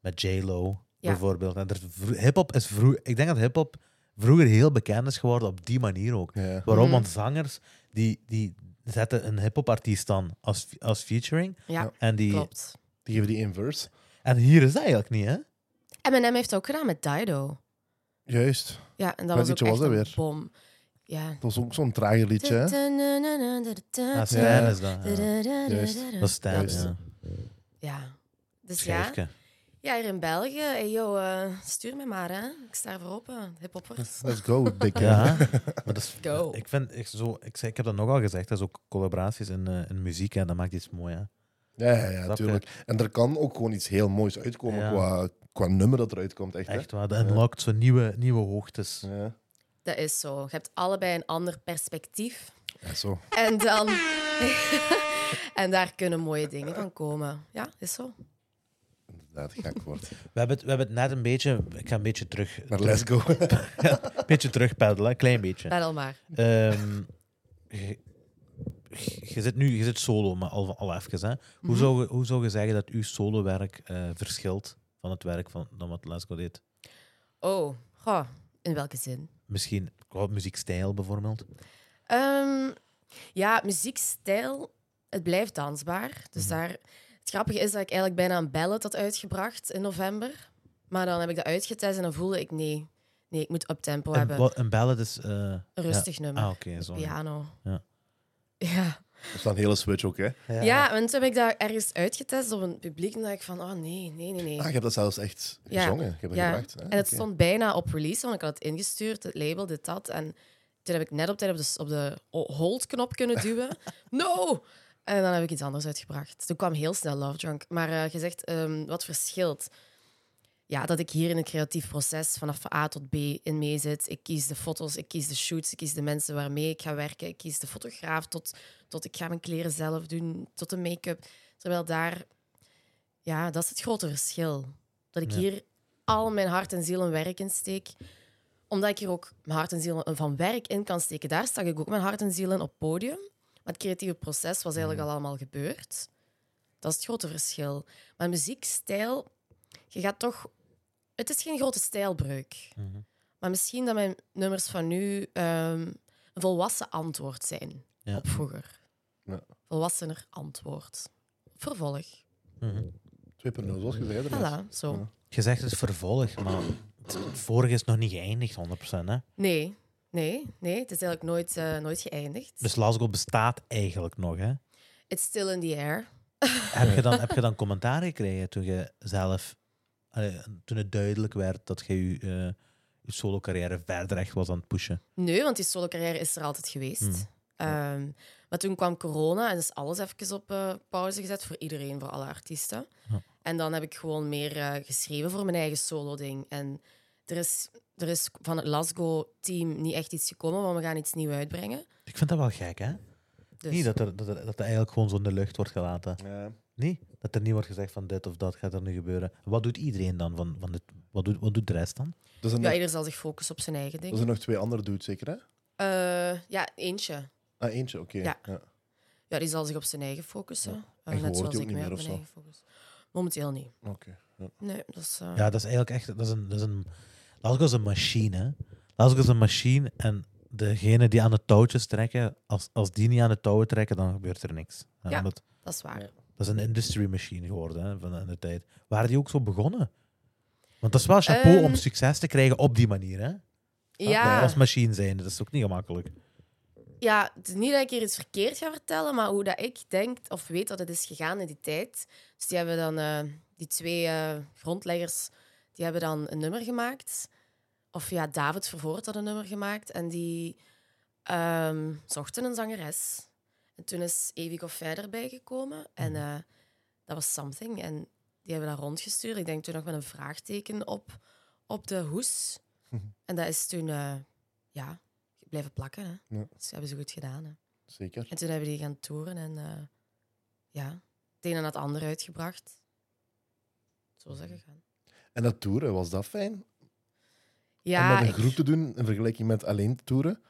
Speaker 3: met J-Lo bijvoorbeeld. En er is vro- hip-hop is vroeger, ik denk dat hip-hop vroeger heel bekend is geworden op die manier ook.
Speaker 2: Ja.
Speaker 3: Waarom?
Speaker 1: Mhm.
Speaker 3: Want zangers die, die zetten een hip-hop artiest dan als, als featuring.
Speaker 1: Ja,
Speaker 3: En, die,
Speaker 1: klopt.
Speaker 2: Die geven die inverse.
Speaker 3: en hier is dat eigenlijk niet, hè?
Speaker 1: Eminem heeft het ook gedaan met Dido.
Speaker 2: Juist.
Speaker 1: Ja, en dat
Speaker 2: Welk
Speaker 1: was ook
Speaker 2: liedje
Speaker 1: echt
Speaker 2: was dat
Speaker 1: een
Speaker 2: weer?
Speaker 1: bom. Ja.
Speaker 2: Dat was ook zo'n trager liedje, hè?
Speaker 3: Ah, Stan
Speaker 2: Ja.
Speaker 3: is dat. Ja.
Speaker 2: Juist.
Speaker 3: Dat is Stan,
Speaker 1: Ja, dus-
Speaker 3: ja.
Speaker 1: ja. Dus ja,
Speaker 3: Schijfke.
Speaker 1: Ja, hier in België. Hey, yo, eh, stuur me maar, hè. Ik sta voor open. Hiphoppers.
Speaker 2: Let's go, dikke.
Speaker 3: Ja, maar dat is,
Speaker 1: Go.
Speaker 3: ik, vind, ik, zo, ik, zei- ik heb dat nogal gezegd, dat is ook collaboraties in, eh, in muziek, en dat maakt iets mooi. Hè.
Speaker 2: Ja, ja, ja,
Speaker 3: Snap je?
Speaker 2: tuurlijk. En er kan ook gewoon iets heel moois uitkomen
Speaker 3: Ja.
Speaker 2: qua, qua nummer dat eruit komt, echt. hè?
Speaker 3: Echt waar, dat unlockt zo nieuwe, nieuwe hoogtes.
Speaker 2: Ja.
Speaker 1: Dat is zo. Je hebt allebei een ander perspectief.
Speaker 2: ja, zo.
Speaker 1: En dan... <laughs> en daar kunnen mooie dingen van komen. Ja, is zo.
Speaker 2: Inderdaad, gek wordt.
Speaker 3: We, hebben het, we hebben het net een beetje, ik ga een beetje terug,
Speaker 2: Maar let's go. <laughs>
Speaker 3: een beetje terugpeddelen, een klein beetje.
Speaker 1: Peddel maar.
Speaker 3: Ehm, je- Ehm, je zit nu je zit solo, maar al, al even. Hè.
Speaker 1: Mhm.
Speaker 3: Hoe, zou, je- hoe zou je zeggen dat uw solo-werk eh, verschilt van het werk van, dan wat Lasco deed?
Speaker 1: Oh, goh, in welke zin?
Speaker 3: Misschien qua muziekstijl bijvoorbeeld.
Speaker 1: Ehm, ja, muziekstijl, het blijft dansbaar. Dus daar, het grappige is dat ik eigenlijk bijna een ballet had uitgebracht in november. Maar dan heb ik dat uitgetest en dan voelde ik, nee, nee ik moet uptempo
Speaker 3: Een,
Speaker 1: hebben.
Speaker 3: wa- een ballad is. eh,
Speaker 1: Een rustig
Speaker 3: ja.
Speaker 1: nummer,
Speaker 3: Ah, oké, zo.
Speaker 1: piano.
Speaker 3: Ja.
Speaker 1: Ja.
Speaker 2: Dat is dan een hele switch ook, hè?
Speaker 1: Ja. en toen heb ik dat ergens uitgetest op een publiek en dacht ik van, oh nee, nee, nee, nee.
Speaker 2: Ah, je hebt dat zelfs echt
Speaker 1: Ja.
Speaker 2: gezongen. Je hebt dat
Speaker 1: Ja.
Speaker 2: gebracht. Hè?
Speaker 1: En het
Speaker 2: Oké.
Speaker 1: stond bijna op release, want ik had het ingestuurd, het label, dit, dat. En toen heb ik net op tijd op de, op de hold-knop kunnen
Speaker 2: <laughs>
Speaker 1: duwen. no! En dan heb ik iets anders uitgebracht. Toen kwam heel snel Love Drunk. Maar eh, je zegt, ehm, wat verschilt? Ja, dat ik hier in een creatief proces vanaf A tot B in mee zit. Ik kies de foto's, ik kies de shoots, ik kies de mensen waarmee ik ga werken. Ik kies de fotograaf tot, tot ik ga mijn kleren zelf doen, tot de make-up. Terwijl daar, ja, dat is het grote verschil. Dat ik
Speaker 3: Ja.
Speaker 1: hier al mijn hart en ziel en werk in steek. Omdat ik hier ook mijn hart en ziel van werk in kan steken. Daar stak ik ook mijn hart en ziel in op het podium. Maar het creatieve proces was eigenlijk
Speaker 3: Mm.
Speaker 1: al allemaal gebeurd. Dat is het grote verschil. Maar muziekstijl, je gaat toch... Het is geen grote stijlbreuk.
Speaker 3: Mhm.
Speaker 1: Maar misschien dat mijn nummers van nu ehm, een volwassen antwoord zijn
Speaker 3: Ja.
Speaker 1: op vroeger.
Speaker 2: Ja.
Speaker 1: Volwassener antwoord. Vervolg.
Speaker 3: Mhm.
Speaker 2: 2.0, zoals je zei. daarnet.
Speaker 1: Voilà, zo.
Speaker 2: Ja.
Speaker 3: Je zegt het is vervolg, maar het vorige is nog niet geëindigd 100%. Hè?
Speaker 1: Nee, nee, nee. Het is eigenlijk nooit, eh, nooit geëindigd.
Speaker 3: Dus Lasgo bestaat eigenlijk nog. Hè?
Speaker 1: It's still in the air.
Speaker 3: Heb, je dan, heb je dan commentaar gekregen toen je zelf, eh, toen het duidelijk werd dat je je, eh, je solo-carrière verder echt was aan het pushen?
Speaker 1: Nee, want die solo-carrière is er altijd geweest.
Speaker 3: Hmm.
Speaker 1: Ehm, maar toen kwam corona en is alles even op eh, pauze gezet voor iedereen, voor alle artiesten.
Speaker 3: Ja.
Speaker 1: En dan heb ik gewoon meer eh, geschreven voor mijn eigen solo-ding. En er is, er is van het Lasgo-team niet echt iets gekomen, want we gaan iets nieuws uitbrengen.
Speaker 3: Ik vind dat wel gek, hè?
Speaker 1: Dus
Speaker 3: Niet dat er, dat, er, dat er eigenlijk gewoon zo in de lucht wordt gelaten.
Speaker 2: Ja.
Speaker 3: Nee, dat er niet wordt gezegd van dit of dat gaat er nu gebeuren. Wat doet iedereen dan? Van, van dit, wat, doet, wat doet de rest dan?
Speaker 2: Er zijn,
Speaker 1: ja,
Speaker 2: nog,
Speaker 1: ieder zal zich focussen op zijn eigen
Speaker 2: er
Speaker 1: ding.
Speaker 2: zijn nog twee andere dudes, zeker, hè?
Speaker 1: Eh, ja, eentje.
Speaker 2: Ah, eentje, oké.
Speaker 1: Ja.
Speaker 2: Ja.
Speaker 1: Ja, die zal zich op zijn eigen focussen. Eh, net
Speaker 2: je hoort die
Speaker 1: zoals
Speaker 2: ook
Speaker 1: ik
Speaker 2: niet
Speaker 1: mij
Speaker 2: meer
Speaker 1: op
Speaker 2: of
Speaker 1: mijn
Speaker 2: zo?
Speaker 1: eigen focus. Momenteel niet.
Speaker 2: Oké. Ja.
Speaker 1: Nee, dat is... eh,
Speaker 3: Ja, dat is eigenlijk echt. Dat is een. Dat is een Lasco is een machine. hè. Lasco is een machine. En degene die aan de touwtjes trekken, als, als die niet aan de touwen trekken, dan gebeurt er niks. Ja,
Speaker 1: Ja.
Speaker 3: omdat-
Speaker 1: dat is waar.
Speaker 2: Ja.
Speaker 3: dat is een industry machine geworden hè, van in de tijd. Waren die ook zo begonnen? Want dat is wel chapeau om
Speaker 1: Ehm.
Speaker 3: succes te krijgen op die manier. Hè?
Speaker 1: Ja.
Speaker 3: Als machine zijn, dat is ook niet gemakkelijk.
Speaker 1: ja, het is niet dat ik hier iets verkeerd ga vertellen, maar hoe dat ik denk of weet dat het is gegaan in die tijd. Dus die hebben dan, eh, die twee eh, grondleggers, die hebben dan een nummer gemaakt. Of ja, David Vervoort had een nummer gemaakt. En die ehm, zochten een zangeres. En toen is Evi Goffin erbij gekomen. En eh, dat was something. En die hebben dat rondgestuurd. Ik denk toen nog met een vraagteken op, op de hoes. En dat is toen, eh, ja, blijven plakken. Hè. Dus hebben ze goed gedaan. Hè.
Speaker 2: Zeker.
Speaker 1: En toen hebben die gaan toeren en eh, ja, het een en het ander uitgebracht. Zo is dat gegaan.
Speaker 2: En dat toeren, was dat fijn? om
Speaker 1: Ja,
Speaker 2: met een
Speaker 1: ik,
Speaker 2: groep te doen in vergelijking met alleen te toeren?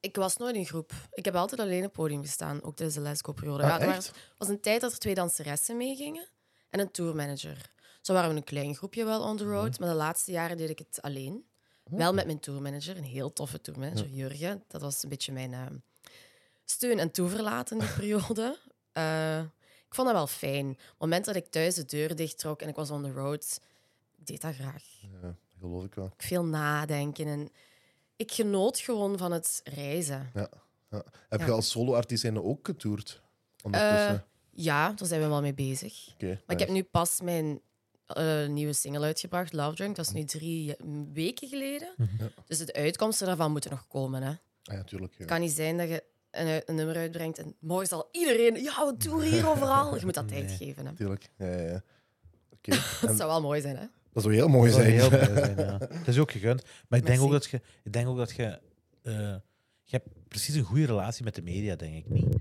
Speaker 1: ik was nooit in groep. Ik heb altijd alleen op het podium gestaan, ook tijdens de lesco-periode.
Speaker 2: Ah,
Speaker 1: ja, er waren-
Speaker 2: echt?
Speaker 1: was een tijd dat er twee danseressen meegingen en een tourmanager. Zo waren we een klein groepje wel on the road, maar de laatste jaren deed ik het alleen. Wel met mijn tourmanager, een heel toffe tourmanager, Jurgen. Dat was een beetje mijn eh, steun en toeverlaat in die periode. Eh, ik vond dat wel fijn. Op het moment dat ik thuis de deur dicht trok en ik was on the road, ik deed dat graag.
Speaker 2: Ja, dat geloof ik wel.
Speaker 1: Ik veel nadenken en ik genoot gewoon van het reizen.
Speaker 2: Heb
Speaker 1: Ja.
Speaker 2: je als solo-artiest zijnde ook getoerd?
Speaker 1: Eh, ja, daar zijn we wel mee bezig.
Speaker 2: Oké,
Speaker 1: Maar ik
Speaker 2: nice.
Speaker 1: heb nu pas mijn eh, nieuwe single uitgebracht, Love Drunk. Dat is nu drie mm, weken geleden. Dus de uitkomsten daarvan moeten nog komen. Hè. Het
Speaker 2: Ah, ja, tuurlijk. Ja.
Speaker 1: kan niet zijn dat je een, u- een nummer uitbrengt en morgen zal iedereen... Ja, we doen hier overal. Je moet dat tijd
Speaker 3: Nee.
Speaker 1: geven. Hè.
Speaker 2: Tuurlijk. Ja, ja, ja.
Speaker 1: <laughs>
Speaker 2: Oké.
Speaker 1: Dat
Speaker 2: En
Speaker 1: zou wel mooi zijn, hè?
Speaker 2: dat zou heel mooi
Speaker 3: Dat
Speaker 2: zijn.
Speaker 3: zou heel mooi zijn, ja. Dat is ook gegund. Maar ik denk
Speaker 1: Merci.
Speaker 3: ook dat je, ik denk ook dat je, eh, je hebt precies een goede relatie met de media, denk ik niet,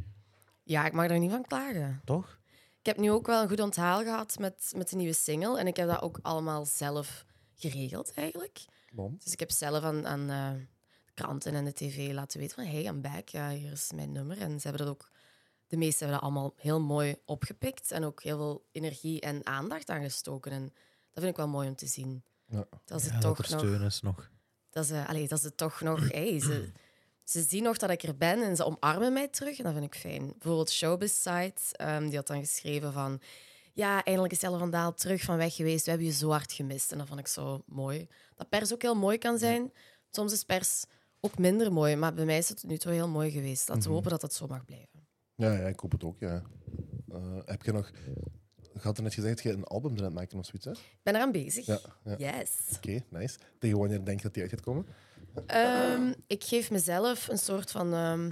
Speaker 1: Ja, ik mag er niet van klagen.
Speaker 3: toch?
Speaker 1: Ik heb nu ook wel een goed onthaal gehad met, met de nieuwe single. En ik heb dat ook allemaal zelf geregeld, eigenlijk.
Speaker 2: Bom.
Speaker 1: Dus ik heb zelf aan, aan eh, kranten en de tv laten weten van... Hey, I'm back. Ja, hier is mijn nummer. En ze hebben dat ook de meesten hebben dat allemaal heel mooi opgepikt en ook heel veel energie en aandacht aangestoken. En dat vind ik wel mooi om te zien.
Speaker 2: Ja.
Speaker 1: Dat ze
Speaker 3: Ja, dat
Speaker 1: toch
Speaker 3: er
Speaker 1: nog
Speaker 3: steun is nog.
Speaker 1: dat ze, allee, dat ze toch nog... hey, ze, ze zien nog dat ik er ben en ze omarmen mij terug. En dat vind ik fijn. Bijvoorbeeld Showbiz Site, ehm, die had dan geschreven van... Ja, eindelijk is Ellen van Daal terug van weg geweest. We hebben je zo hard gemist. En dat vond ik zo mooi. Dat pers ook heel mooi kan zijn. Soms is pers ook minder mooi. Maar bij mij is het tot nu toe heel mooi geweest.
Speaker 2: Mhm.
Speaker 1: Laten we hopen dat dat zo mag blijven.
Speaker 2: <laughs> Ja, ja, ik hoop het ook, ja. Eh, heb je nog... Ik had er net gezegd dat je een album net maakte of zoiets, hè?
Speaker 1: Ik ben eraan bezig.
Speaker 2: Ja, ja.
Speaker 1: Yes.
Speaker 2: Oké, nice. Tegen wanneer denk je dat die uit gaat komen?
Speaker 1: Ehm, ik geef mezelf een soort van ehm,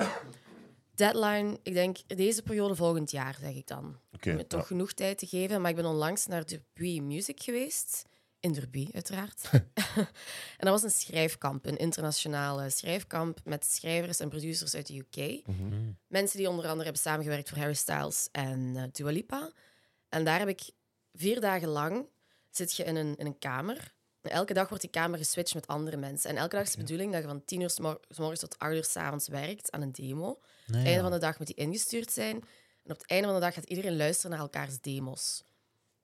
Speaker 1: deadline. Ik denk deze periode volgend jaar, zeg ik dan.
Speaker 2: Oké.
Speaker 1: om me toch genoeg tijd te geven. Maar ik ben onlangs naar Derby Music geweest. In Derby, uiteraard. <laughs> en dat was een schrijfkamp, een internationale schrijfkamp met schrijvers en producers uit de UK. Mensen die onder andere hebben samengewerkt voor Harry Styles en eh, Dua Lipa. En daar heb ik vier dagen lang zit je in een, in een kamer. En elke dag wordt die kamer geswitcht met andere mensen. En elke dag is de bedoeling dat je van tien uur s mor- s morgens tot acht uur s avonds werkt aan een demo.
Speaker 3: Nee,
Speaker 1: Het
Speaker 3: ja.
Speaker 1: einde van de dag moet die ingestuurd zijn. En op het einde van de dag gaat iedereen luisteren naar elkaars demos.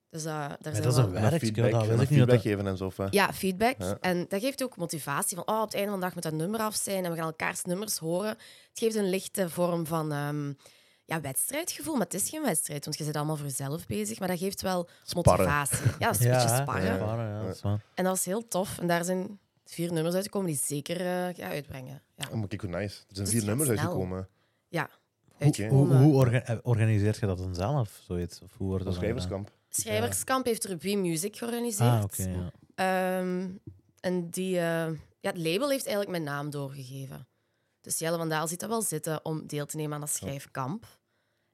Speaker 1: Dus eh, daar zijn
Speaker 3: dat is
Speaker 1: wel-
Speaker 3: een
Speaker 2: En dan
Speaker 3: werk,
Speaker 2: feedback,
Speaker 3: dat
Speaker 2: en
Speaker 3: weet
Speaker 2: dan
Speaker 3: ik niet. dat
Speaker 2: feedback
Speaker 3: dat-
Speaker 2: geven en zo. of, eh,
Speaker 1: Ja, feedback.
Speaker 2: Ja.
Speaker 1: En dat geeft ook motivatie. Van, oh, op het einde van de dag moet dat nummer af zijn en we gaan elkaars nummers horen. Het geeft een lichte vorm van ehm, ja, wedstrijdgevoel. Maar het is geen wedstrijd, want je zit allemaal voor jezelf bezig. Maar dat geeft wel
Speaker 2: Sparren.
Speaker 1: motivatie. Ja,
Speaker 3: <laughs>
Speaker 1: dat is een
Speaker 3: Ja,
Speaker 1: beetje
Speaker 3: hè,
Speaker 1: sparren.
Speaker 2: Ja.
Speaker 3: sparren, ja, dat is waar.
Speaker 1: En dat is heel tof. En daar zijn vier nummers uitgekomen die ik zeker eh, ga uitbrengen. Ja,
Speaker 2: Oh, maar kijk hoe nice. Er zijn
Speaker 1: Dus
Speaker 2: vier
Speaker 1: het
Speaker 2: nummers
Speaker 1: gaat snel.
Speaker 2: uitgekomen.
Speaker 1: ja.
Speaker 2: Oké.
Speaker 1: uitgekomen.
Speaker 3: Hoe, hoe orga- eh, organiseert je dat dan zelf? Zoiets? Of hoe wordt
Speaker 2: Dat
Speaker 3: dat dan gedaan?
Speaker 2: schrijverskamp.
Speaker 1: Schrijverskamp heeft Ruby Music georganiseerd.
Speaker 3: Ah, oké. ja.
Speaker 1: Ehm, en die, eh, ja, het label heeft eigenlijk mijn naam doorgegeven. Dus Jelle van Daal ziet dat wel zitten om deel te nemen aan dat schrijfkamp.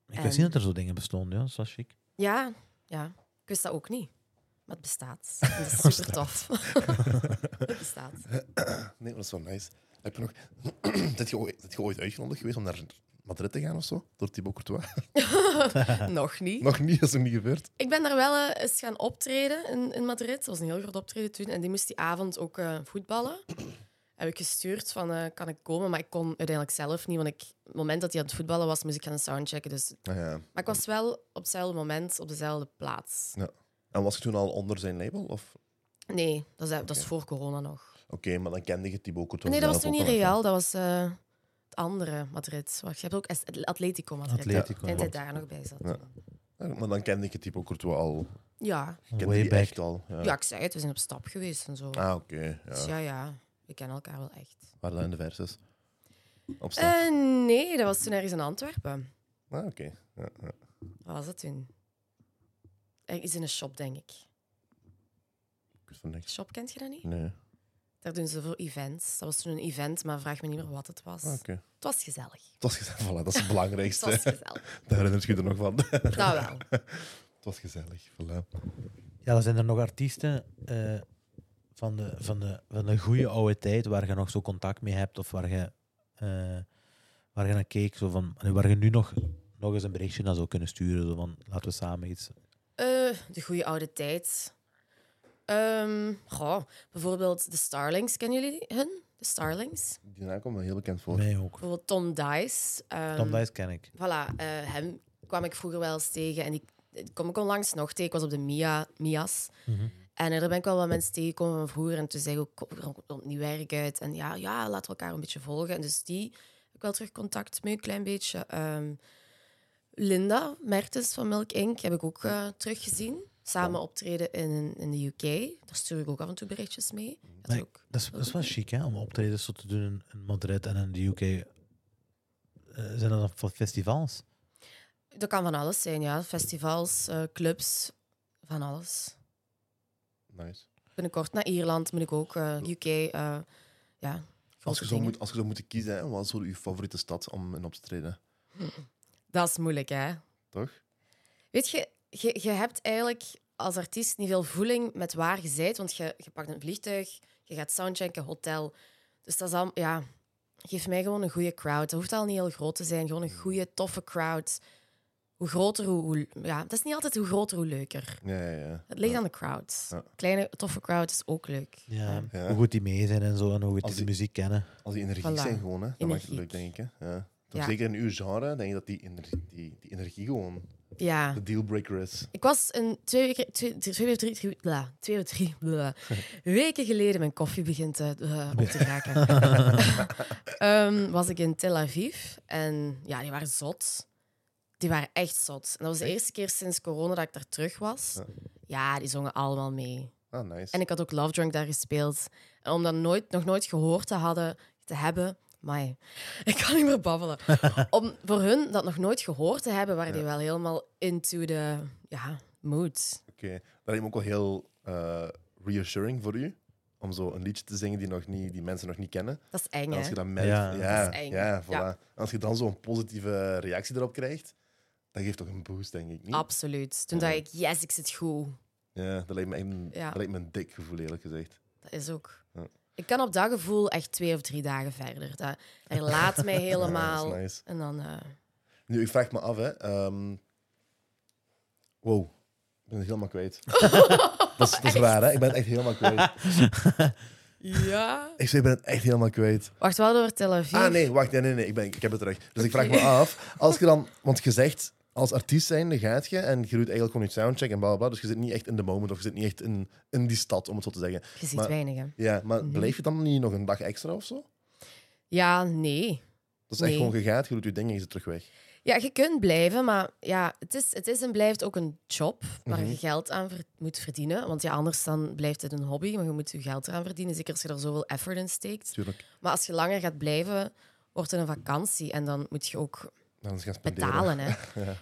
Speaker 3: Ik
Speaker 1: En-
Speaker 3: wist niet dat er zo dingen bestonden, ja. Dat is wel chic.
Speaker 1: Ja, ja, ik wist dat ook niet. Maar het bestaat. En dat is super tof. <laughs> het bestaat.
Speaker 2: Nee, maar dat is wel nice. Heb je nog... <clears throat> dat je ooit, dat je ooit uitgenodigd geweest om naar Madrid te gaan of zo? Door Thibaut Courtois? <laughs>
Speaker 1: Nog niet.
Speaker 2: Nog niet, dat is nog niet gebeurd.
Speaker 1: Ik ben daar wel eh, eens gaan optreden in, in Madrid. Dat was een heel groot optreden toen. En die moest die avond ook eh, voetballen. Heb ik gestuurd van, eh, kan ik komen? Maar ik kon uiteindelijk zelf niet. Want ik, het moment dat hij aan het voetballen was, moest ik gaan soundchecken. Dus
Speaker 2: Ah, ja.
Speaker 1: Maar ik was wel op hetzelfde moment op dezelfde plaats.
Speaker 2: En was je toen al onder zijn label? Of...
Speaker 1: Nee, dat is, dat is voor corona nog.
Speaker 2: Oké, maar dan kende je Thibaut Courtois.
Speaker 1: nee, dat was toen
Speaker 2: zelf
Speaker 1: niet
Speaker 2: ook al
Speaker 1: Real, dat was eh, het andere Madrid. Wacht, je hebt ook S- Atletico Madrid.
Speaker 3: Atletico,
Speaker 1: En dat
Speaker 3: klopt.
Speaker 1: daar nog bij zat.
Speaker 2: Ja. even. Ja, Maar dan kende je Thibaut Courtois al. Ik
Speaker 1: Ja.
Speaker 2: kende
Speaker 3: Way
Speaker 2: die
Speaker 3: back.
Speaker 2: echt al. Ja.
Speaker 1: ja, ik zei het, we zijn op stap geweest en zo.
Speaker 2: Ah, oké.
Speaker 1: Dus ja,
Speaker 2: Ja.
Speaker 1: ja, we kennen elkaar wel echt.
Speaker 2: Waar dat in de verses? Op stap.
Speaker 1: Eh, nee, dat was toen ergens in Antwerpen.
Speaker 2: Ah, oké. Ja, ja.
Speaker 1: Wat was dat toen? Er is in een shop, denk ik.
Speaker 2: Ik wist van niks.
Speaker 1: Shop, kent je dat niet?
Speaker 2: Nee.
Speaker 1: Daar doen ze voor events. Dat was toen een event, maar vraag me niet meer wat het was.
Speaker 2: Ah, oké.
Speaker 1: Het was gezellig.
Speaker 2: Het was gezellig. <laughs> Voilà, dat
Speaker 1: <laughs>
Speaker 2: is het
Speaker 1: Het
Speaker 2: belangrijkste.
Speaker 1: was gezellig.
Speaker 2: <laughs> Daar herinnert je je er nog van. <laughs>
Speaker 1: dat wel.
Speaker 2: het was gezellig. Voilà.
Speaker 3: Ja, dan zijn er nog artiesten eh, van, de, van, de, van de goede oude tijd waar je nog zo contact mee hebt of waar je, eh, waar je naar keek, zo van, en waar je nu nog, nog eens een berichtje naar zou kunnen sturen. Zo van, laten we samen iets.
Speaker 1: Eh, de goede oude tijd. Ehm, goh, bijvoorbeeld de Starlings, kennen jullie hun? De Starlings.
Speaker 2: Die naam komt me heel bekend voor.
Speaker 3: Mij ook.
Speaker 1: Bijvoorbeeld Tom Dice. ehm,
Speaker 3: Tom Dijs ken ik.
Speaker 1: Voilà, eh, hem kwam ik vroeger wel eens tegen. En die, die kom ik onlangs nog tegen. Ik was op de Mia, Mia's. En er daar ben ik wel wat mensen tegengekomen van vroeger. En toen zei ik ook, kom, er komt nieuw werk uit. En ja, ja, laten we elkaar een beetje volgen. En dus die heb ik wel terug contact mee, een klein beetje. Ehm, Linda Mertens van Milk Inc. heb ik ook eh, teruggezien. Samen optreden in, in de UK. Daar stuur ik ook af en toe berichtjes mee. Dat is
Speaker 3: Maar
Speaker 1: ook...
Speaker 3: Dat is, dat is wel chic, hè? Om optredens zo te doen in, in Madrid en in de UK. Eh, zijn dat dan voor festivals?
Speaker 1: Dat kan van alles zijn, ja. Festivals, eh, clubs, van alles.
Speaker 2: Nice.
Speaker 1: Binnenkort naar Ierland moet ik ook, eh, UK. eh, ja,
Speaker 2: Als
Speaker 1: grote
Speaker 2: je, zou
Speaker 1: dingen.
Speaker 2: moet, als je zou moeten kiezen, hè, wat is zo je favoriete stad om in op te treden?
Speaker 1: Dat is moeilijk, hè?
Speaker 2: Toch?
Speaker 1: Weet je, je, je hebt eigenlijk als artiest niet veel voeling met waar je bent, want je, je pakt een vliegtuig, je gaat soundchecken, hotel. Dus dat is al, ja, geef mij gewoon een goede crowd. Dat hoeft al niet heel groot te zijn, gewoon een
Speaker 2: Mm.
Speaker 1: goede, toffe crowd. Hoe groter, hoe, hoe- Ja, dat is niet altijd hoe groter, hoe leuker.
Speaker 2: Ja, ja, ja.
Speaker 1: Het ligt aan de crowd.
Speaker 2: Ja.
Speaker 1: Kleine, toffe crowd is ook leuk.
Speaker 3: Ja,
Speaker 2: Ja.
Speaker 3: Hoe goed die mee zijn en zo en hoe goed
Speaker 2: Als
Speaker 3: die de
Speaker 2: die-
Speaker 3: muziek kennen.
Speaker 2: Als die energiek
Speaker 1: Voilà.
Speaker 2: zijn gewoon, hè. dat maakt het
Speaker 1: Energiek.
Speaker 2: leuk, denk ik. Hè? Ja. Toch
Speaker 1: Ja.
Speaker 2: Zeker in uw genre denk ik dat die, energie, die, die energie gewoon
Speaker 1: Ja.
Speaker 2: de dealbreaker is.
Speaker 1: Ik was een twee weken, twee, twee, twee, drie, drie- bla, twee of drie bla, weken geleden mijn koffie begint eh, eh, op te raken. Ehm, was ik in Tel Aviv en ja, die waren zot. Die waren echt zot. En dat was de eerste keer sinds corona dat ik daar terug was.
Speaker 2: Ja.
Speaker 1: Ja, die zongen allemaal mee.
Speaker 2: Ah, nice.
Speaker 1: En ik had ook Love Drunk daar gespeeld. En om dat nooit, nog nooit gehoord te, hadden, te hebben... Mai, ik kan niet meer
Speaker 2: <laughs>
Speaker 1: babbelen. Om voor hun dat nog nooit gehoord te hebben, waren die wel helemaal into the ja, mood.
Speaker 2: Oké, dat lijkt me ook wel heel eh, reassuring voor u. Om zo een liedje te zingen die, nog niet, die mensen nog niet kennen.
Speaker 1: Dat is eng,
Speaker 2: En als
Speaker 1: hè?
Speaker 2: je dat merkt,
Speaker 3: Ja.
Speaker 2: ja,
Speaker 1: Dat is
Speaker 2: ja,
Speaker 1: eng.
Speaker 2: voilà.
Speaker 1: Ja.
Speaker 2: En Als je dan zo'n positieve reactie erop krijgt, dat geeft toch een boost, denk ik. Niet?
Speaker 1: Absoluut. Toen
Speaker 2: Ja.
Speaker 1: dacht ik, yes, ik zit goed.
Speaker 2: Ja, dat lijkt me echt een,
Speaker 1: Ja.
Speaker 2: dat lijkt me een dik gevoel, eerlijk gezegd.
Speaker 1: Dat is ook...
Speaker 2: Ja.
Speaker 1: Ik kan op dat gevoel echt twee of drie dagen verder. Dat
Speaker 2: <laughs>
Speaker 1: herlaat mij
Speaker 2: Ja,
Speaker 1: helemaal.
Speaker 2: dat is nice.
Speaker 1: En dan... eh,
Speaker 2: Nu, ik vraag me af, hè. ehm, Wow, ik ben het helemaal
Speaker 1: <laughs>
Speaker 2: kwijt. dat, is, dat is raar, hè? Ik ben het echt helemaal kwijt.
Speaker 1: Ja?
Speaker 2: Ik zei, ik ben het echt helemaal kwijt.
Speaker 1: Wacht wel door Tel Aviv.
Speaker 2: Ah, nee, wacht, nee, nee, nee, ik, ben, ik heb het terug. Dus ik vraag me af, als
Speaker 1: <laughs>
Speaker 2: je dan, want je zegt, als artiest zijnde gaat je en je doet eigenlijk gewoon je soundcheck en bla bla, bla, dus je zit niet echt in de moment of je zit niet echt in, in die stad, om het zo te zeggen.
Speaker 1: Je ziet
Speaker 2: maar-
Speaker 1: weinig, hè?
Speaker 2: Ja, maar
Speaker 1: Mhm.
Speaker 2: bleef je dan niet nog een dag extra of zo?
Speaker 1: Ja, nee.
Speaker 2: Dat is echt
Speaker 1: Nee.
Speaker 2: gewoon, je gaat, je doet je ding en je zit terug weg.
Speaker 1: Ja, je kunt blijven, maar ja, het, is, het is en blijft ook een job waar
Speaker 2: Mhm.
Speaker 1: je geld aan ver- moet verdienen. Want ja, anders dan blijft het een hobby, maar je moet je geld eraan verdienen. Zeker als je er zoveel effort in steekt.
Speaker 2: Tuurlijk.
Speaker 1: Maar als je langer gaat blijven, wordt het een vakantie. En dan moet je ook
Speaker 2: Dan is gaan spenderen.
Speaker 1: betalen. Hè.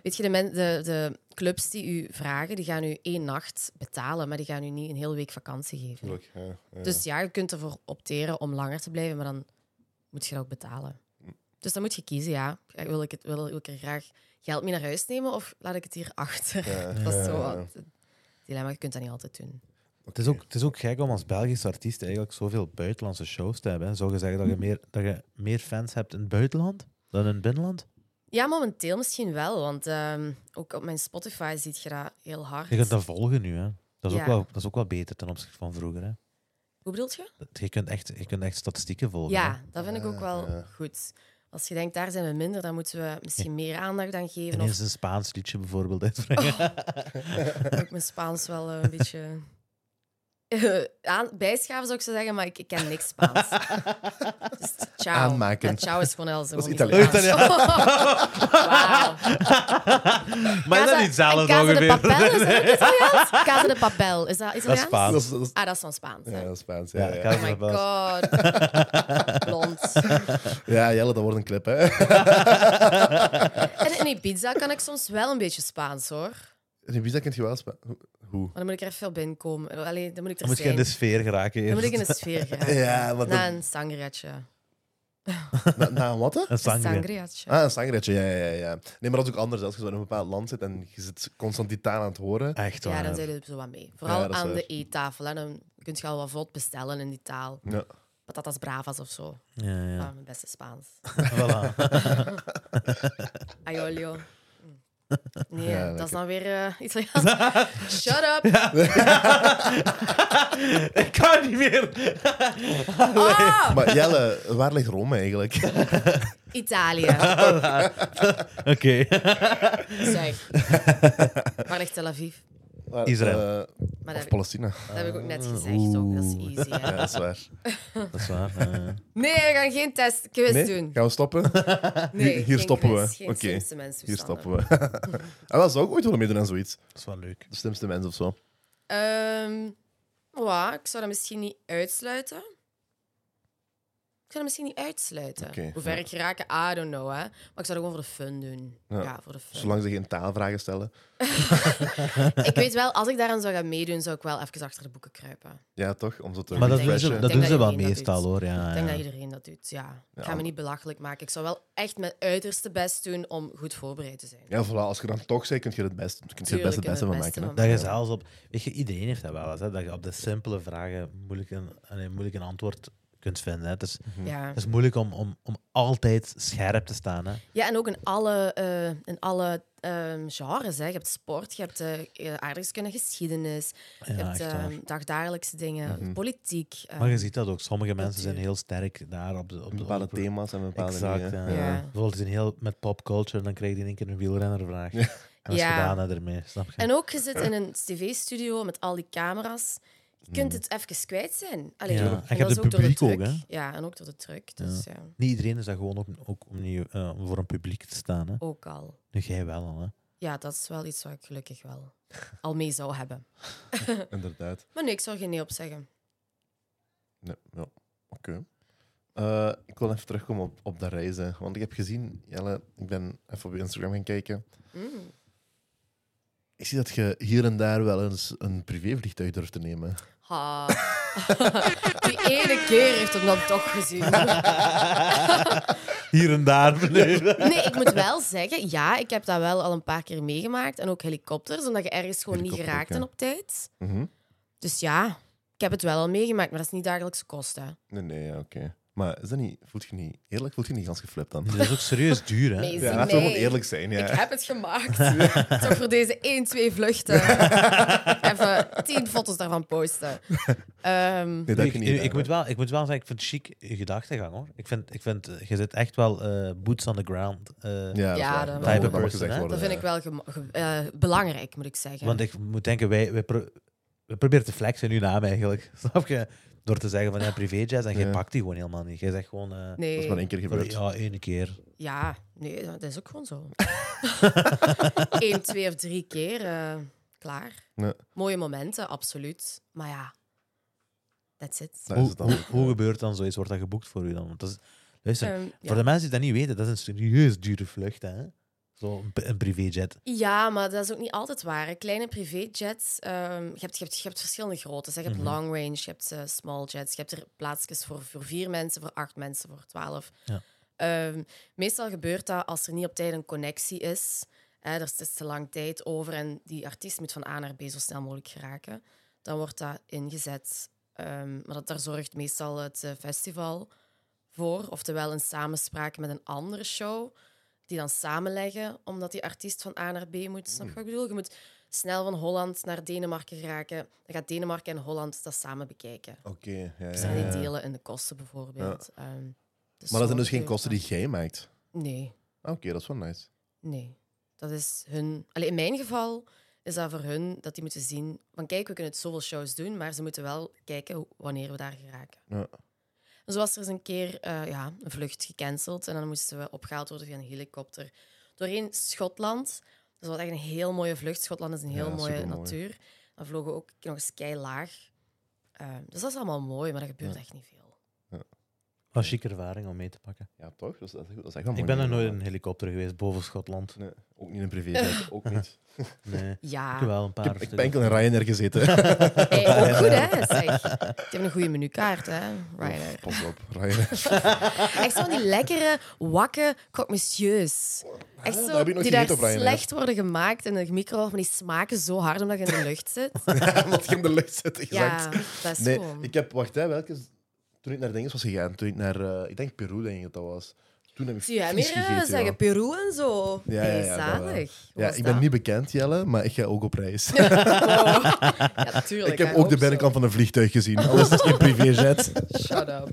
Speaker 1: Weet je, de, men, de, de clubs die u vragen, die gaan u één nacht betalen, maar die gaan u niet een hele week vakantie geven.
Speaker 2: Tuurlijk, ja, ja.
Speaker 1: Dus ja, je kunt ervoor opteren om langer te blijven, maar dan moet je dat ook betalen. Dus dan moet je kiezen, ja. Wil ik, het, wil, wil ik er graag geld mee naar huis nemen of laat ik het hier achter?
Speaker 2: Ja,
Speaker 1: <laughs> Dat
Speaker 2: ja,
Speaker 1: is zo
Speaker 2: ja.
Speaker 1: wat. het Dilemma, je kunt dat niet altijd doen.
Speaker 3: Het is, ook, het is ook gek om als Belgische artiest eigenlijk zoveel buitenlandse shows te hebben. hè. Zou je zeggen dat je meer, dat je meer fans hebt in het buitenland dan in het binnenland?
Speaker 1: Ja, momenteel misschien wel, want ehm, ook op mijn Spotify ziet je dat heel hard.
Speaker 3: Je kunt dat volgen nu, hè. Dat is, ook
Speaker 1: Ja.
Speaker 3: wel, dat is ook wel beter ten opzichte van vroeger, hè.
Speaker 1: Hoe bedoelt je?
Speaker 3: Dat- Je kunt echt, je kunt echt statistieken volgen, hè.
Speaker 1: Ja, dat vind ik ook
Speaker 2: Ah,
Speaker 1: wel
Speaker 2: ja.
Speaker 1: goed. Als je denkt, daar zijn we minder, dan moeten we misschien meer aandacht aan geven.
Speaker 3: Ineens
Speaker 1: Of Oh.
Speaker 3: een Spaans liedje bijvoorbeeld uitbrengen.
Speaker 1: ook mijn Spaans wel eh, een beetje... <laughs> eh, aan, bijschaven zou ik zo zeggen, maar ik, ik ken niks Spaans. dus ciao.
Speaker 2: Aanmakend.
Speaker 1: Ja, ciao is gewoon Els.
Speaker 2: Dat is
Speaker 3: Italiaans.
Speaker 1: <laughs>
Speaker 3: <laughs>
Speaker 1: Wauw.
Speaker 3: maar is dat niet zelf
Speaker 1: Casa de
Speaker 3: ongeveer?
Speaker 1: Papel,
Speaker 3: <laughs>
Speaker 1: is dat ook Italiaans? Casa de Papel, is dat Italiaans?
Speaker 3: Spaans.
Speaker 2: Dat is, dat is-
Speaker 1: Ah, dat is van Spaans.
Speaker 2: ja,
Speaker 1: hè.
Speaker 2: dat is Spaans.
Speaker 3: Ja,
Speaker 2: Ja, ja.
Speaker 3: Casa
Speaker 1: Oh
Speaker 3: de
Speaker 1: my
Speaker 3: Papel.
Speaker 1: god.
Speaker 3: <laughs>
Speaker 1: Blond.
Speaker 2: ja Jelle, dat wordt een clip, hè? <laughs>
Speaker 1: En in Ibiza kan ik soms wel een beetje Spaans, hoor.
Speaker 2: In Ibiza kent je wel Spaans. Hoe?
Speaker 1: Maar dan moet ik er even veel binnenkomen. Allee, dan moet ik er
Speaker 3: Dan moet je in
Speaker 1: zijn.
Speaker 3: de sfeer geraken
Speaker 1: Dan moet ik
Speaker 3: eerst.
Speaker 1: in de sfeer
Speaker 3: <laughs>
Speaker 1: gaan.
Speaker 2: Ja, maar
Speaker 1: Na
Speaker 2: dat,
Speaker 1: een sangriatje.
Speaker 2: na, na een wat, hè?
Speaker 3: Een
Speaker 1: Een
Speaker 3: sangria.
Speaker 1: sangriatje.
Speaker 2: Ah, een sangretje, ja, ja, ja, ja. Nee, maar dat is ook anders. Als je zo in een bepaald land zit en je zit constant die taal aan het horen.
Speaker 3: Echt
Speaker 1: Ja,
Speaker 3: waar.
Speaker 1: dan zijn we zo wat mee. Vooral
Speaker 2: Ja, dat is
Speaker 1: aan
Speaker 2: waar.
Speaker 1: de eettafel. Hè. Dan kun je al wat vlot bestellen in die taal.
Speaker 2: Ja.
Speaker 1: Patatas bravas of zo.
Speaker 3: Ja, ja.
Speaker 1: Ah, mijn beste Spaans.
Speaker 3: <laughs> Voilà.
Speaker 1: Aiolio.
Speaker 2: <laughs>
Speaker 1: Mm. Nee,
Speaker 2: Ja,
Speaker 1: dat
Speaker 2: lekker.
Speaker 1: is dan weer eh,
Speaker 2: <laughs>
Speaker 1: Italiaans. Shut up!
Speaker 3: Ik kan niet meer.
Speaker 1: Ah!
Speaker 2: Maar Jelle, waar ligt Rome eigenlijk?
Speaker 1: Italië,
Speaker 3: Oké.
Speaker 2: <laughs>
Speaker 1: zeg. Waar ligt Tel Aviv?
Speaker 2: Waar-
Speaker 3: <laughs> Israël.
Speaker 2: eh,
Speaker 1: Maar dat
Speaker 2: of
Speaker 1: heb, ik,
Speaker 2: Palestina.
Speaker 1: dat heb ik ook net gezegd. Ook. Dat is easy. hè.
Speaker 2: <laughs> Ja, dat is waar.
Speaker 3: <laughs> Dat is <laughs> waar. eh.
Speaker 1: Nee, we gaan geen test quiz
Speaker 2: Nee?
Speaker 1: doen.
Speaker 2: Gaan we stoppen?
Speaker 1: Nee,
Speaker 2: hier
Speaker 1: geen
Speaker 2: stoppen
Speaker 1: quiz,
Speaker 2: we.
Speaker 1: Geen
Speaker 2: Oké,
Speaker 1: slimste mensen,
Speaker 2: Hier
Speaker 1: Susanne.
Speaker 2: stoppen we. <laughs> en dat zou ik ooit willen meedoen aan zoiets.
Speaker 3: dat is wel leuk.
Speaker 2: De slimste mens of zo.
Speaker 1: Ehm ja, ik zou dat misschien niet uitsluiten. Ik zou dat misschien niet uitsluiten.
Speaker 2: Oké,
Speaker 1: Hoe ver
Speaker 2: ja.
Speaker 1: ik geraak, I don't know. Hè. Maar ik zou dat gewoon voor de fun doen. Ja,
Speaker 2: Ja.
Speaker 1: voor de fun.
Speaker 2: Zolang ze geen taalvragen stellen.
Speaker 1: Ik weet wel, als ik daaraan zou gaan meedoen, zou ik wel even achter de boeken kruipen.
Speaker 2: Ja, toch? Om zo te
Speaker 3: Maar dat
Speaker 1: denk-
Speaker 3: doen ze,
Speaker 1: ik
Speaker 2: refreshen.
Speaker 3: dat
Speaker 1: denk
Speaker 3: doen
Speaker 1: dat
Speaker 3: ze wel
Speaker 1: iedereen dat
Speaker 3: meestal,
Speaker 1: doet.
Speaker 3: hoor. Ja,
Speaker 1: Ik denk
Speaker 3: ja.
Speaker 1: dat iedereen dat doet, ja. Ik ga
Speaker 2: Ja.
Speaker 1: me niet belachelijk maken. Ik zou wel echt mijn uiterste best doen om goed voorbereid te zijn.
Speaker 2: Ja, voilà. Als je dan toch zei, kun je er het beste, kun je het,
Speaker 1: Tuurlijk,
Speaker 2: beste, het
Speaker 1: eh,
Speaker 2: beste van
Speaker 1: beste
Speaker 2: maken. hè.
Speaker 1: van
Speaker 3: Dat je zelfs op... Weet je, iedereen heeft dat wel eens. Hè? Dat je op de simpele vragen moeilijk een, allee, moeilijk een antwoord kunt vinden. Hè? Het, is,
Speaker 1: Ja.
Speaker 3: het is moeilijk om, om, om altijd scherp te staan. Hè?
Speaker 1: ja, en ook in alle, eh, in alle ehm, genres. Hè. Je hebt sport, je hebt eh, eh, aardrijkskunde, geschiedenis,
Speaker 3: Ja,
Speaker 1: je hebt
Speaker 3: echt waar.
Speaker 1: ehm, dagdagelijkse dingen,
Speaker 2: Mhm.
Speaker 1: politiek. eh,
Speaker 3: Maar je ziet dat ook. Sommige mensen zijn
Speaker 1: cultuur.
Speaker 3: heel sterk daar op de... Op de
Speaker 2: bepaalde
Speaker 3: op de-
Speaker 2: thema's en bepaalde
Speaker 3: Exact,
Speaker 2: dingen.
Speaker 3: ja.
Speaker 1: Ja.
Speaker 3: Bijvoorbeeld in heel, met popculture, dan krijg je in één keer een wielrennervraag.
Speaker 2: Ja.
Speaker 3: En dat is
Speaker 1: Ja.
Speaker 3: gedaan hè, ermee, snap je?
Speaker 1: En ook, je zit in een tv-studio met al die camera's. Je kunt het even kwijt zijn. Allee,
Speaker 3: Mhm. Ja.
Speaker 1: door-
Speaker 3: En je hebt
Speaker 1: dat is
Speaker 3: het
Speaker 1: ook door de
Speaker 3: publiek ook,
Speaker 1: druk.
Speaker 3: hè?
Speaker 1: Ja, en ook door de druk. Dus ja,
Speaker 3: Niet iedereen is dat gewoon ook, ook om niet, eh, om voor een publiek te staan. Hè?
Speaker 1: ook al.
Speaker 3: Nu jij wel
Speaker 1: <laughs>
Speaker 3: al, hè?
Speaker 1: Ja, dat is wel iets wat ik gelukkig wel al mee zou hebben.
Speaker 2: Inderdaad.
Speaker 1: Maar nee, ik zou geen nee op zeggen.
Speaker 2: Nee, ja. Oké. Eh, ik wil even terugkomen op, op dat reizen. Want ik heb gezien, Jelle, ik ben even op je Instagram gaan kijken.
Speaker 1: Mm.
Speaker 2: Ik zie dat je hier en daar wel eens een privévliegtuig durft te nemen.
Speaker 1: Ha. <laughs> die ene keer heeft hem dan toch gezien.
Speaker 3: Hier en daar beneden.
Speaker 1: Nee, ik moet wel zeggen, ja, ik heb dat wel al een paar keer meegemaakt. En ook helikopters, omdat je ergens gewoon niet
Speaker 2: Helikopter ook,
Speaker 1: geraakt bent
Speaker 2: ja.
Speaker 1: op tijd.
Speaker 2: Mhm.
Speaker 1: Dus ja, ik heb het wel al meegemaakt, maar dat is niet dagelijkse kosten.
Speaker 2: Nee, nee, ja, oké. Maar is dat niet, voelt je niet eerlijk? Voelt je niet gans geflipt dan?
Speaker 3: Dat is ook serieus duur, hè?
Speaker 1: Nee,
Speaker 2: Ja,
Speaker 1: zie
Speaker 2: laten we
Speaker 1: mij.
Speaker 2: gewoon eerlijk zijn. Ja.
Speaker 1: Ik heb het
Speaker 2: <laughs>
Speaker 1: gemaakt. Toch voor deze 1, 2 vluchten. Even 10 foto's daarvan posten. Ehm,
Speaker 2: Nee, dat heb
Speaker 3: ik,
Speaker 2: je
Speaker 3: ik-
Speaker 2: niet
Speaker 3: ik moet wel, ik moet wel zeggen, ik vind het chic je gedachtegang, hoor. Ik vind, ik vind, eh, je zit echt wel eh, boots on the ground. eh,
Speaker 2: Ja, dat,
Speaker 1: Ja,
Speaker 2: is
Speaker 1: dat
Speaker 2: waar. dat,
Speaker 1: wel.
Speaker 2: moet- dat
Speaker 3: Type
Speaker 2: mag
Speaker 3: person,
Speaker 2: gezegd
Speaker 3: hè?
Speaker 2: worden.
Speaker 1: dat vind ik wel gem- ge- eh, belangrijk, moet ik zeggen.
Speaker 3: Want ik moet denken, wij, wij, pro- we proberen te flexen in uw naam eigenlijk. <laughs> Snap je? Door te zeggen van ja, privéjazz. En jij
Speaker 2: Ja.
Speaker 3: pakt die gewoon helemaal niet. Jij zegt gewoon... eh,
Speaker 2: Dat is
Speaker 1: nee,
Speaker 2: maar één keer
Speaker 3: van,
Speaker 2: gebeurd.
Speaker 3: ja, één keer.
Speaker 1: ja, nee, dat is ook gewoon
Speaker 2: <laughs>
Speaker 1: zo. 1, 2 of 3 keer, eh, klaar.
Speaker 2: Nee.
Speaker 1: Mooie momenten, absoluut. Maar ja, that's it.
Speaker 2: Dat is
Speaker 3: Hoe,
Speaker 2: het dan
Speaker 3: hoe,
Speaker 2: ook,
Speaker 3: hoe
Speaker 2: ja.
Speaker 3: gebeurt dan zoiets? Wordt dat geboekt voor u dan? Want dat is, luister,
Speaker 1: Ehm, ja.
Speaker 3: voor de mensen die dat niet weten, dat is een serieus dure vlucht. hè? Zo'n pri- een privéjet.
Speaker 1: Ja, maar dat is ook niet altijd waar. hè. Kleine privéjets, ehm, je, hebt, je, hebt, je hebt verschillende groottes. hè. Je hebt
Speaker 3: Mhm.
Speaker 1: long range, je hebt eh, small jets, je hebt er plaatsjes voor, voor vier mensen, voor acht mensen, voor twaalf.
Speaker 3: Ja.
Speaker 1: Ehm, meestal gebeurt dat als er niet op tijd een connectie is. Hè, er is te lang tijd over en die artiest moet van A naar B zo snel mogelijk geraken. Dan wordt dat ingezet. Ehm, maar dat, daar zorgt meestal het eh, festival voor. Oftewel een samenspraak met een andere show die dan samenleggen, omdat die artiest van A naar B moet. Snap je wat ik bedoel? Je moet snel van Holland naar Denemarken geraken. Dan gaat Denemarken en Holland dat samen bekijken.
Speaker 2: Oké, ja, ja,
Speaker 1: Dus dan die
Speaker 2: ja.
Speaker 1: delen in de kosten bijvoorbeeld. Ehm, dus zo
Speaker 2: Eh. Maar dat zijn dus geen
Speaker 1: gebeurt
Speaker 2: kosten
Speaker 1: dat.
Speaker 2: die jij maakt.
Speaker 1: Nee,
Speaker 2: Ah, Oké, dat is wel nice.
Speaker 1: nee. Dat is hun... Allee, in mijn geval is dat voor hun dat die moeten zien... Van kijk, we kunnen het zoveel shows doen, maar ze moeten wel kijken hoe- wanneer we daar geraken.
Speaker 2: Ja.
Speaker 1: Zo was er eens een keer eh, ja, een vlucht gecanceld en dan moesten we opgehaald worden via een helikopter. Doorheen Schotland. Dus Dat was echt een heel mooie vlucht. Schotland is een heel
Speaker 2: Ja,
Speaker 1: mooie
Speaker 2: supermooi.
Speaker 1: natuur. Dan vlogen we ook nog eens keilaag. Eh, dus dat is allemaal mooi, maar dat gebeurt
Speaker 2: Ja.
Speaker 1: echt niet veel.
Speaker 3: Wat een chique ervaring om mee te pakken.
Speaker 2: Ja, toch? Dat is, dat is- dat is echt wel
Speaker 3: ik
Speaker 2: mooi
Speaker 3: ben nog nooit in
Speaker 2: meegemaakt.
Speaker 3: een helikopter geweest boven Schotland.
Speaker 2: Nee, ook niet in een
Speaker 1: <laughs>
Speaker 2: privéjet, ook niet.
Speaker 1: Ah.
Speaker 3: Nee. Ik heb
Speaker 1: Ja,
Speaker 3: wel een
Speaker 2: Ik
Speaker 3: paar.
Speaker 2: heb, ik heb
Speaker 3: stukken.
Speaker 2: enkel in Ryanair <laughs> gezeten.
Speaker 1: hey, ook goed
Speaker 2: <laughs>
Speaker 1: hè. Zeg. Die hebben een goede menukaart hè, Ryanair.
Speaker 2: Pas op, Ryanair.
Speaker 1: Echt zo'n die lekkere, wakke croque monsieurs. Echt
Speaker 2: dat
Speaker 1: zo,
Speaker 2: Ah, heb ik nog
Speaker 1: die daar
Speaker 2: gegeten op Ryanair.
Speaker 1: slecht worden gemaakt in de micro, maar die smaken zo hard omdat je in de lucht
Speaker 2: <laughs>
Speaker 1: zit.
Speaker 2: <laughs> Omdat je in de lucht zit, exact.
Speaker 1: Ja, dat is
Speaker 2: Nee,
Speaker 1: gewoon.
Speaker 2: ik heb, wacht, hè, welke? is- Toen ik naar Dinges was gegaan, toen ik naar, eh, ik denk Peru, denk ik dat dat was. Toen heb ik
Speaker 1: Zie jij
Speaker 2: vies
Speaker 1: meer eh,
Speaker 2: gegeten.
Speaker 1: zeggen,
Speaker 2: joh.
Speaker 1: Peru en zo.
Speaker 2: Ja,
Speaker 1: hey,
Speaker 2: ja, ja, dat wel.
Speaker 1: zalig. Hoe
Speaker 2: Ja,
Speaker 1: was
Speaker 2: ik ben
Speaker 1: dat?
Speaker 2: niet bekend, Jelle, maar ik ga ook op
Speaker 1: <laughs>
Speaker 2: reis.
Speaker 1: Oh. Ja, tuurlijk.
Speaker 2: ik heb
Speaker 1: hè,
Speaker 2: ook de
Speaker 1: zo.
Speaker 2: binnenkant van een
Speaker 1: <laughs>
Speaker 2: vliegtuig gezien. Alles is geen privéjet.
Speaker 1: Shut
Speaker 2: <laughs>
Speaker 1: up.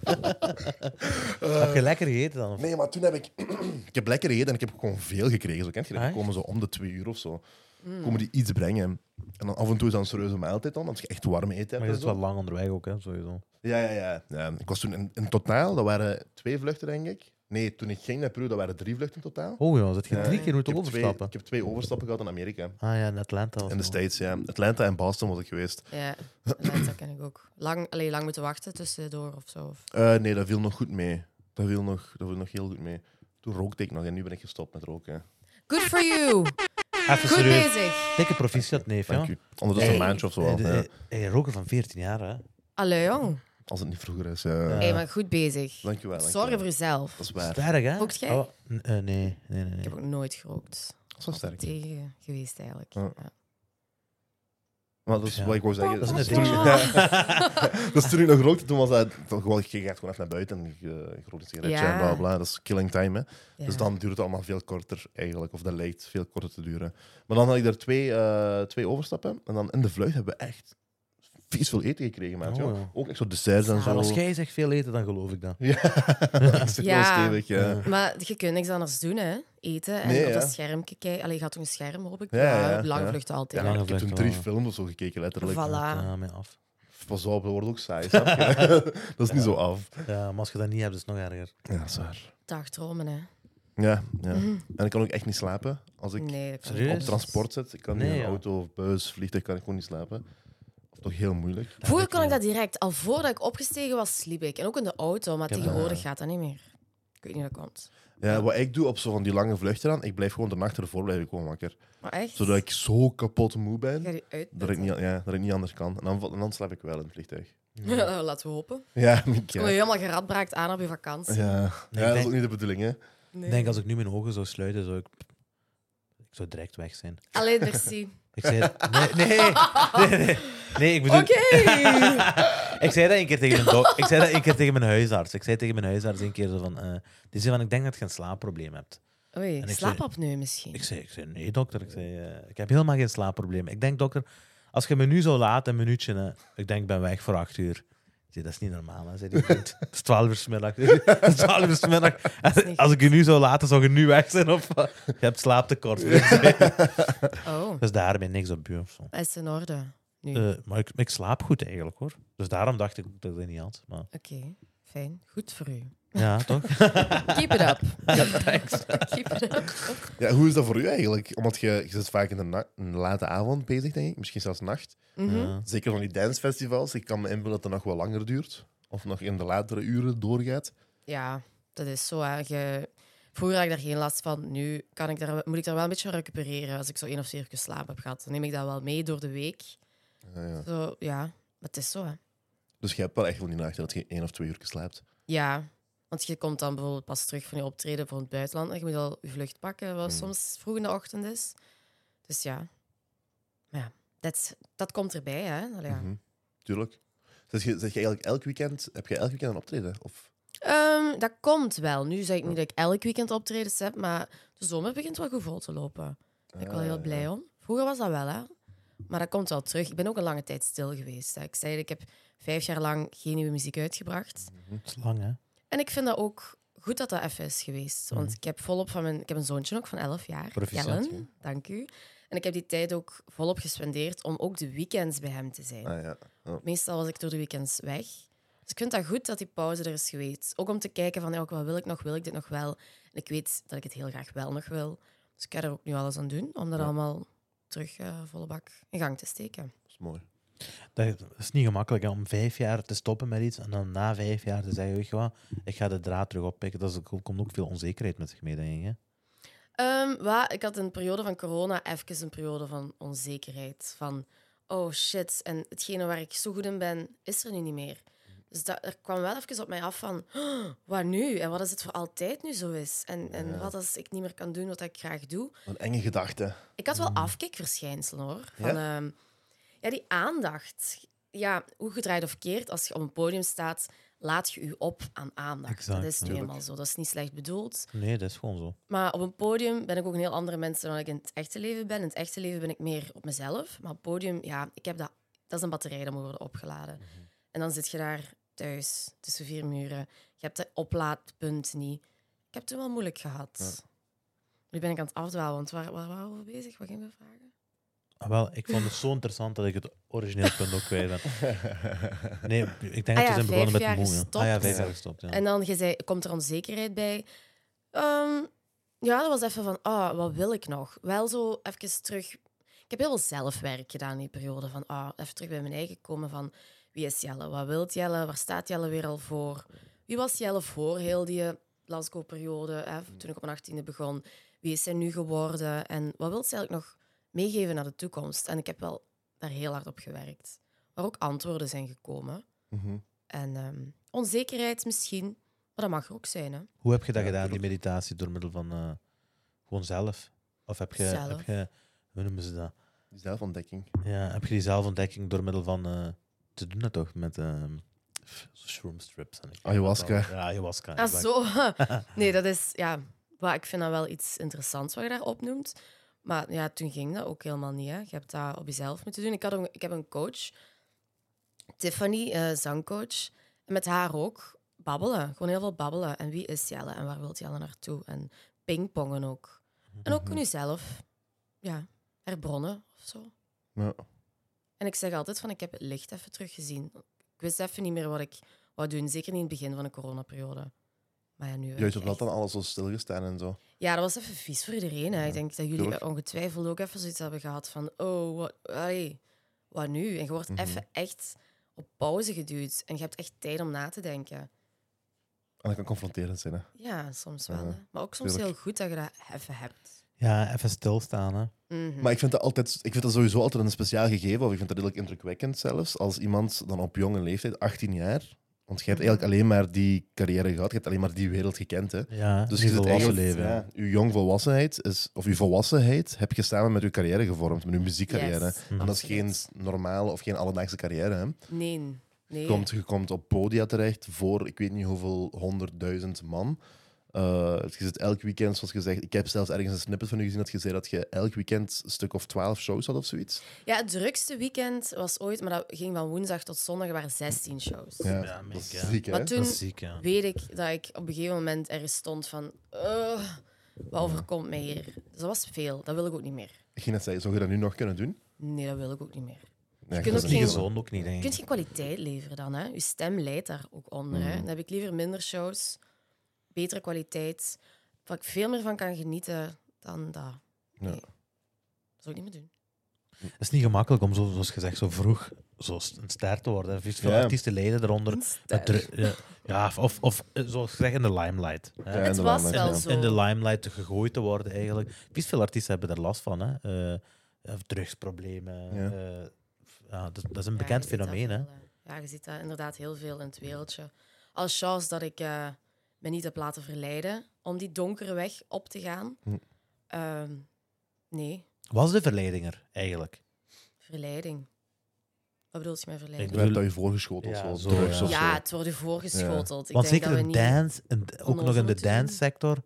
Speaker 3: Heb je lekker gegeten dan? of-
Speaker 2: Nee, maar toen heb ik... <clears throat> ik heb lekker gegeten en ik heb gewoon veel gekregen. Zo kent je dat? Die
Speaker 3: Ah,
Speaker 2: komen zo om de twee uur of zo.
Speaker 1: Mm.
Speaker 2: Komen die iets brengen. En dan af en toe is dat een serieuze maaltijd dan, als je echt warm eten
Speaker 3: Maar
Speaker 2: hebt.
Speaker 3: je
Speaker 2: en
Speaker 3: zit
Speaker 2: zo.
Speaker 3: wel lang onderweg ook, hè, sowieso.
Speaker 2: Ja, ja, ja, ja. Ik was toen in, in totaal, dat waren twee vluchten, denk ik. Nee, toen ik ging naar Peru, dat waren drie vluchten in totaal.
Speaker 3: Oh ja, dat je
Speaker 2: Ja.
Speaker 3: drie keer
Speaker 2: Ik
Speaker 3: moeten
Speaker 2: heb twee-
Speaker 3: overstappen.
Speaker 2: ik heb twee overstappen gehad in Amerika.
Speaker 3: Ah ja, in Atlanta. was
Speaker 2: In de
Speaker 3: het nog.
Speaker 2: States, ja. Atlanta en Boston was ik geweest.
Speaker 1: Ja, dat ken ik ook. Lang, alleen lang moeten wachten tussendoor of zo. Of...
Speaker 2: Eh, nee, dat viel nog goed mee. Dat viel nog, dat viel nog heel goed mee. Toen rookte ik nog en nu ben ik gestopt met roken.
Speaker 1: Good for you.
Speaker 3: Even
Speaker 1: Goed
Speaker 3: serieus.
Speaker 1: bezig.
Speaker 3: Dikke proficiat, neef. Ja.
Speaker 2: Dank u. Ondertussen
Speaker 1: Nee.
Speaker 2: een maandje of zo
Speaker 3: Hey,
Speaker 2: al.
Speaker 3: de-
Speaker 2: ja.
Speaker 3: hey, hey, roken van 14 jaar, hè?
Speaker 1: Allee, jong.
Speaker 2: Als het niet vroeger is. Ja.
Speaker 3: Ja.
Speaker 1: hey, maar goed bezig.
Speaker 2: Dank je wel. dank je
Speaker 1: Zorg
Speaker 2: wel.
Speaker 1: voor jezelf.
Speaker 2: Dat is waar.
Speaker 3: Sterk, hè?
Speaker 1: Rookt jij?
Speaker 3: Oh, n- eh, nee, nee, nee. nee.
Speaker 1: Ik heb ook nooit gerookt.
Speaker 2: Dat is wel sterk.
Speaker 1: Tegen geweest eigenlijk.
Speaker 2: Ja.
Speaker 1: Ja.
Speaker 2: Maar dat is
Speaker 3: Ja.
Speaker 2: wat ik wou zeggen.
Speaker 3: Dat is
Speaker 2: Dus
Speaker 3: een
Speaker 2: toen-
Speaker 3: ding.
Speaker 2: <laughs> dus toen ik nog rookte, toen was dat toch gewoon, je gaat gewoon even naar buiten en je, je rookt een sigaretje
Speaker 1: Ja.
Speaker 2: en bla bla. Dat is killing time, hè.
Speaker 1: Ja.
Speaker 2: Dus dan duurt het allemaal veel korter eigenlijk, of dat lijkt veel korter te duren. Maar dan had ik er twee, eh, twee overstappen en dan in de vlucht hebben we echt vies veel eten gekregen, maat.
Speaker 3: Oh,
Speaker 2: joh.
Speaker 3: ja.
Speaker 2: Ook echt zo desserts en
Speaker 1: Ja,
Speaker 2: zo.
Speaker 3: als jij zegt veel eten, dan geloof ik dat.
Speaker 2: Ja, <laughs> dat is toch wel
Speaker 1: Ja.
Speaker 2: stevig, ja.
Speaker 1: Maar je kunt niks anders doen, hè? Eten en
Speaker 2: eh, Nee,
Speaker 1: op
Speaker 2: ja.
Speaker 1: dat scherm kijken. Allee, je gaat toch een scherm, hoop ik?
Speaker 2: Ja, ja, ja.
Speaker 1: Lang
Speaker 2: Ja.
Speaker 1: vlucht altijd.
Speaker 2: Ja,
Speaker 3: Ja,
Speaker 2: ik heb
Speaker 3: dat
Speaker 2: toen
Speaker 3: wel.
Speaker 2: drie films of zo gekeken, letterlijk.
Speaker 1: Voilà.
Speaker 3: Ja, mij af.
Speaker 2: Pas op, dat wordt ook saai, snap je? <laughs> dat is niet zo af.
Speaker 3: Ja, maar als je dat niet hebt, is het nog erger.
Speaker 2: Ja, dat is waar.
Speaker 1: Dagdromen, hè?
Speaker 2: Ja, ja.
Speaker 3: Mhm.
Speaker 2: En ik kan ook echt niet slapen. Als ik
Speaker 1: Nee. dat-
Speaker 3: Serieus?
Speaker 2: op transport zit, ik kan
Speaker 3: Dus- Nee,
Speaker 2: niet in
Speaker 3: ja.
Speaker 2: een auto of bus, vliegtuig, kan ik gewoon niet slapen. Of toch heel moeilijk.
Speaker 1: Vroeger kon ik dat direct. Al voordat ik opgestegen was, sliep ik. En ook in de auto, maar
Speaker 3: Ja, maar-
Speaker 1: tegenwoordig gaat dat niet meer. Ik weet niet hoe dat komt.
Speaker 2: Ja, wat ik doe op zo van die lange vluchten dan, ik blijf gewoon de nacht ervoor blijf ik gewoon wakker.
Speaker 1: Maar echt?
Speaker 2: Zodat ik zo kapot moe
Speaker 1: Ik
Speaker 2: ben,
Speaker 1: ga die uit.
Speaker 2: dat ik niet, ja, dat ik niet anders kan. En dan, en dan slaap ik wel in het vliegtuig.
Speaker 1: <laughs> Laten we hopen.
Speaker 2: <laughs> Ja, ik,
Speaker 1: Ik kom je
Speaker 2: ja.
Speaker 1: helemaal geradbraakt aan op je vakantie.
Speaker 2: Ja.
Speaker 3: Nee,
Speaker 2: Ja,
Speaker 3: ik
Speaker 2: dat is
Speaker 3: denk-
Speaker 2: ook niet de bedoeling, hè.
Speaker 1: Nee.
Speaker 3: Ik denk, als ik nu mijn ogen zou sluiten, zou ik... Ik zou direct weg zijn.
Speaker 1: Allee,
Speaker 3: <laughs>
Speaker 1: merci.
Speaker 3: Ik zei... Nee,
Speaker 1: <laughs>
Speaker 3: nee, nee. nee, nee. Nee, ik bedoel...
Speaker 1: Oké!
Speaker 3: Ik zei dat een keer tegen mijn, dok- ik zei dat een keer tegen mijn huisarts. Ik zei tegen mijn huisarts een keer zo van... eh, die zei van, ik denk dat je een slaapprobleem hebt.
Speaker 1: Oei,
Speaker 3: En ik zei-
Speaker 1: slaapapneu misschien.
Speaker 3: Ik zei, ik zei nee, dokter. Ik, zei, eh, ik heb helemaal geen slaapprobleem. Ik denk, dokter, als je me nu zo laat, een minuutje, hè, ik denk, ik ben weg voor acht uur. Ik zei, dat is niet normaal, hè, zei die
Speaker 1: <laughs>
Speaker 3: vriend. Het is twaalf uur 's middag. <laughs> Het is twaalf uur 's middag.
Speaker 1: niet
Speaker 3: Als ik je nu zou laten, zou je nu weg zijn? Of eh,
Speaker 1: <laughs>
Speaker 3: je hebt slaaptekort. vriend.
Speaker 1: Oh,
Speaker 3: Dus daarmee niks op buur of zo.
Speaker 1: dat is in orde. Nu.
Speaker 3: Eh, maar ik, ik slaap goed eigenlijk, hoor. Dus daarom dacht ik dat ik dat niet had. Maar,
Speaker 1: Oké, fijn. Goed voor u.
Speaker 3: ja, toch?
Speaker 1: <laughs>
Speaker 3: <laughs>
Speaker 1: Keep it up.
Speaker 3: Thanks.
Speaker 1: Keep it up.
Speaker 2: Ja, hoe is dat voor u eigenlijk? Omdat je, je zit vaak in de na- een late avond bezig, denk ik. Misschien zelfs nacht.
Speaker 1: Mhm.
Speaker 3: Ja.
Speaker 2: Zeker van die dancefestivals. Ik kan me inbeelden dat het nog wel langer duurt. Of nog in de latere uren doorgaat.
Speaker 1: Ja, dat is zo. Hè. Je- Vroeger had ik daar geen last van. Nu kan ik daar, moet ik daar wel een beetje recupereren als ik zo één of twee uur slaap heb gehad. Dan neem ik dat wel mee door de week.
Speaker 2: Ja, ja.
Speaker 1: Zo, ja, maar het is zo. Hè.
Speaker 2: Dus je hebt wel echt wel die nachten dat je één of twee uur slaapt.
Speaker 1: Ja, want je komt dan bijvoorbeeld pas terug van je optreden voor het buitenland. En je moet al je vlucht pakken, wat
Speaker 2: Mm.
Speaker 1: soms vroeg in de ochtend is. Dus ja. Maar ja, dat, is- dat komt erbij, hè. Allee, ja.
Speaker 2: Mhm. Tuurlijk. Zeg je, zeg je eigenlijk elk weekend, heb je elk weekend een optreden? Of...
Speaker 1: Ehm, dat komt wel. Nu zeg ik niet dat ik elk weekend optredens heb, maar de zomer begint wel goed vol te lopen. Daar ben ik wel heel
Speaker 2: Ah,
Speaker 1: blij om. Vroeger was dat wel, hè. Maar dat komt wel terug. Ik ben ook een lange tijd stil geweest. Hè. Ik zei, ik heb vijf jaar lang geen nieuwe muziek uitgebracht.
Speaker 3: Het is lang, hè?
Speaker 1: En ik vind dat ook goed dat dat even is geweest. Want ik heb volop van mijn... Ik heb een zoontje ook van 11 jaar.
Speaker 3: Proficiat,
Speaker 1: Jellen, dank u. En ik heb die tijd ook volop gespendeerd om ook de weekends bij hem te zijn.
Speaker 2: Ah, ja.
Speaker 1: Meestal was ik door de weekends weg. Dus ik vind dat goed dat die pauze er is geweest. Ook om te kijken van, ja, ook wat wil ik nog? Wil ik dit nog wel? En ik weet dat ik het heel graag wel nog wil. Dus ik ga er ook nu alles aan doen om dat
Speaker 2: Ja.
Speaker 1: allemaal terug eh, volle bak in gang te steken.
Speaker 2: Dat is mooi.
Speaker 3: Dat is niet gemakkelijk hè, om vijf jaar te stoppen met iets en dan na vijf jaar te zeggen, weet je wat, ik ga de draad terug oppikken. Dat is ook- komt ook veel onzekerheid met zich mee, denk ik. Hè?
Speaker 1: Ehm, wa- ik had een periode van corona even een periode van onzekerheid. Van, oh shit, en hetgene waar ik zo goed in ben, is er nu niet meer. Dus dat, er kwam wel even op mij af van, "Oh, wat nu? En wat als het voor altijd nu zo is? En, en wat als ik niet meer kan doen wat ik graag doe?
Speaker 2: Een enge gedachte.
Speaker 1: Ik had wel afkikverschijnselen hoor. Van,
Speaker 2: Ja?
Speaker 1: ja? ja, die aandacht. Ja, hoe gedraaid of keert, als je op een podium staat, laat je je op aan aandacht.
Speaker 3: Exact,
Speaker 1: dat is nu
Speaker 3: natuurlijk.
Speaker 1: eenmaal zo. Dat is niet slecht bedoeld.
Speaker 3: Nee, dat is gewoon zo.
Speaker 1: Maar op een podium ben ik ook een heel andere mens dan ik in het echte leven ben. In het echte leven ben ik meer op mezelf. Maar op het podium, ja, ik heb dat, dat is een batterij dat moet worden opgeladen. En dan zit je daar thuis, tussen vier muren. Je hebt dat oplaadpunt niet. Ik heb het toen wel moeilijk gehad. Nu ben ik aan het afdwalen, want waar, waar waren we bezig? Wat gingen we vragen?
Speaker 3: Ah, wel, ik vond het zo interessant dat ik het origineel punt ook kwijt <laughs> ben. Nee, ik denk
Speaker 1: Ah
Speaker 3: dat
Speaker 1: ja,
Speaker 3: we zijn begonnen
Speaker 1: vijf
Speaker 3: met
Speaker 1: jaar
Speaker 3: moe. ja.
Speaker 1: gestopt.
Speaker 3: Ah ja, vijf jaar gestopt, ja.
Speaker 1: En dan je zei, komt er onzekerheid bij? Ehm, ja, dat was even van, ah, wat wil ik nog? Wel zo even terug. Ik heb heel veel zelfwerk gedaan in die periode. Van, ah, even terug bij mijn eigen komen van, wie is Jelle? Wat wil Jelle? Waar staat Jelle weer al voor? Wie was Jelle voor heel die Glasgow-periode, hè, toen ik op mijn 18e begon? Wie is zij nu geworden? En wat wil ze eigenlijk nog meegeven naar de toekomst? En ik heb wel daar heel hard op gewerkt. Waar ook antwoorden zijn gekomen.
Speaker 2: Mhm.
Speaker 1: En ehm, onzekerheid misschien, maar dat mag er ook zijn. Hè?
Speaker 3: Hoe heb je dat
Speaker 2: Ja,
Speaker 3: gedaan, die
Speaker 2: tuurlijk.
Speaker 3: meditatie, door middel van eh, gewoon zelf? Of heb je,
Speaker 1: Zelf.
Speaker 3: heb je, hoe noemen ze dat?
Speaker 2: Die zelfontdekking.
Speaker 3: Ja, heb je die zelfontdekking door middel van eh, te doen dat toch met ehm, pff, zo shroom strips en ik weet
Speaker 2: Ayahuasca.
Speaker 3: het wel. Ja, ayahuasca.
Speaker 1: Ah,
Speaker 3: exact.
Speaker 1: zo. <laughs> Nee, dat is... Ja, maar ik vind dat wel iets interessants wat je daar opnoemt. Maar ja, toen ging dat ook helemaal niet. Hè. Je hebt dat op jezelf moeten doen. Ik, had ook, ik heb een coach, Tiffany, eh, zangcoach. En met haar ook babbelen. Gewoon heel veel babbelen. En wie is Jelle en waar wilt Jelle naartoe? En pingpongen ook. En ook in jezelf. Ja, herbronnen of zo.
Speaker 2: Ja.
Speaker 1: En ik zeg altijd van, ik heb het licht even teruggezien. Ik wist even niet meer wat ik wou doen. Zeker niet in het begin van de coronaperiode. Maar ja, nu... heb
Speaker 2: Juist
Speaker 1: ik
Speaker 2: omdat
Speaker 1: echt-
Speaker 2: dan alles zo stilgestaan en zo.
Speaker 1: Ja, dat was even vies voor iedereen. Hè.
Speaker 2: Ja,
Speaker 1: ik denk dat jullie
Speaker 2: tuurlijk.
Speaker 1: ongetwijfeld ook even zoiets hebben gehad van... Oh, wat, allee, wat nu? En je wordt
Speaker 2: Mhm.
Speaker 1: even echt op pauze geduwd. En je hebt echt tijd om na te denken.
Speaker 2: En dat kan confronterend zijn, hè.
Speaker 1: Ja, soms wel.
Speaker 2: Ja,
Speaker 1: hè. Maar ook soms
Speaker 2: tuurlijk.
Speaker 1: heel goed dat je dat even hebt.
Speaker 3: Ja, even stilstaan. Hè.
Speaker 1: Mhm.
Speaker 2: Maar ik vind, dat altijd, ik vind dat sowieso altijd een speciaal gegeven, of ik vind dat redelijk indrukwekkend zelfs, als iemand dan op jonge leeftijd, 18 jaar, want je hebt
Speaker 1: Mhm.
Speaker 2: eigenlijk alleen maar die carrière gehad, je hebt alleen maar die wereld gekend, hè.
Speaker 3: Ja,
Speaker 2: Dus
Speaker 3: dus
Speaker 2: je
Speaker 3: je
Speaker 2: zit
Speaker 3: volwassen
Speaker 2: eigenlijk-
Speaker 3: leven.
Speaker 2: Ja, uw jongvolwassenheid, is, of uw volwassenheid, heb je samen met uw carrière gevormd, met uw muziekcarrière.
Speaker 1: Yes,
Speaker 2: En dat is geen
Speaker 1: absoluut.
Speaker 2: normale of geen alledaagse carrière, hè.
Speaker 1: Nee, nee.
Speaker 2: komt, je komt op podia terecht voor ik weet niet hoeveel honderdduizend man. Eh, je zit elk weekend, zoals gezegd. Ik heb zelfs ergens een snippet van u gezien dat je zei dat je elk weekend een stuk of twaalf shows had of zoiets.
Speaker 1: Ja, het drukste weekend was ooit, maar dat ging van woensdag tot zondag, er waren 16 shows.
Speaker 3: Ja,
Speaker 2: dat is
Speaker 3: meen ik, ja.
Speaker 2: ziek, hè?
Speaker 1: Maar
Speaker 3: Dat
Speaker 1: toen
Speaker 3: is ziek, ja.
Speaker 1: weet ik dat ik op een gegeven moment ergens stond van... "Ugh, wat overkomt mij hier? Dus dat was veel. Dat wil ik ook niet meer.
Speaker 2: Ik ging net zeggen, zou je dat nu nog kunnen doen?
Speaker 1: Nee, dat wil ik ook niet meer.
Speaker 2: Nee,
Speaker 1: kunt ook
Speaker 3: Dat is niet
Speaker 1: geen-
Speaker 3: gezond ook niet,
Speaker 1: Je
Speaker 3: denk
Speaker 1: kunt
Speaker 3: ik.
Speaker 1: geen kwaliteit leveren dan, hè. Je stem leidt daar ook onder,
Speaker 2: Mm.
Speaker 1: hè. Dan heb ik liever minder shows, betere kwaliteit, waar ik veel meer van kan genieten dan dat. Nee.
Speaker 2: Ja.
Speaker 1: Dat zou ik niet meer doen.
Speaker 3: Het is niet gemakkelijk om, zo, zoals gezegd, zo vroeg zo st- een ster te worden. Er is veel
Speaker 2: Ja.
Speaker 3: artiesten leden eronder.
Speaker 1: Een
Speaker 3: Met
Speaker 1: <laughs> ster.
Speaker 3: dru- ja, ja, of, of, of eh, zoals gezegd, in de limelight. hè.
Speaker 2: Ja,
Speaker 1: Het was
Speaker 2: inderdaad, maar
Speaker 1: wel
Speaker 2: ja.
Speaker 1: zo.
Speaker 3: in de limelight gegooid te worden eigenlijk. Vies veel artiesten hebben daar last van. Hè? Eh, eh, drugsproblemen.
Speaker 2: Ja.
Speaker 3: eh, f- ja, dat, dat is een
Speaker 1: Ja,
Speaker 3: bekend
Speaker 1: je ziet dat
Speaker 3: fenomeen. Hè?
Speaker 1: wel, eh. Ja, je ziet dat inderdaad heel veel in het wereldje. Als chance dat ik eh, me niet heb laten verleiden om die donkere weg op te gaan.
Speaker 2: Hm.
Speaker 1: Ehm, nee,
Speaker 3: Was de verleidinger eigenlijk?
Speaker 1: verleiding. Wat bedoel je met verleiding?
Speaker 2: Je werd daar je voorgeschoten
Speaker 3: Ja,
Speaker 2: of zo,
Speaker 3: zo,
Speaker 2: drugs
Speaker 3: ja.
Speaker 2: of
Speaker 1: Ja,
Speaker 2: zo.
Speaker 1: het wordt u voorgeschoteld. Ik
Speaker 3: Want
Speaker 1: denk
Speaker 3: zeker
Speaker 1: dat we
Speaker 3: in
Speaker 1: niet...
Speaker 3: dance, in d- ook nog in de
Speaker 1: onnozel te doen.
Speaker 3: dance-sector,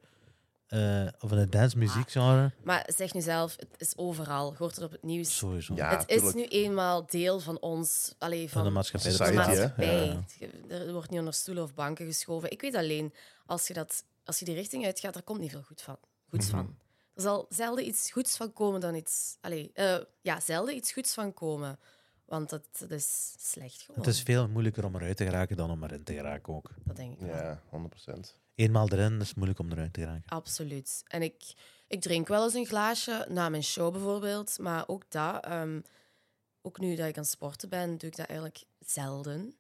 Speaker 3: eh, of in de
Speaker 1: Ah,
Speaker 3: dance-muziekgenre,
Speaker 1: Maar zeg nu zelf, het is overal. Je hoort het op het nieuws.
Speaker 3: sowieso.
Speaker 2: Ja,
Speaker 1: het is
Speaker 2: tuurlijk.
Speaker 1: nu eenmaal deel van ons, alleen
Speaker 3: Van
Speaker 1: van
Speaker 3: de maatschappij.
Speaker 1: de
Speaker 3: dat
Speaker 2: Society,
Speaker 3: bestaat.
Speaker 2: hè?
Speaker 1: maatschappij.
Speaker 3: Ja.
Speaker 1: Je- Er wordt niet onder stoelen of banken geschoven. Ik weet alleen, als je, dat, als je die richting uitgaat, daar komt niet veel goed van, goeds van. Er zal zelden iets goeds van komen dan iets... Allee, eh, ja, zelden iets goeds van komen. Want dat, dat is slecht gewoon.
Speaker 3: Het is veel moeilijker om eruit te geraken dan om erin te geraken ook.
Speaker 1: Dat denk ik wel.
Speaker 2: Ja, 100%.
Speaker 3: Eenmaal erin is het moeilijk om eruit te geraken.
Speaker 1: Absoluut. En ik, ik drink wel eens een glaasje na mijn show bijvoorbeeld. Maar ook dat, ehm, ook nu dat ik aan het sporten ben, doe ik dat eigenlijk zelden.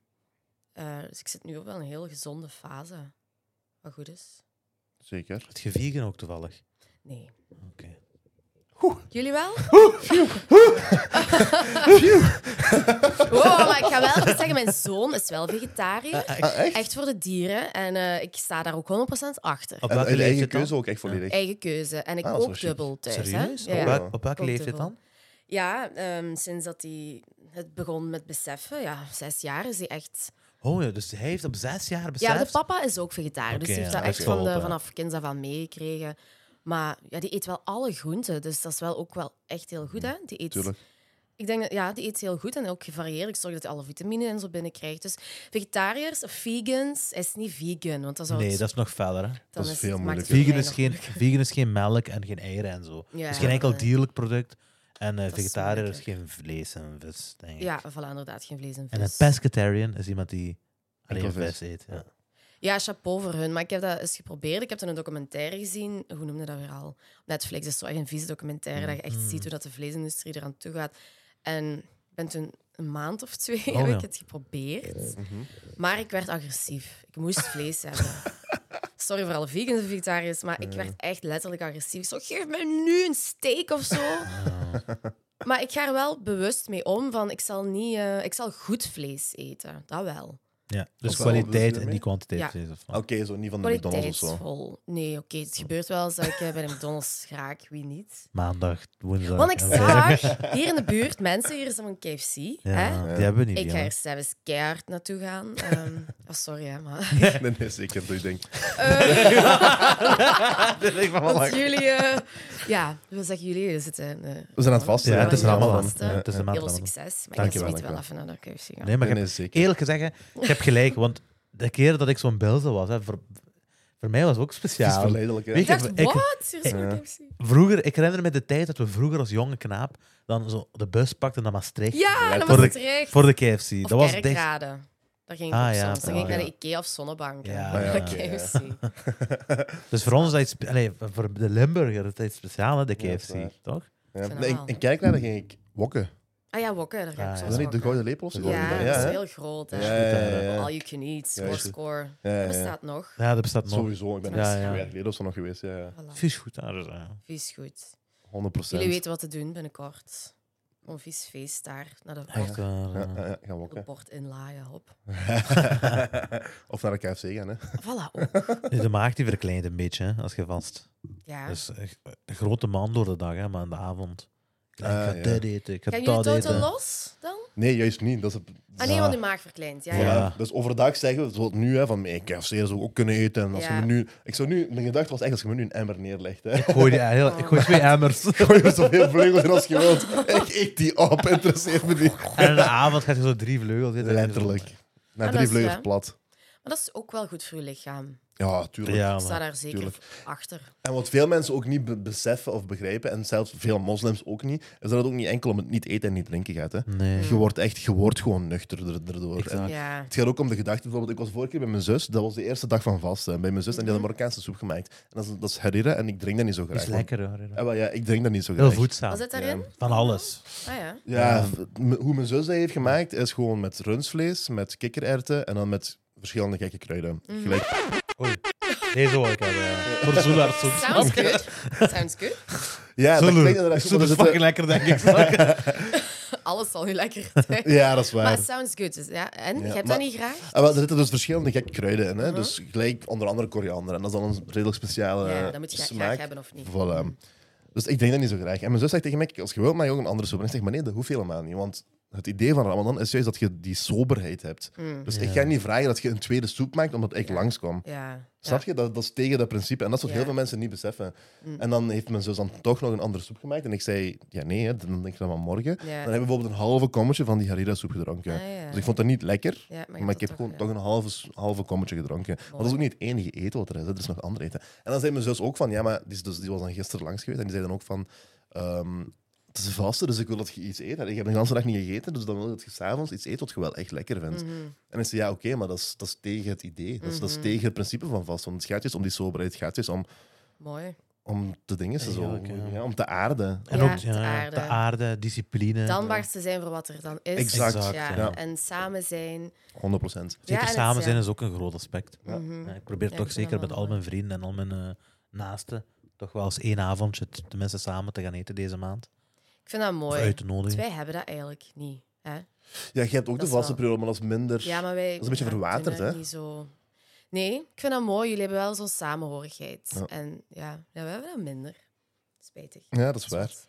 Speaker 1: Eh, dus ik zit nu ook wel in een heel gezonde fase. Wat goed is.
Speaker 2: Zeker.
Speaker 3: Het gevieren ook toevallig.
Speaker 1: Nee.
Speaker 3: Oké.
Speaker 1: Jullie wel? <laughs> wow, maar ik ga wel even zeggen, mijn zoon is wel vegetariër.
Speaker 2: Ah, echt?
Speaker 1: Echt voor de dieren. En eh, ik sta daar ook 100% achter.
Speaker 3: Op
Speaker 2: En,
Speaker 3: welke
Speaker 2: en je eigen
Speaker 3: leeftijd dan?
Speaker 2: keuze ook echt volledig.
Speaker 1: Eigen keuze. En ik
Speaker 2: Ah, dat is
Speaker 1: ook
Speaker 2: wel chic.
Speaker 1: dubbel thuis.
Speaker 3: Serieus?
Speaker 1: Hè? Ja.
Speaker 3: Op, welk- op welke
Speaker 1: Komt
Speaker 3: leeftijd
Speaker 1: dubbel.
Speaker 3: dan?
Speaker 1: Ja, ehm, sinds dat hij het begon met beseffen, ja, zes jaar is hij echt.
Speaker 3: Oh ja, dus hij heeft op zes jaar beseft.
Speaker 1: Ja, de papa is ook vegetariër, dus
Speaker 3: Oké,
Speaker 1: die heeft
Speaker 3: ja,
Speaker 1: dat
Speaker 3: dat
Speaker 1: echt
Speaker 3: is
Speaker 1: van de,
Speaker 3: geholpen.
Speaker 1: vanaf kind af aan meegekregen. Maar ja, die eet wel alle groenten, dus dat is wel ook wel echt heel goed, hè? Die eet,
Speaker 2: Tuurlijk.
Speaker 1: ik denk dat ja, die eet heel goed en ook gevarieerd. Ik zorg dat hij alle vitamine en zo binnenkrijgt. Dus vegetariërs of vegans, hij is niet vegan, want dat zou
Speaker 3: Nee,
Speaker 1: het-
Speaker 3: dat is nog verder. Hè.
Speaker 1: dan
Speaker 2: dat is
Speaker 1: het-
Speaker 2: veel
Speaker 1: maakt het
Speaker 2: moeilijker.
Speaker 1: voor mij
Speaker 3: Vegan, is
Speaker 1: nog
Speaker 3: geen, vegan is geen melk en geen eieren en zo.
Speaker 1: Ja,
Speaker 3: dus geen enkel
Speaker 1: nee.
Speaker 3: dierlijk product. En eh,
Speaker 1: is
Speaker 3: vegetariër is
Speaker 1: moeilijk,
Speaker 3: geen vlees en vis, denk ik.
Speaker 1: Ja, voilà, inderdaad, geen vlees en vis.
Speaker 3: En een pescatarian is iemand die alleen
Speaker 2: Enkel
Speaker 3: vis
Speaker 2: vis.
Speaker 3: eet. Ja.
Speaker 1: Ja, chapeau voor hun. Maar ik heb dat eens geprobeerd. Ik heb dan een documentaire gezien. Hoe noemde dat weer al? Op Netflix dat is zo echt een vieze documentaire. Dat je echt
Speaker 3: Mm.
Speaker 1: ziet hoe dat de vleesindustrie eraan toe gaat. En ik ben toen een maand of twee <laughs>
Speaker 3: Oh,
Speaker 1: heb
Speaker 3: ja.
Speaker 1: ik het geprobeerd. Maar ik werd agressief. Ik moest vlees
Speaker 3: <laughs>
Speaker 1: hebben. Sorry voor alle vegans en vegetariërs, maar ik werd echt letterlijk agressief. Ik Zo, geef mij nu een steak of zo.
Speaker 3: Ah.
Speaker 1: Maar ik ga er wel bewust mee om van, ik zal, niet, eh, ik zal goed vlees eten. Dat wel.
Speaker 3: Ja, dus
Speaker 2: Of wel, bedoel je
Speaker 3: kwaliteit en
Speaker 2: daarmee?
Speaker 3: niet kwantiteit.
Speaker 1: Ja.
Speaker 3: is of
Speaker 2: Oké,
Speaker 3: wat.
Speaker 2: zo niet van de McDonald's of zo.
Speaker 1: Kwaliteitsvol. Nee, oké, het gebeurt wel eens dat ik eh, bij de McDonald's raak, wie niet.
Speaker 3: Maandag, woensdag.
Speaker 1: Want ik
Speaker 3: en vrijdag.
Speaker 1: zag hier in de buurt mensen, hier is dan een KFC. Hè?
Speaker 3: Ja, die hebben we niet.
Speaker 1: Ik ga
Speaker 3: hè.
Speaker 1: er zelfs keihard naartoe
Speaker 3: <laughs>
Speaker 1: gaan. Ehm, ah, sorry, hè, maar.
Speaker 2: <laughs> Nee, nee, zeker. Dus ik denk,
Speaker 1: Want jullie, eh, ja, we zeggen jullie, we zitten. eh,
Speaker 2: we zijn aan het vasten.
Speaker 3: Ja, het is een
Speaker 1: Heel
Speaker 3: allemaal
Speaker 1: vaste.
Speaker 3: Ja, het is een
Speaker 1: Heel
Speaker 3: maand.
Speaker 1: succes. Maar ik
Speaker 3: Dankjewel,
Speaker 1: smiet wel
Speaker 2: dankjewel.
Speaker 1: even naar de KFC. gaan.
Speaker 3: Nee, maar ik
Speaker 2: Nee,
Speaker 3: heb-
Speaker 2: nee, zeker.
Speaker 3: eerlijk gezegd, ik heb gelijk. Want de keer dat ik zo'n bel was, hè, voor, voor mij was het ook
Speaker 2: Het is
Speaker 3: speciaal.
Speaker 2: verleidelijk, hè.
Speaker 3: Weet
Speaker 1: Ik
Speaker 3: je,
Speaker 1: dacht,
Speaker 3: ik-
Speaker 1: wat? Er is
Speaker 2: Ja.
Speaker 1: een KFC.
Speaker 3: Vroeger, ik herinner me de tijd dat we vroeger als jonge knaap dan zo de bus pakten naar Maastricht
Speaker 1: Ja, dat
Speaker 2: Voor
Speaker 1: was
Speaker 3: de-
Speaker 1: het terecht.
Speaker 3: voor de KFC.
Speaker 1: Of
Speaker 3: dat was echt...
Speaker 1: kerkraden. Daar ging ik
Speaker 3: Ah,
Speaker 1: op
Speaker 3: ja,
Speaker 1: soms. Dan ging ik
Speaker 3: ja.
Speaker 1: naar de Ikea of Zonnebank.
Speaker 3: Ja,
Speaker 1: hè.
Speaker 2: ja,
Speaker 1: Naar
Speaker 2: ja, ja.
Speaker 1: KFC.
Speaker 3: Dus voor ons is dat iets... spe- Allee, voor de Limburger is dat iets speciaal, hè, de
Speaker 2: Ja, dat
Speaker 3: KFC.
Speaker 2: is waar.
Speaker 3: toch?
Speaker 2: Ja.
Speaker 1: vind
Speaker 2: Nee,
Speaker 1: dat wel.
Speaker 2: in Kerkrade ging ik wokken.
Speaker 1: Ah ja, wokken. Daar ga
Speaker 3: Ah,
Speaker 1: ik
Speaker 3: ja.
Speaker 2: Is
Speaker 1: soms
Speaker 2: dat niet de
Speaker 1: wokken.
Speaker 2: Gouden Lepel of zo?
Speaker 1: Ja, dat
Speaker 2: ja,
Speaker 1: is
Speaker 2: hè?
Speaker 1: heel groot.
Speaker 2: Ja,
Speaker 1: Hè.
Speaker 2: ja, ja,
Speaker 1: All
Speaker 2: ja.
Speaker 1: you can eat,
Speaker 2: Ja,
Speaker 1: score,
Speaker 2: juist.
Speaker 1: score.
Speaker 2: Ja,
Speaker 1: Dat
Speaker 2: ja, ja.
Speaker 1: bestaat nog.
Speaker 3: Ja, dat bestaat nog.
Speaker 2: Sowieso, ik ben
Speaker 1: Ja,
Speaker 2: er
Speaker 3: ja.
Speaker 2: twee jaar geleden of zo nog geweest. Ja, ja.
Speaker 1: Voilà.
Speaker 3: Vies goed daar. dus, ja.
Speaker 1: Vies goed.
Speaker 2: 100
Speaker 1: Jullie weten wat te doen binnenkort. Een vies feest daar. Naar de
Speaker 3: Echt waar.
Speaker 2: Ah, Ja,
Speaker 3: ja.
Speaker 2: ja, ja, gaan
Speaker 1: de
Speaker 2: wokken.
Speaker 1: bord inlaaien, hop.
Speaker 2: <laughs> of naar de KFC gaan, hè.
Speaker 1: Voilà, oh, ook.
Speaker 2: eh.
Speaker 3: Nu, De maag die verkleint een beetje, hè, als je vast.
Speaker 1: Ja.
Speaker 3: Dus echt een grote man door de dag, hè, maar in de avond. Ik
Speaker 2: Ah,
Speaker 3: ga
Speaker 2: ja.
Speaker 3: dit eten, ik ga
Speaker 1: Gaan jullie
Speaker 3: dat
Speaker 1: totaal
Speaker 3: eten.
Speaker 1: los dan?
Speaker 2: Nee, juist niet. Dat is het-
Speaker 1: Ah nee, want uw maag verkleint. Ja,
Speaker 2: Voilà.
Speaker 1: ja.
Speaker 3: Ja.
Speaker 2: Dus overdag zeggen we, zoals nu, hè, van hey, KFC zou ook kunnen eten. En als
Speaker 1: Ja.
Speaker 2: je me nu, ik zou nu, mijn gedachte was echt, als je me nu een emmer neerlegt, hè, <laughs>
Speaker 3: Ik gooi, die, heel, ik gooi twee emmers.
Speaker 2: gooi er zoveel vleugels in als je wilt. Ik eet die op, interesseert me
Speaker 3: <laughs>
Speaker 2: niet.
Speaker 3: <laughs> en in de avond gaat je zo drie vleugels eten.
Speaker 2: Letterlijk. Na
Speaker 1: Ah, dat
Speaker 2: drie
Speaker 1: is,
Speaker 2: vleugels
Speaker 1: ja.
Speaker 2: plat.
Speaker 1: Maar dat is ook wel goed voor uw lichaam.
Speaker 2: Ja, tuurlijk.
Speaker 3: Ja,
Speaker 1: Ik sta
Speaker 3: maar.
Speaker 1: daar zeker
Speaker 2: tuurlijk.
Speaker 1: achter.
Speaker 2: En wat veel mensen ook niet be- beseffen of begrijpen, en zelfs veel moslims ook niet, is dat het ook niet enkel om het niet eten en niet drinken gaat. Hè.
Speaker 3: Nee.
Speaker 2: Je wordt echt, je wordt gewoon nuchter daardoor.
Speaker 3: Exact.
Speaker 2: En
Speaker 1: Ja.
Speaker 2: Het gaat ook om de gedachte. Bijvoorbeeld, ik was vorige keer bij mijn zus. Dat was de eerste dag van vasten. Bij mijn zus en die had een Marokkaanse soep gemaakt. En dat is, dat is harira en ik drink dat niet zo graag.
Speaker 3: Mhm. is lekker hoor.
Speaker 2: Ja, ja, ik drink dat niet zo graag.
Speaker 3: Heel
Speaker 1: Wat
Speaker 3: voedzaam.
Speaker 1: zit daarin?
Speaker 3: Van alles.
Speaker 1: Ah ja.
Speaker 2: Ja,
Speaker 3: Ja.
Speaker 2: v- m- hoe mijn zus dat heeft gemaakt is gewoon met rundvlees, met kikkererwten en dan met verschillende gekke kruiden.
Speaker 1: Mhm.
Speaker 2: Gelijk,
Speaker 3: Oei. Deze hoor ik hebben. ja. Voor zoelaars soms.
Speaker 1: Sounds good.
Speaker 2: <laughs>
Speaker 1: Sounds good.
Speaker 2: ja, dat eh, klinkt inderdaad goed,
Speaker 3: Zo
Speaker 2: maar
Speaker 3: is
Speaker 2: er
Speaker 3: fucking
Speaker 2: zitten-
Speaker 3: lekker, denk ik.
Speaker 2: <laughs>
Speaker 3: Fuck.
Speaker 1: Alles zal u lekker zijn.
Speaker 2: Ja, dat is
Speaker 1: Maar
Speaker 2: waar.
Speaker 1: het sounds good. Dus, ja. En,
Speaker 2: Ja,
Speaker 1: je hebt
Speaker 2: maar-
Speaker 1: dat niet graag?
Speaker 2: En wel, er zitten dus verschillende gekke kruiden
Speaker 1: Mhm.
Speaker 2: in. Hè? Dus gelijk onder andere koriander. En dat is dan een redelijk speciale
Speaker 1: Ja,
Speaker 2: eh,
Speaker 1: dat moet je
Speaker 2: smaak.
Speaker 1: graag hebben of niet.
Speaker 2: Voilà. Dus ik drink dat niet zo graag. En mijn zus zegt tegen mij, "Kijk, als je wilt, maar ook een andere sober. En ik zeg, maar nee, dat hoeft helemaal niet. Want het idee van Ramadan is juist dat je die soberheid hebt.
Speaker 1: Mm.
Speaker 2: Dus ik ga niet vragen dat je een tweede soep maakt, omdat ik langskwam.
Speaker 1: Ja.
Speaker 2: Snap je? Dat, dat is tegen dat principe. En dat is wat
Speaker 1: Ja. Mm.
Speaker 2: heel veel mensen niet beseffen. En dan heeft mijn zus dan toch nog een andere soep gemaakt. En ik zei, ja nee, hè, dan denk ik dat maar morgen. Dan
Speaker 1: Ja.
Speaker 2: heb ik bijvoorbeeld een halve kommetje van die harira soep gedronken.
Speaker 1: Ah, ja.
Speaker 2: Dus ik vond dat niet lekker.
Speaker 1: Ja, maar
Speaker 2: maar
Speaker 1: je
Speaker 2: ik
Speaker 1: hebt
Speaker 2: heb
Speaker 1: dat
Speaker 2: gewoon
Speaker 1: toch,
Speaker 2: toch een halve, s- halve kommetje gedronken. Maar dat is ook niet het enige eten wat er is. hè. Er is nog ander eten. En dan zei mijn zus ook van, ja maar, die, is dus, die was dan gisteren langs geweest. En die zei dan ook van, ehm, het is vasten, dus ik wil dat je iets eet. En ik heb de hele dag niet gegeten, dus dan wil ik dat je s'avonds iets eet wat je wel echt lekker vindt.
Speaker 1: Mhm.
Speaker 2: En ik zei, ja, oké, maar dat is, dat is tegen het idee. Dat is, dat is tegen het principe van vast. Want het gaat juist om die soberheid. Het gaat juist om,
Speaker 1: Mooi.
Speaker 2: om de dingen, zo,
Speaker 3: Eigenlijk, ja.
Speaker 2: ja. om te aarden.
Speaker 3: En
Speaker 1: Ja,
Speaker 3: ook
Speaker 1: de
Speaker 3: ja,
Speaker 1: aarde.
Speaker 3: de aarde, discipline.
Speaker 1: Dankbaar te zijn voor wat er dan is.
Speaker 2: Exact.
Speaker 1: Ja.
Speaker 3: ja.
Speaker 1: En samen zijn.
Speaker 2: 100 procent.
Speaker 1: Ja, en
Speaker 3: Zeker
Speaker 1: het-
Speaker 3: samen zijn
Speaker 1: ja.
Speaker 3: is ook een groot aspect.
Speaker 2: Ja.
Speaker 1: Mhm.
Speaker 3: Ja, ik probeer
Speaker 1: Ja,
Speaker 3: toch
Speaker 1: ik vind
Speaker 3: zeker
Speaker 1: dat
Speaker 3: met
Speaker 1: wel
Speaker 3: al mijn
Speaker 1: mooi.
Speaker 3: vrienden en al mijn eh, naasten toch wel eens één avondje t- tenminste samen te gaan eten deze maand.
Speaker 1: Ik vind dat
Speaker 3: Of
Speaker 1: mooi. Dus
Speaker 3: uit te nodigen.
Speaker 1: Wij hebben dat eigenlijk niet. Hè?
Speaker 2: Ja, je hebt ook
Speaker 1: Dat
Speaker 2: de
Speaker 1: is
Speaker 2: vaste
Speaker 1: wel-
Speaker 2: periode, maar dat is minder...
Speaker 1: Ja, maar wij.
Speaker 2: Dat is een beetje
Speaker 1: ja, doen
Speaker 2: verwaterd,
Speaker 1: dat
Speaker 2: hè?
Speaker 1: Niet zo... Nee, ik vind dat mooi. Jullie hebben wel zo'n samenhorigheid.
Speaker 2: Ja.
Speaker 1: En ja, ja, we hebben dat minder. Spijtig.
Speaker 2: Ja, dat is waar.
Speaker 1: Zwart.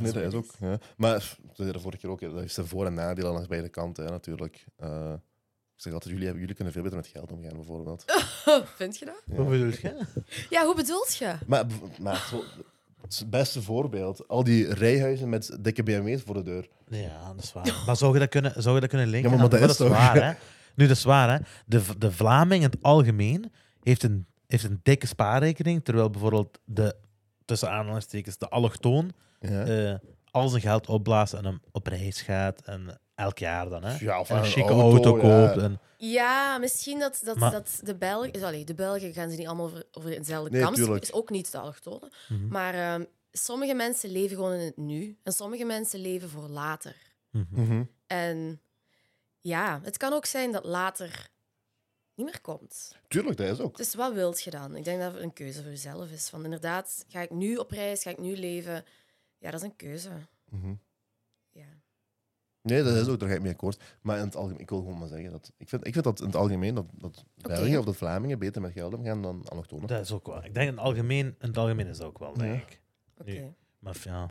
Speaker 2: Nee, dat is ook. Ja. Maar pff, dat zei je de vorige keer ook, hè, dat heeft zijn voor- en nadelen langs beide kanten, hè, natuurlijk. Eh, ik zeg altijd, jullie, hebben, jullie kunnen veel beter met geld omgaan, <laughs> bijvoorbeeld.
Speaker 1: <laughs> Vind je dat?
Speaker 3: Hoe bedoel je?
Speaker 1: Ja, hoe bedoelt je?
Speaker 2: Maar, b- maar zo, het beste voorbeeld, al die rijhuizen met dikke BMW's voor de deur.
Speaker 3: Ja, dat
Speaker 1: <laughs>
Speaker 3: is waar. Maar zou je dat kunnen, zou je dat kunnen linken?
Speaker 2: Ja, maar
Speaker 3: aan-
Speaker 2: dat is toch-
Speaker 3: waar, hè? Nu, dat is waar, hè? De, V- de Vlaming in het algemeen heeft een, heeft een dikke spaarrekening, terwijl bijvoorbeeld de, tussen aanhalingstekens, de allochtoon
Speaker 2: Ja.
Speaker 3: eh, al zijn geld opblaast en hem op reis gaat en elk jaar dan, hè?
Speaker 2: Ja, of
Speaker 3: en een
Speaker 2: een
Speaker 3: chique
Speaker 2: auto,
Speaker 3: auto,
Speaker 2: ja.
Speaker 3: koopt. En,
Speaker 1: Ja, misschien dat, dat,
Speaker 3: Maar-
Speaker 1: dat de Belgen... Allee, de Belgen gaan ze niet allemaal over, over hetzelfde
Speaker 2: Nee,
Speaker 1: kam. sp-
Speaker 2: tuurlijk.
Speaker 1: is ook niet de allochtonen.
Speaker 3: Mhm.
Speaker 1: Maar ehm, sommige mensen leven gewoon in het nu. En sommige mensen leven voor later.
Speaker 2: Mhm.
Speaker 1: En ja, het kan ook zijn dat later niet meer komt.
Speaker 2: Tuurlijk, dat is ook.
Speaker 1: Dus wat wilt je dan? Ik denk dat het een keuze voor jezelf is. Van inderdaad, ga ik nu op reis? Ga ik nu leven? Ja, dat is een keuze.
Speaker 2: Mhm.
Speaker 1: Ja.
Speaker 2: Nee, dat is ook, daar ga ik mee akkoord. Maar in het algemeen, ik wil gewoon maar zeggen dat. Ik vind, ik vind dat in het algemeen dat, dat België of de Vlamingen beter met geld omgaan dan allochtonen.
Speaker 3: Dat is ook wel. Ik denk in het algemeen, in het algemeen is dat ook wel, denk
Speaker 2: Ja.
Speaker 3: ik.
Speaker 1: Oké.
Speaker 3: Nee. Maar ja.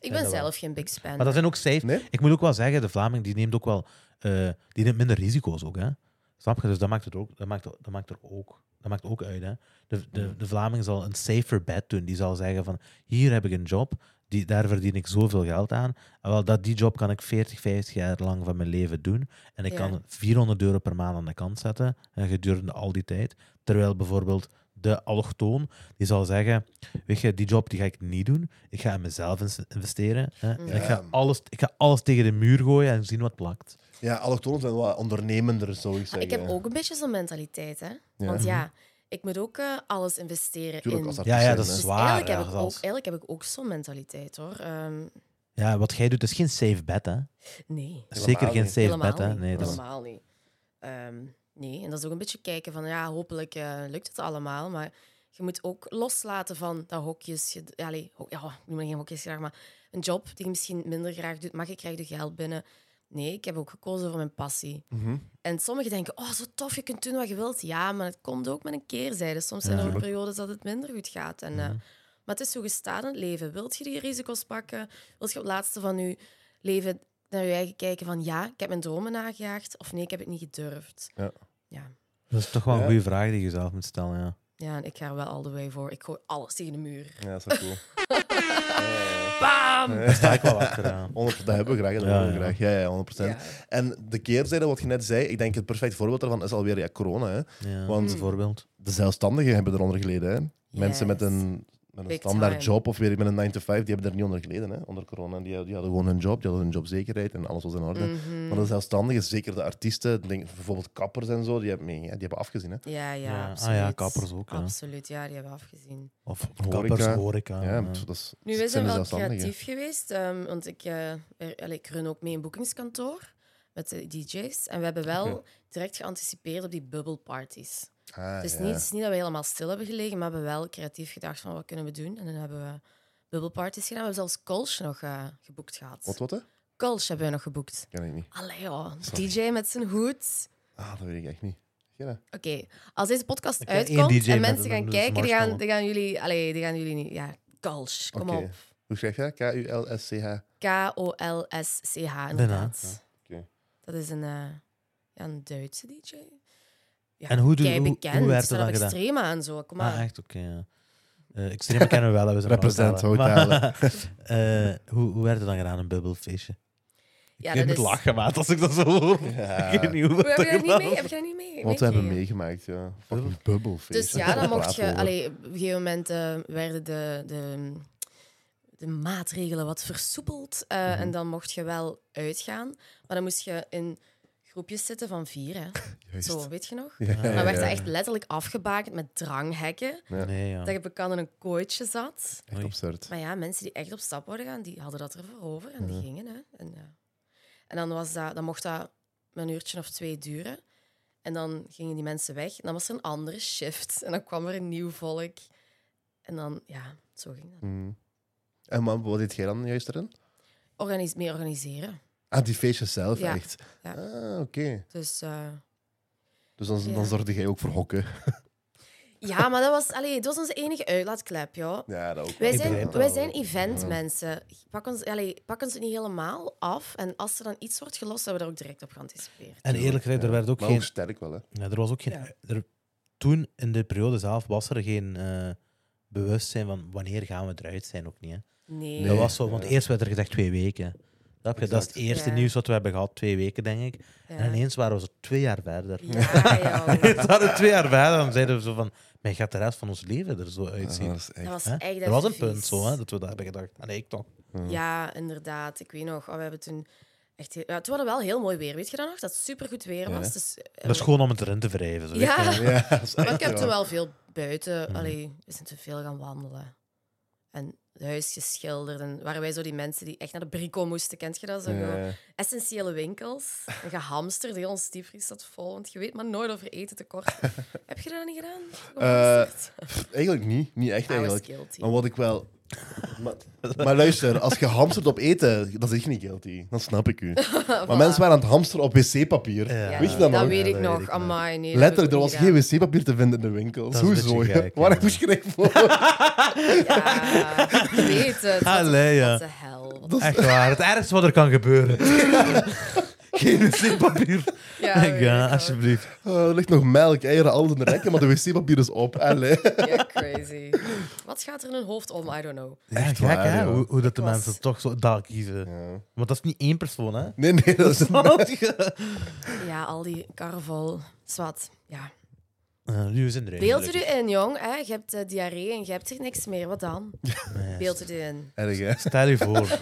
Speaker 1: Ik
Speaker 3: dat
Speaker 1: ben
Speaker 3: wel.
Speaker 1: zelf geen big spender.
Speaker 3: Maar dat zijn ook safe.
Speaker 2: Nee?
Speaker 3: Ik moet ook wel zeggen, de Vlaming die neemt ook wel eh, die neemt minder risico's ook, hè. Snap je? Dus dat maakt het ook, dat maakt, dat maakt er ook, dat maakt ook uit, hè. De, de, de Vlaming zal een safer bet doen. Die zal zeggen van, hier heb ik een job, die, daar verdien ik zoveel geld aan. En wel, dat, die job kan ik 40, 50 jaar lang van mijn leven doen. En ik
Speaker 1: Ja.
Speaker 3: kan 400 euro per maand aan de kant zetten, eh, gedurende al die tijd. Terwijl bijvoorbeeld de allochtoon, die zal zeggen, weet je, die job die ga ik niet doen. Ik ga in mezelf ins- investeren. Hè?
Speaker 1: Mm.
Speaker 3: En ik, ga
Speaker 2: Ja.
Speaker 3: alles, ik ga alles tegen de muur gooien en zien wat plakt.
Speaker 2: Ja, allochtonen zijn wel ondernemender, zou ik
Speaker 1: Maar
Speaker 2: zeggen.
Speaker 1: Ah, ik heb ook een beetje zo'n mentaliteit, hè. Want ja, ik moet ook eh, alles investeren
Speaker 2: Tuurlijk,
Speaker 1: in...
Speaker 2: als
Speaker 3: Ja, ja, Mhm. dat
Speaker 2: hè.
Speaker 3: is
Speaker 1: Dus
Speaker 3: waar.
Speaker 1: eigenlijk,
Speaker 3: ja,
Speaker 1: heb ik ook,
Speaker 3: zelfs.
Speaker 1: eigenlijk heb ik ook zo'n mentaliteit, hoor. Ehm,
Speaker 3: Ja, wat jij doet is geen safe bet, hè?
Speaker 1: nee,
Speaker 3: Zeker geen
Speaker 2: niet.
Speaker 3: safe
Speaker 1: helemaal
Speaker 3: bet, hè?
Speaker 1: niet.
Speaker 3: Nee, dat is...
Speaker 1: helemaal niet. Ehm, nee, en dat is ook een beetje kijken van, ja, hopelijk eh, lukt het allemaal. Maar je moet ook loslaten van dat hokjes... Je, ja, allee, ho- ja, ik noem maar geen hokjes graag, maar een job die je misschien minder graag doet. Maar je krijgt je geld binnen. Nee, ik heb ook gekozen voor mijn passie.
Speaker 2: Mhm.
Speaker 1: En sommigen denken, oh, zo tof, je kunt doen wat je wilt. Ja, maar het komt ook met een keerzijde. Soms zijn er ook
Speaker 2: Tuurlijk. Mhm.
Speaker 1: periodes dat het minder goed gaat. En, eh, maar het is zo gestaan in het leven. Wilt je die risico's pakken? Wilt je op het laatste van je leven naar je eigen kijken van, ja, ik heb mijn dromen nagejaagd. Of nee, ik heb het niet gedurfd.
Speaker 2: Ja.
Speaker 1: Ja,
Speaker 3: dat is toch wel een
Speaker 2: Ja.
Speaker 3: goede vraag die je zelf moet stellen, ja.
Speaker 1: ja en ik ga er wel all the way voor. Ik gooi alles tegen de muur.
Speaker 2: Ja, dat is wel cool.
Speaker 1: Bam!
Speaker 3: Daar sta ik wel achter,
Speaker 2: <laughs>
Speaker 3: ja.
Speaker 2: 100%, dat hebben we graag. hè, Dat
Speaker 3: Ja,
Speaker 2: hebben we
Speaker 3: ja.
Speaker 2: graag. Ja, ja, 100%.
Speaker 1: Ja.
Speaker 2: En de keerzijde, wat je net zei, ik denk het perfect voorbeeld daarvan is alweer ja, corona. Hè.
Speaker 3: ja.
Speaker 2: Want-
Speaker 3: bijvoorbeeld.
Speaker 2: De zelfstandigen hebben eronder geleden. Hè. Mensen met
Speaker 1: Yes.
Speaker 2: een, met een
Speaker 1: Big
Speaker 2: standaard
Speaker 1: time.
Speaker 2: job of weer met een 9 to 5, die hebben er niet onder geleden hè, onder corona. Die, die hadden gewoon hun job, die hadden hun jobzekerheid en alles was in orde.
Speaker 1: Mhm.
Speaker 2: Maar de zelfstandigen, zeker de artiesten, denk, bijvoorbeeld kappers en zo, die hebben, nee, ja, die hebben afgezien. Hè.
Speaker 1: Ja, ja,
Speaker 3: Ja. Ah
Speaker 1: absoluut.
Speaker 3: ja, kappers ook, hè.
Speaker 1: Absoluut, ja, die hebben we afgezien.
Speaker 3: Of
Speaker 2: Horeca.
Speaker 3: kappers, horeca.
Speaker 2: Ja,
Speaker 3: Ah, ja.
Speaker 2: pff, dat is,
Speaker 1: Nu,
Speaker 2: dat
Speaker 1: wij zijn
Speaker 2: de
Speaker 1: wel
Speaker 2: zelfstandigen.
Speaker 1: creatief geweest, ehm, want ik, eh, er- allee, ik run ook mee een boekingskantoor met de DJ's. En we hebben wel
Speaker 2: Oké.
Speaker 1: direct geanticipeerd op die bubbleparties.
Speaker 2: Ah,
Speaker 1: het, is
Speaker 2: ja.
Speaker 1: niet, het is niet dat we helemaal stil hebben gelegen, maar we hebben wel creatief gedacht van wat kunnen we doen. En dan hebben we bubbleparties gedaan. We hebben zelfs Kolsch nog eh, geboekt gehad.
Speaker 2: Wat, wat hè?
Speaker 1: Kolsch hebben we nog geboekt.
Speaker 2: Ken ik niet.
Speaker 1: Allee joh,
Speaker 2: Sorry.
Speaker 1: DJ met zijn hoed.
Speaker 2: Ah, dat weet ik echt niet. Ja.
Speaker 1: Oké, als deze podcast
Speaker 3: ken één
Speaker 1: uitkomt
Speaker 3: DJ
Speaker 1: en
Speaker 3: met
Speaker 1: mensen
Speaker 3: een-
Speaker 1: gaan
Speaker 3: een
Speaker 1: kijken, die gaan,
Speaker 3: marshmallow.
Speaker 1: die gaan jullie... Allee, die gaan jullie niet... Ja, Kolsch, kom
Speaker 2: Oké.
Speaker 1: op.
Speaker 2: Hoe schrijf je dat? K-U-L-S-C-H.
Speaker 1: K-O-L-S-C-H, inderdaad.
Speaker 2: Oké.
Speaker 1: Dat is een, eh, ja, een Duitse DJ. Ja,
Speaker 3: En hoe doe-
Speaker 1: kei
Speaker 3: hoe-
Speaker 1: bekend.
Speaker 3: hoe werd er
Speaker 1: Staan
Speaker 3: dan
Speaker 1: op
Speaker 3: gedaan?
Speaker 1: Extrema en zo, kom maar.
Speaker 3: Ah, echt? Oké, ja. Eh, extreme kennen we wel. hè, We zijn
Speaker 2: Represent
Speaker 3: hotellen. Maar, <laughs> eh, hoe, hoe werd het dan gedaan, een bubbelfeestje?
Speaker 1: ja,
Speaker 3: ik moet
Speaker 1: is- <laughs>
Speaker 3: lachen, maat, als ik dat zo hoor.
Speaker 2: Ja.
Speaker 3: Ik weet niet hoe
Speaker 1: Hoe, Heb
Speaker 3: dat
Speaker 1: je dat niet
Speaker 3: <laughs>
Speaker 1: mee? Heb
Speaker 3: gedaan
Speaker 1: je dat niet mee?
Speaker 2: Wat we hebben
Speaker 1: meegekregen?
Speaker 2: meegemaakt, ja. Fucking bubbelfeest.
Speaker 1: Dus ja, dan mocht je...
Speaker 2: Praat over.
Speaker 1: Allee, op een gegeven moment eh, werden de, de, de maatregelen wat versoepeld. eh,
Speaker 2: Mhm.
Speaker 1: En dan mocht je wel uitgaan. Maar dan moest je in groepjes zitten van vier, hè.
Speaker 2: Juist.
Speaker 1: Zo, weet je nog?
Speaker 2: Ja,
Speaker 3: Maar
Speaker 1: Dan
Speaker 2: ja,
Speaker 1: werd
Speaker 2: ja.
Speaker 1: dat echt letterlijk afgebakend met dranghekken.
Speaker 2: Ja.
Speaker 3: Nee, ja.
Speaker 1: Dat je bekend in een kooitje zat.
Speaker 2: Echt absurd.
Speaker 1: Maar ja, mensen die echt op stap worden gaan, die hadden dat ervoor over en
Speaker 3: Mhm.
Speaker 1: die gingen. Hè. En, ja. en dan, was dat, dan mocht dat een uurtje of twee duren. En dan gingen die mensen weg. En dan was er een andere shift. En dan kwam er een nieuw volk. En dan, ja, zo ging dat.
Speaker 2: Mm. En man, wat deed jij dan juist erin?
Speaker 1: Organis meer organiseren.
Speaker 2: Ah, die feestjes zelf,
Speaker 1: Ja.
Speaker 2: echt.
Speaker 1: Ja.
Speaker 2: Ah, oké.
Speaker 1: Dus eh,
Speaker 2: Dus dan,
Speaker 1: Ja.
Speaker 2: dan zorgde jij ook voor hokken.
Speaker 1: ja, maar dat was, allee, dat was onze enige uitlaatklep, joh.
Speaker 2: Ja, dat ook.
Speaker 1: Wij
Speaker 3: Ik begrijp
Speaker 1: zijn,
Speaker 3: het
Speaker 1: wij zijn eventmensen. Pak ons, allee, pak ons het niet helemaal af. En als er dan iets wordt gelost, hebben we daar ook direct op geanticipeerd.
Speaker 3: En eerlijk gezegd, er werd ook
Speaker 2: maar
Speaker 3: geen...
Speaker 2: ook sterk wel, hè.
Speaker 3: Ja, er was ook geen...
Speaker 1: Ja.
Speaker 3: Er, toen, in de periode zelf, was er geen eh, bewustzijn van wanneer gaan we eruit zijn, ook niet. Hè.
Speaker 1: Nee.
Speaker 3: dat was zo, want
Speaker 2: ja.
Speaker 3: eerst werd er gezegd twee weken. Snap je? Dat is het
Speaker 2: Exact.
Speaker 3: eerste
Speaker 1: Ja.
Speaker 3: nieuws wat we hebben gehad, twee weken, denk ik.
Speaker 1: ja.
Speaker 3: En ineens waren we zo twee jaar verder.
Speaker 1: Eh,
Speaker 3: <laughs>
Speaker 1: Ja, joh.
Speaker 3: Ze hadden twee jaar verder, dan zeiden we zo van... Maar gaat de rest van ons leven er zo uitzien?
Speaker 2: Ah, dat is echt-
Speaker 1: Dat was
Speaker 3: Hè?
Speaker 1: echt
Speaker 3: Er was een
Speaker 1: even
Speaker 3: punt
Speaker 1: vies.
Speaker 3: zo, hè, dat we dat hebben gedacht. Ah, nee, ik toch.
Speaker 1: Ja, inderdaad. Ik weet nog. Oh, we hebben toen echt... heel- Ja, toen hadden we wel heel mooi weer. Weet je dat nog? Dat het supergoed weer was.
Speaker 2: Ja.
Speaker 1: Dus, eh,
Speaker 3: Dat is gewoon om het erin te wrijven. Zo, weet
Speaker 1: Ja,
Speaker 3: je.
Speaker 2: Ja, dat is
Speaker 1: maar ik
Speaker 2: echt
Speaker 1: heb toen
Speaker 2: wel.
Speaker 1: wel veel
Speaker 3: Mhm.
Speaker 1: buiten... Allee, we zijn te veel gaan wandelen. En het huis geschilderd. En waren wij zo die mensen die echt naar de brico moesten. Kent je dat? Zo
Speaker 2: Ja,
Speaker 1: gewoon
Speaker 2: ja.
Speaker 1: essentiële winkels. En gehamsterd. Heel ons diepvries zat vol. Want je weet maar nooit over eten tekort.
Speaker 3: <laughs>
Speaker 1: heb je dat niet gedaan? Gehamsterd?
Speaker 2: Eigenlijk niet. Niet echt,
Speaker 1: I was
Speaker 2: Eh, eigenlijk.
Speaker 1: guilty.
Speaker 2: Maar wat ik wel Maar, maar luister, als je hamstert op eten, dan zit je niet guilty. Dan
Speaker 1: <laughs>
Speaker 2: snap ik u. Maar mensen waren aan het hamsteren op wc-papier.
Speaker 3: Ja.
Speaker 2: Weet je dat
Speaker 1: dat
Speaker 2: nog?
Speaker 1: weet ik
Speaker 3: Ja, dat
Speaker 1: nog.
Speaker 3: weet ik nog.
Speaker 1: Amai, nee. dat
Speaker 2: Letterlijk, er
Speaker 1: heb
Speaker 2: was
Speaker 1: ik ook
Speaker 2: geen wc-papier te vinden in de winkels.
Speaker 3: Dat is een
Speaker 2: Hoezo?
Speaker 3: beetje
Speaker 2: ja?
Speaker 3: gek,
Speaker 2: Waar
Speaker 3: ja.
Speaker 2: heb je geschreven voor?
Speaker 1: gedaan. Ja, ik weet het. Wat de-
Speaker 3: Allee, ja.
Speaker 1: Wat de hel.
Speaker 3: Echt waar, het ergste wat er kan
Speaker 2: <laughs>
Speaker 3: gebeuren. Geen wc-papier.
Speaker 1: Ja,
Speaker 3: Ja,
Speaker 1: weet ik nog.
Speaker 3: alsjeblieft.
Speaker 2: Eh, er ligt nog melk, eieren, alles in de rekken, maar de wc-papier is op. Allee.
Speaker 1: Ja, crazy. Wat gaat er in hun hoofd om? I don't know.
Speaker 3: Echt gek,
Speaker 2: waar,
Speaker 3: hè?
Speaker 2: joh.
Speaker 3: Hoe, hoe dat de
Speaker 1: Ik was-
Speaker 3: mensen toch zo daar kiezen.
Speaker 2: Ja. Oh,
Speaker 3: Want dat is niet één persoon,
Speaker 2: <laughs>
Speaker 3: hè?
Speaker 2: Nee, nee, dat
Speaker 3: <laughs>
Speaker 2: is
Speaker 1: Ja, al die carnaval. Zwat. Ja.
Speaker 3: Eh, Nu is in de
Speaker 1: Beeld het u in, jong. Hè? Je hebt eh, diarree en je hebt er niks meer. Wat dan? Beeld het u in.
Speaker 2: erg, hè?
Speaker 3: Stel je voor.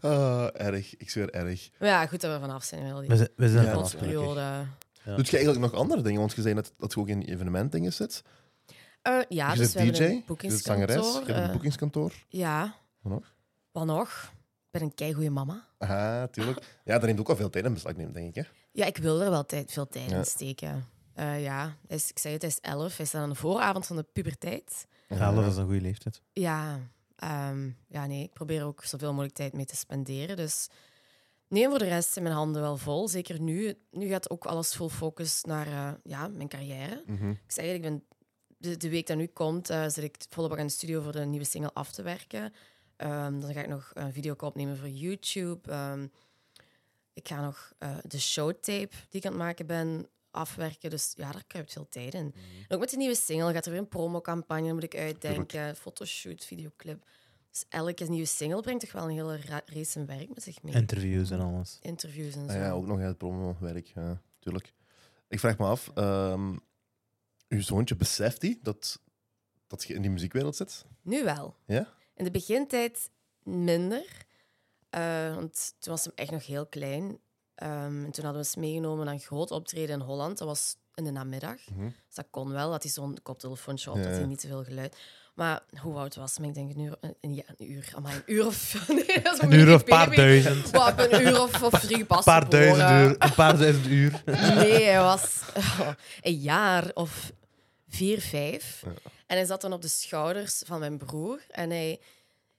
Speaker 2: Ah, erg, ik zweer erg.
Speaker 1: Maar ja, goed dat we vanaf zijn. Wel
Speaker 3: We
Speaker 1: die
Speaker 3: zijn, we zijn
Speaker 2: Ja,
Speaker 3: er
Speaker 2: dat is
Speaker 3: afgelukkig.
Speaker 1: periode.
Speaker 3: Ja.
Speaker 2: Doet je eigenlijk nog andere dingen? Want je zei net dat je ook in evenementdingen zit.
Speaker 1: Eh, ja,
Speaker 2: je
Speaker 1: dus we
Speaker 2: bent DJ,
Speaker 1: hebben een
Speaker 2: je bent zangeres,
Speaker 1: boekingskantoor.
Speaker 2: je hebt een
Speaker 1: eh,
Speaker 2: boekingskantoor.
Speaker 1: ja.
Speaker 2: Wat nog?
Speaker 1: Wat nog? Ik ben een keigoeie mama.
Speaker 2: Aha, Ah, tuurlijk. Ja, dat neemt ook al veel tijd in beslag, neemt, denk ik. Hè?
Speaker 1: Ja, ik wil er wel tijd, veel tijd
Speaker 2: Ja.
Speaker 1: in steken. Eh, ja, hij is, ik zei het, hij is elf. Hij staat aan de vooravond van de puberteit.
Speaker 3: Ja, dat is een goede leeftijd.
Speaker 1: Ja, ehm, ja, nee, ik probeer ook zoveel mogelijk tijd mee te spenderen. Dus nee, voor de rest zijn mijn handen wel vol. Zeker nu. Nu gaat ook alles full focus naar eh, ja, mijn carrière.
Speaker 2: Mhm.
Speaker 1: Ik zeg het, ik ben de, de week dat nu komt, eh, zit ik volop aan de studio voor de nieuwe single af te werken. Ehm, dan ga ik nog een video opnemen voor YouTube. Ehm, ik ga nog eh, de showtape die ik aan het maken ben afwerken. Dus ja, daar kruipt veel tijd in. En ook met die nieuwe single gaat er weer een promocampagne, moet ik uitdenken. Fotoshoot, videoclip. Dus elke nieuwe single brengt toch wel een hele ra- race aan werk met zich mee.
Speaker 3: Interviews en alles.
Speaker 1: Interviews en zo.
Speaker 2: Ah ja, ook nog uit het promo-werk, ja, tuurlijk. Ik vraag me af, ehm, uw zoontje, beseft hij dat, dat je in die muziekwereld zit?
Speaker 1: Nu wel.
Speaker 2: Ja?
Speaker 1: In de begintijd minder. Eh, want toen was hem echt nog heel klein. Ehm, en toen hadden we eens meegenomen naar een groot optreden in Holland. Dat was in de namiddag.
Speaker 2: Mhm.
Speaker 1: Dus dat kon wel, dat hij zo'n koptelefoontje op,
Speaker 2: Ja,
Speaker 1: dat hij
Speaker 2: ja.
Speaker 1: niet te veel geluid... Maar hoe oud was hem? Ik denk een uur, een, een- ja, een uur, amai, een uur of... <laughs> Nee, dat is
Speaker 3: Een
Speaker 1: een
Speaker 3: uur of
Speaker 1: baby.
Speaker 3: paar duizend.
Speaker 1: Wap, een uur of, of drie
Speaker 3: Een
Speaker 1: pas
Speaker 3: paar duizend
Speaker 1: geboren.
Speaker 3: uur. Een
Speaker 1: <laughs>
Speaker 3: paar duizend uur.
Speaker 1: Nee, hij was <laughs> oh, een jaar of vier, vijf. En hij zat dan op de schouders van mijn broer. En hij,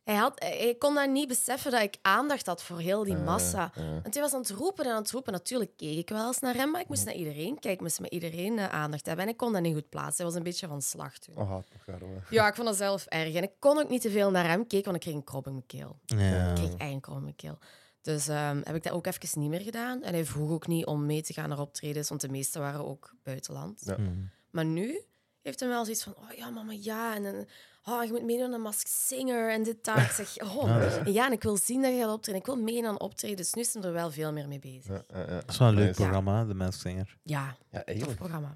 Speaker 1: hij, had, hij kon dan niet beseffen dat ik aandacht had voor heel
Speaker 2: Eh,
Speaker 1: die massa. En toen was hij aan het roepen en aan het roepen. Natuurlijk keek ik wel eens naar hem, maar ik moest naar iedereen kijken. Ik moest met iedereen eh, aandacht hebben. En ik kon dat niet goed plaatsen. Hij was een beetje van slag toen.
Speaker 2: Oh, haat nog arme.
Speaker 1: Ja, ik vond dat zelf erg. En ik kon ook niet te veel naar hem kijken, want ik kreeg een krop in mijn keel.
Speaker 3: Ja.
Speaker 1: Ik kreeg eigenlijk al mijn keel. Dus ehm, heb ik dat ook even niet meer gedaan. En hij vroeg ook niet om mee te gaan naar optredens, want de meeste waren ook buitenland.
Speaker 2: Ja.
Speaker 3: Mm.
Speaker 1: Maar nu heeft hij wel zoiets van, oh ja, mama, ja. En, dan, oh, je moet meedoen aan Mask Singer en dit, daar. Ik zeg, oh, en ja, en ik wil zien dat je gaat optreden. Ik wil mee aan optreden. Dus nu zijn we er wel veel meer mee bezig. Ja,
Speaker 2: Ja, ja, ja.
Speaker 3: Dat is wel een leuk
Speaker 2: Nice.
Speaker 3: programma, hè, De Mensinger.
Speaker 2: Ja,
Speaker 1: tof
Speaker 2: eigenlijk.
Speaker 1: programma.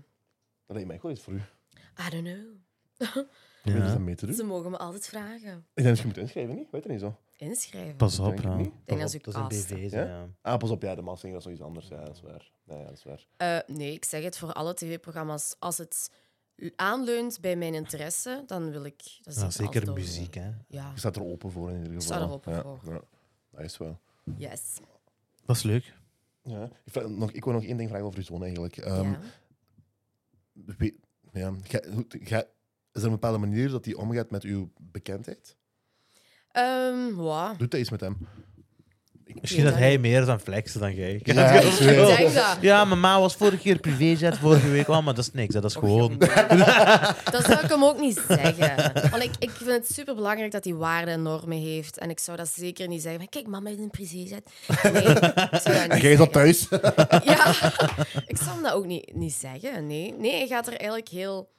Speaker 2: Dat lijkt mij goed iets voor u.
Speaker 1: I don't know.
Speaker 2: Om
Speaker 3: Ja.
Speaker 2: dus dat mee te doen.
Speaker 1: Ze mogen me altijd vragen.
Speaker 2: Ik denk dat je moet inschrijven, niet? Weet je niet zo?
Speaker 1: Inschrijven.
Speaker 3: Pas op,
Speaker 2: Denk ik
Speaker 3: ja.
Speaker 2: niet.
Speaker 1: denk
Speaker 3: Pas
Speaker 1: dat
Speaker 3: op,
Speaker 1: ze
Speaker 3: is een
Speaker 1: casten.
Speaker 3: BV.
Speaker 2: Ja?
Speaker 3: Ja.
Speaker 2: Ah, pas op, ja, de Massinger, dat is iets anders. Ja, dat is waar. Ja, ja, dat is waar.
Speaker 1: Eh, nee, ik zeg het voor alle tv-programma's. Als het l- aanleunt bij mijn interesse, dan wil ik... Dat zie
Speaker 3: Nou,
Speaker 1: ik altijd
Speaker 3: zeker
Speaker 1: over.
Speaker 3: muziek, hè.
Speaker 1: Ja,
Speaker 2: Je staat er open voor in ieder geval.
Speaker 1: sta er open
Speaker 2: ja.
Speaker 1: voor.
Speaker 2: Ja. Dat is wel.
Speaker 1: yes.
Speaker 3: Dat is leuk.
Speaker 2: Ja. Ik, vraag nog, ik wil nog één ding vragen over uw zoon eigenlijk. Ehm,
Speaker 1: ja.
Speaker 2: Wie- ja. Ga- hoe- ga- is er een bepaalde manier dat hij omgaat met uw bekendheid?
Speaker 1: Ehm, wa.
Speaker 2: Doet hij iets met hem?
Speaker 3: Misschien dat
Speaker 1: dat
Speaker 3: hij meer is aan flexen dan jij.
Speaker 2: <laughs> Ja, ik zweer.
Speaker 1: Ik zeg dat.
Speaker 3: Ja, mijn ma was vorige keer privéjet, vorige week. Oh, maar dat is niks. hè, Dat is
Speaker 1: Och,
Speaker 3: gewoon...
Speaker 1: jongen. dat zou ik hem ook niet
Speaker 2: <laughs>
Speaker 1: zeggen. Want ik, ik vind het superbelangrijk dat hij waarden en normen heeft. En ik zou dat zeker niet zeggen. van, kijk, mama is een privézet. Nee, ik
Speaker 2: <laughs>
Speaker 1: zou dat
Speaker 2: En
Speaker 1: niet
Speaker 2: jij
Speaker 1: zeggen.
Speaker 2: is dat thuis?
Speaker 1: Ja, <laughs> ik zou hem dat ook niet, niet zeggen. Nee. nee, hij gaat er eigenlijk heel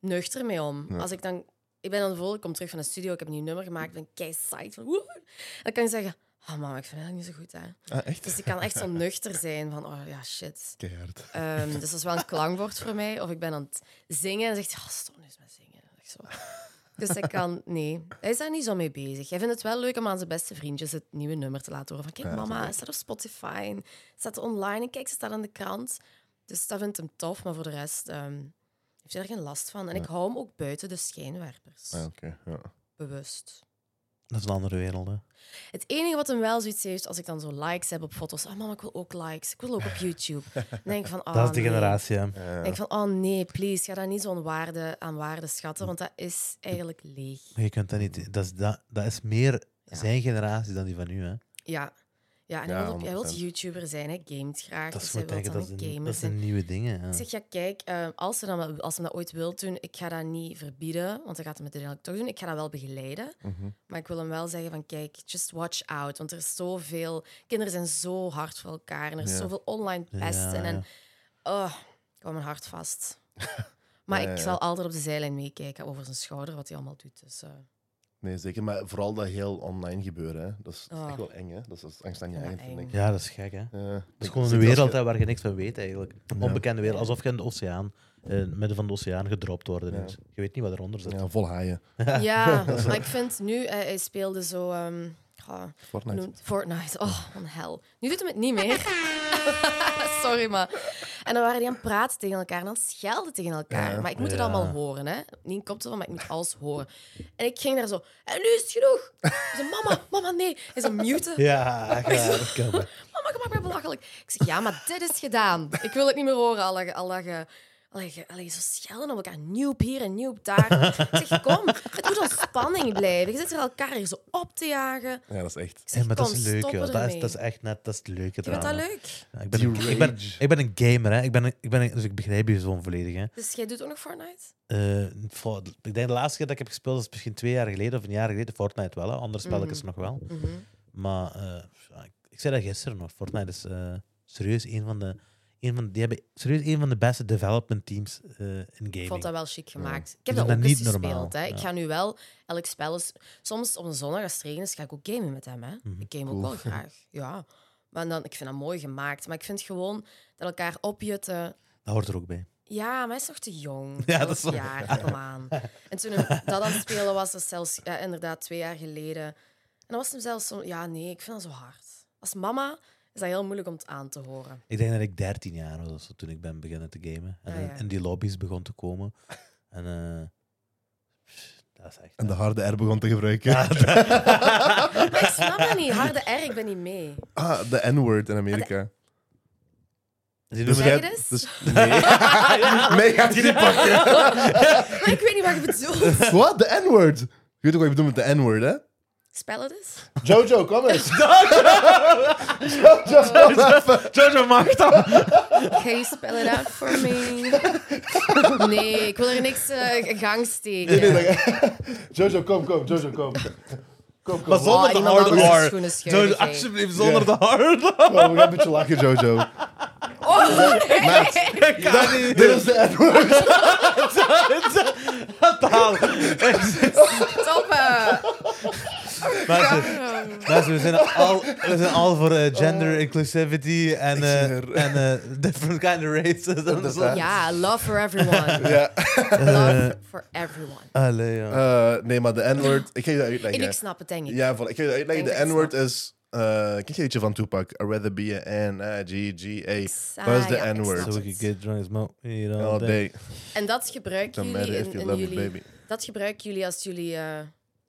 Speaker 1: nuchter mee om. Als ik dan... Ik ben dan bijvoorbeeld, ik kom terug van de studio, ik heb een nieuw nummer gemaakt, ik ben kei psyched. Van, woe. En dan kan je zeggen, oh mama, ik vind het eigenlijk niet zo goed. Hè.
Speaker 2: Ah, echt?
Speaker 1: Dus ik kan
Speaker 2: <laughs>
Speaker 1: echt zo nuchter zijn van, oh ja, shit.
Speaker 2: Keihard.
Speaker 1: Ehm, dus dat is wel een klankwoord voor mij. Of ik ben aan het zingen en zegt, oh, stop nu eens met zingen. Echt zo. Dus ik kan, nee, hij is daar niet zo mee bezig. Hij vindt het wel leuk om aan zijn beste vriendjes het nieuwe nummer te laten horen. Van kijk, mama, het staat op Spotify en het staat online en kijk, ze staat aan de krant. Dus dat vindt hem tof, maar voor de rest ehm, heeft hij er geen last van. En ik hou hem ook buiten de schijnwerpers,
Speaker 2: Ah, oké. Ja.
Speaker 1: bewust.
Speaker 3: Dat is een andere wereld, hè.
Speaker 1: Het enige wat hem wel zoiets heeft, als ik dan zo likes heb op foto's. Oh mama, ik wil ook likes. Ik wil ook op YouTube. Dan denk ik van, <laughs> oh,
Speaker 3: dat is de
Speaker 1: nee.
Speaker 3: generatie, hè.
Speaker 1: Dan denk ik van, oh nee, please, ga daar niet zo'n waarde aan waarde schatten, want dat is eigenlijk leeg.
Speaker 3: Maar je kunt dat niet... Dat is, dat, dat is meer zijn generatie dan die van u, hè.
Speaker 1: Ja. Ja, en
Speaker 2: Ja,
Speaker 1: hij wil, hij wil
Speaker 2: 100%.
Speaker 1: YouTuber zijn, hij gamet graag.
Speaker 3: Dat
Speaker 1: dus
Speaker 3: is
Speaker 1: hij
Speaker 3: wat
Speaker 1: wil
Speaker 3: denken,
Speaker 1: dan
Speaker 3: dat,
Speaker 1: een
Speaker 3: is een-
Speaker 1: gamer
Speaker 3: dat
Speaker 1: zijn.
Speaker 3: zijn nieuwe dingen.
Speaker 1: Ik
Speaker 3: hè.
Speaker 1: zeg, ja, kijk, eh, als ze, dat, als ze dat ooit wil doen, ik ga dat niet verbieden, want dan gaat hij het uiteindelijk toch doen. Ik ga dat wel begeleiden,
Speaker 2: Mhm.
Speaker 1: maar ik wil hem wel zeggen van, kijk, just watch out, want er is zoveel... Kinderen zijn zo hard voor elkaar en er is
Speaker 2: Ja.
Speaker 1: zoveel online pesten
Speaker 3: Ja,
Speaker 1: en...
Speaker 3: ja.
Speaker 1: Oh, ik hou mijn hart
Speaker 2: <laughs>
Speaker 1: vast. maar
Speaker 2: Ja, ja,
Speaker 1: ik
Speaker 2: ja.
Speaker 1: zal altijd op de zijlijn meekijken over zijn schouder, wat hij allemaal doet. Dus, eh,
Speaker 2: Nee, zeker. Maar vooral dat heel online gebeuren, hè. dat is dat is
Speaker 1: Oh.
Speaker 2: echt wel eng. Hè. Dat is, dat is angst aan je
Speaker 1: Ja,
Speaker 2: eigen,
Speaker 1: eng.
Speaker 2: vind ik.
Speaker 3: Ja, dat is gek, hè.
Speaker 2: Ja.
Speaker 3: Het
Speaker 2: Ik-
Speaker 3: is gewoon een
Speaker 2: zeker als
Speaker 3: wereld
Speaker 2: je-
Speaker 3: hè, waar je niks van weet, eigenlijk. Een
Speaker 2: Ja.
Speaker 3: onbekende wereld. Alsof je in de oceaan, eh, in het midden van de oceaan, gedropt wordt.
Speaker 2: Ja.
Speaker 3: Dus Je weet niet wat eronder
Speaker 2: <laughs>
Speaker 3: zit.
Speaker 2: Ja, vol haaien.
Speaker 1: ja, maar ik vind nu, eh, hij speelde zo... ehm, ah,
Speaker 2: Fortnite.
Speaker 1: Noemt Fortnite. Oh, van hel. Nu doet hem het niet meer. <laughs> Sorry, maar. En dan waren die aan het praten tegen elkaar en dan schelden tegen elkaar.
Speaker 2: Ja.
Speaker 1: Maar ik moet het
Speaker 3: Ja.
Speaker 1: allemaal horen, hè? Niet een koptelefoon, maar ik moet alles horen. En ik ging daar zo. En nu is het genoeg. Ik zei, mama, mama, nee. Hij zo muten.
Speaker 3: Ja, <laughs> echt waar, dat kan wel.
Speaker 1: Mama, ik maak mij belachelijk. Ik zeg, ja, maar dit is gedaan. Ik wil het niet meer horen. Al dat ge- al dat ge- al dat ge- al dat ge zo schelden op elkaar. Nieuw hier en nieuw daar. Ik zeg, kom, het moet ontspanning blijven. Je zit er elkaar hier zo op te jagen.
Speaker 2: Ja, dat is echt.
Speaker 1: Ik zeg,
Speaker 3: Hey, maar dat
Speaker 1: kom,
Speaker 3: is leuk,
Speaker 1: stoppen
Speaker 3: joh. Dat is,
Speaker 1: ermee.
Speaker 3: dat is echt net dat is het leuke
Speaker 1: Je vindt dat
Speaker 3: eraan, hè.
Speaker 1: leuk?
Speaker 3: Ja, ik, ben
Speaker 2: Die
Speaker 3: een, ik, ben,
Speaker 2: rage.
Speaker 3: ik ben een gamer, hè. Ik ben een- ik ben een- dus ik begrijp je zo volledig, hè.
Speaker 1: Dus jij doet ook nog Fortnite?
Speaker 3: Eh, voor- ik denk de laatste keer dat ik heb gespeeld, dat is misschien twee jaar geleden of een jaar geleden. Fortnite wel, hè. andere spelletjes
Speaker 1: Mhm.
Speaker 3: nog wel. Maar eh, ja, ik, ik zei dat gisteren nog. Fortnite is eh, serieus een van de. Een van, die hebben serieus een van de beste development teams eh, in gaming.
Speaker 1: Ik vond dat wel chic gemaakt. Ik heb
Speaker 3: Die doen
Speaker 1: dat
Speaker 3: dat
Speaker 1: ook eens
Speaker 3: niet normaal,
Speaker 1: gespeeld. Hè.
Speaker 3: ja.
Speaker 1: Ik ga nu wel elk spel... Eens, soms op een zondag als het regent is, ga ik ook gamen met hem. Hè.
Speaker 3: Mhm,
Speaker 1: Ik game ook wel graag. Ja. Maar dan, ik vind dat mooi gemaakt. Maar ik vind gewoon dat elkaar opjutten...
Speaker 3: Dat hoort er ook bij.
Speaker 1: Ja, maar hij is nog te jong.
Speaker 3: Ja, dat
Speaker 1: Elf
Speaker 3: is waar.
Speaker 1: jaar, kom aan. En toen hem dat aan het spelen was, dat is zelfs ja, inderdaad twee jaar geleden. En dan was hem zelfs zo... Ja, nee, ik vind dat zo hard. Als mama is dat heel moeilijk om het aan te horen.
Speaker 3: Ik denk dat ik 13 jaar was of zo, toen ik ben beginnen te gamen. En, eh,
Speaker 1: Ah, ja.
Speaker 3: en die lobby's begon te komen. En eh, pff, dat is <laughs> echt.
Speaker 2: En de harde R begon te gebruiken.
Speaker 1: Maar ik snap dat niet. Harde R, ik ben niet mee.
Speaker 2: Ah, de N-word in
Speaker 1: Ah,
Speaker 2: Amerika.
Speaker 3: Die
Speaker 2: Dus
Speaker 3: noemen-
Speaker 1: jij
Speaker 2: jij-
Speaker 1: dus?
Speaker 2: dus- nee.
Speaker 1: <laughs>
Speaker 2: nee, gaat je niet pakken.
Speaker 1: Maar ik weet niet wat je bedoelt.
Speaker 2: Wat? De N-word? Je weet ook wat je bedoelt met de N-word, hè?
Speaker 1: Spel het eens.
Speaker 2: <laughs> Jojo, kom eens. Jojo, kom even.
Speaker 3: Jojo mag <laughs> dat!
Speaker 1: Can you spell it out for me? Nee, ik wil er niks eh gang steken.
Speaker 2: Jojo, kom, kom. Jojo, kom. Kom, kom.
Speaker 3: Maar zonder
Speaker 1: Oh,
Speaker 3: de
Speaker 1: iemand
Speaker 3: harde
Speaker 1: anders
Speaker 3: R.
Speaker 1: schoenen
Speaker 3: Jojo,
Speaker 1: scheuren, jij.
Speaker 3: alsjeblieft, zonder de <laughs> harde
Speaker 2: Oh, we gaan een beetje lachen, Jojo.
Speaker 1: Oh, nee.
Speaker 3: Ik kan niet.
Speaker 2: Dit is de
Speaker 3: <laughs>
Speaker 2: N-word.
Speaker 1: <laughs> Top. eh.
Speaker 3: Mensen, Mensen, we zijn al, we zijn al voor eh,
Speaker 1: Oh.
Speaker 3: gender inclusivity en, eh,
Speaker 2: zweer.
Speaker 3: en eh, <laughs> different kind of racism.
Speaker 2: Inderdaad.
Speaker 1: Ja, love for everyone.
Speaker 2: Ja.
Speaker 1: Love for everyone.
Speaker 3: Allee, ja.
Speaker 2: Eh, nee, maar de N-word... Ik ga je dat
Speaker 1: En
Speaker 2: uitleggen.
Speaker 1: ik snap het, denk ik.
Speaker 2: Ja, voilà. ik ga je dat uitleggen.
Speaker 1: Denk
Speaker 2: De
Speaker 1: ik
Speaker 2: N-word is... eh ken je ietsje van Tupac? I'd rather be eh, an N-I-G-G-A. Wat is
Speaker 1: Ah, ja,
Speaker 2: de
Speaker 1: ik
Speaker 2: N-word?
Speaker 1: snap
Speaker 3: So we could get drunk as mo- you know,
Speaker 2: All
Speaker 3: that-
Speaker 2: day.
Speaker 1: En dat gebruiken
Speaker 2: Don't matter
Speaker 1: jullie
Speaker 2: if
Speaker 1: in,
Speaker 2: you
Speaker 1: in
Speaker 2: love your
Speaker 1: jullie...
Speaker 2: baby.
Speaker 1: Dat gebruiken jullie als jullie... eh,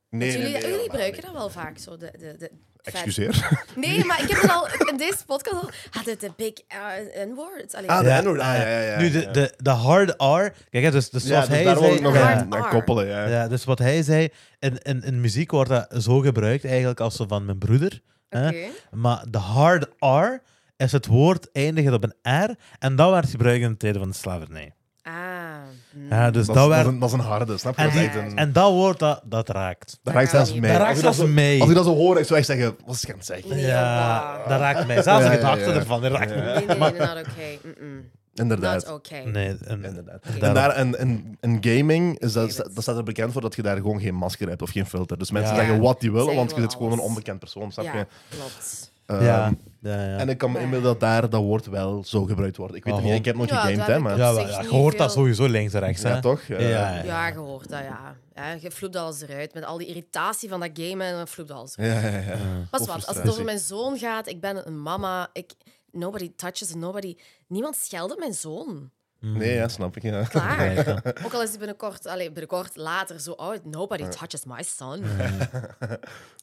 Speaker 2: Nee, nee,
Speaker 1: jullie
Speaker 2: nee,
Speaker 1: jullie
Speaker 2: helemaal
Speaker 1: gebruiken
Speaker 2: niet.
Speaker 1: dat wel vaak, zo. De, de, de,
Speaker 2: Excuseer. <laughs>
Speaker 1: Nee, maar ik heb het al in deze podcast al... Ah, de, de big eh, N-word. Allee,
Speaker 2: Ah, de
Speaker 3: Ja.
Speaker 2: N-word. Ah, ja, ja, ja.
Speaker 3: Nu, de, de, de hard R. Kijk, hè, dus, dus
Speaker 2: Ja,
Speaker 3: zoals
Speaker 2: dus
Speaker 3: hij
Speaker 2: daar wil
Speaker 3: zei...
Speaker 2: ik nog
Speaker 3: ja,
Speaker 2: aan, aan
Speaker 1: R.
Speaker 2: koppelen, ja.
Speaker 3: ja, dus wat hij zei, in, in, in muziek wordt dat zo gebruikt eigenlijk als zo van mijn broeder. hè.
Speaker 1: Oké.
Speaker 3: Maar de hard R is het woord eindigend op een R en dat werd gebruikt in de tijden van de slavernij.
Speaker 1: Ah.
Speaker 2: Hmm.
Speaker 1: hm.
Speaker 3: Ja,
Speaker 2: Dat, is,
Speaker 3: dus dat,
Speaker 2: dat,
Speaker 3: werd,
Speaker 2: is een, dat is een harde, snap je?
Speaker 3: en,
Speaker 2: Dat is
Speaker 3: die,
Speaker 2: echt een-
Speaker 3: en dat woord, dat, dat raakt.
Speaker 2: dat raakt zelfs
Speaker 1: Dat
Speaker 2: mij.
Speaker 3: raakt
Speaker 2: Als ik dat
Speaker 3: zelfs
Speaker 2: zo-
Speaker 3: mij.
Speaker 2: Als ik dat zo hoor, ik zou echt zeggen, wat is het gaan zeggen?
Speaker 1: Nee,
Speaker 3: Ja,
Speaker 1: wauw.
Speaker 3: dat raakt mij. Zelfs
Speaker 2: Ja,
Speaker 3: de
Speaker 2: ja,
Speaker 3: gedachte
Speaker 2: ja.
Speaker 3: ervan, die raakt
Speaker 2: Ja.
Speaker 3: me.
Speaker 1: Nee, nee, nee, not okay. Mm-mm. Not
Speaker 2: Inderdaad.
Speaker 1: okay.
Speaker 3: Nee, en-
Speaker 2: Inderdaad.
Speaker 3: daarom-
Speaker 2: En, daar, en, en, en gaming, is dat,
Speaker 1: David.
Speaker 2: dat staat er bekend voor dat je daar gewoon geen masker hebt of geen filter. Dus mensen
Speaker 3: Ja.
Speaker 2: zeggen wat die willen,
Speaker 1: Zeggen
Speaker 2: want je
Speaker 1: wel
Speaker 2: zit gewoon een
Speaker 1: alles.
Speaker 2: onbekend persoon, snap je?
Speaker 1: Ja, klopt.
Speaker 2: Ehm,
Speaker 3: ja, ja, ja.
Speaker 2: En ik kan me
Speaker 1: Ja.
Speaker 2: inmiddelen dat daar dat woord wel zo gebruikt wordt. Ik weet het
Speaker 3: Ah,
Speaker 2: niet, ik heb nog
Speaker 1: Ja,
Speaker 2: gegamed,
Speaker 1: dat
Speaker 2: hè,
Speaker 1: heb
Speaker 2: maar...
Speaker 1: ik.
Speaker 2: Ja,
Speaker 3: ja,
Speaker 1: op
Speaker 3: wel,
Speaker 1: zich
Speaker 3: ja, je
Speaker 1: niet
Speaker 3: hoort dat
Speaker 1: veel.
Speaker 3: sowieso links en rechts, hè?
Speaker 2: toch?
Speaker 3: Ja,
Speaker 2: Eh,
Speaker 3: ja, ja.
Speaker 1: Ja, gehoord dat, ja. ja. Je floept dat alles eruit. Met al die irritatie van dat gamen, dan floept dat alles eruit.
Speaker 2: ja, ja, ja.
Speaker 1: Pas
Speaker 2: Of
Speaker 1: wat, als het
Speaker 2: frustratie.
Speaker 1: over mijn zoon gaat, ik ben een mama. Ik, nobody touches, nobody... Niemand scheldt op mijn zoon.
Speaker 3: Mm.
Speaker 2: Nee, ja, snap ik. Ja.
Speaker 1: Klaar.
Speaker 3: Ja,
Speaker 1: <laughs>
Speaker 3: ja.
Speaker 1: Ook al is die binnenkort, allee, binnenkort later zo oud. Nobody touches my son.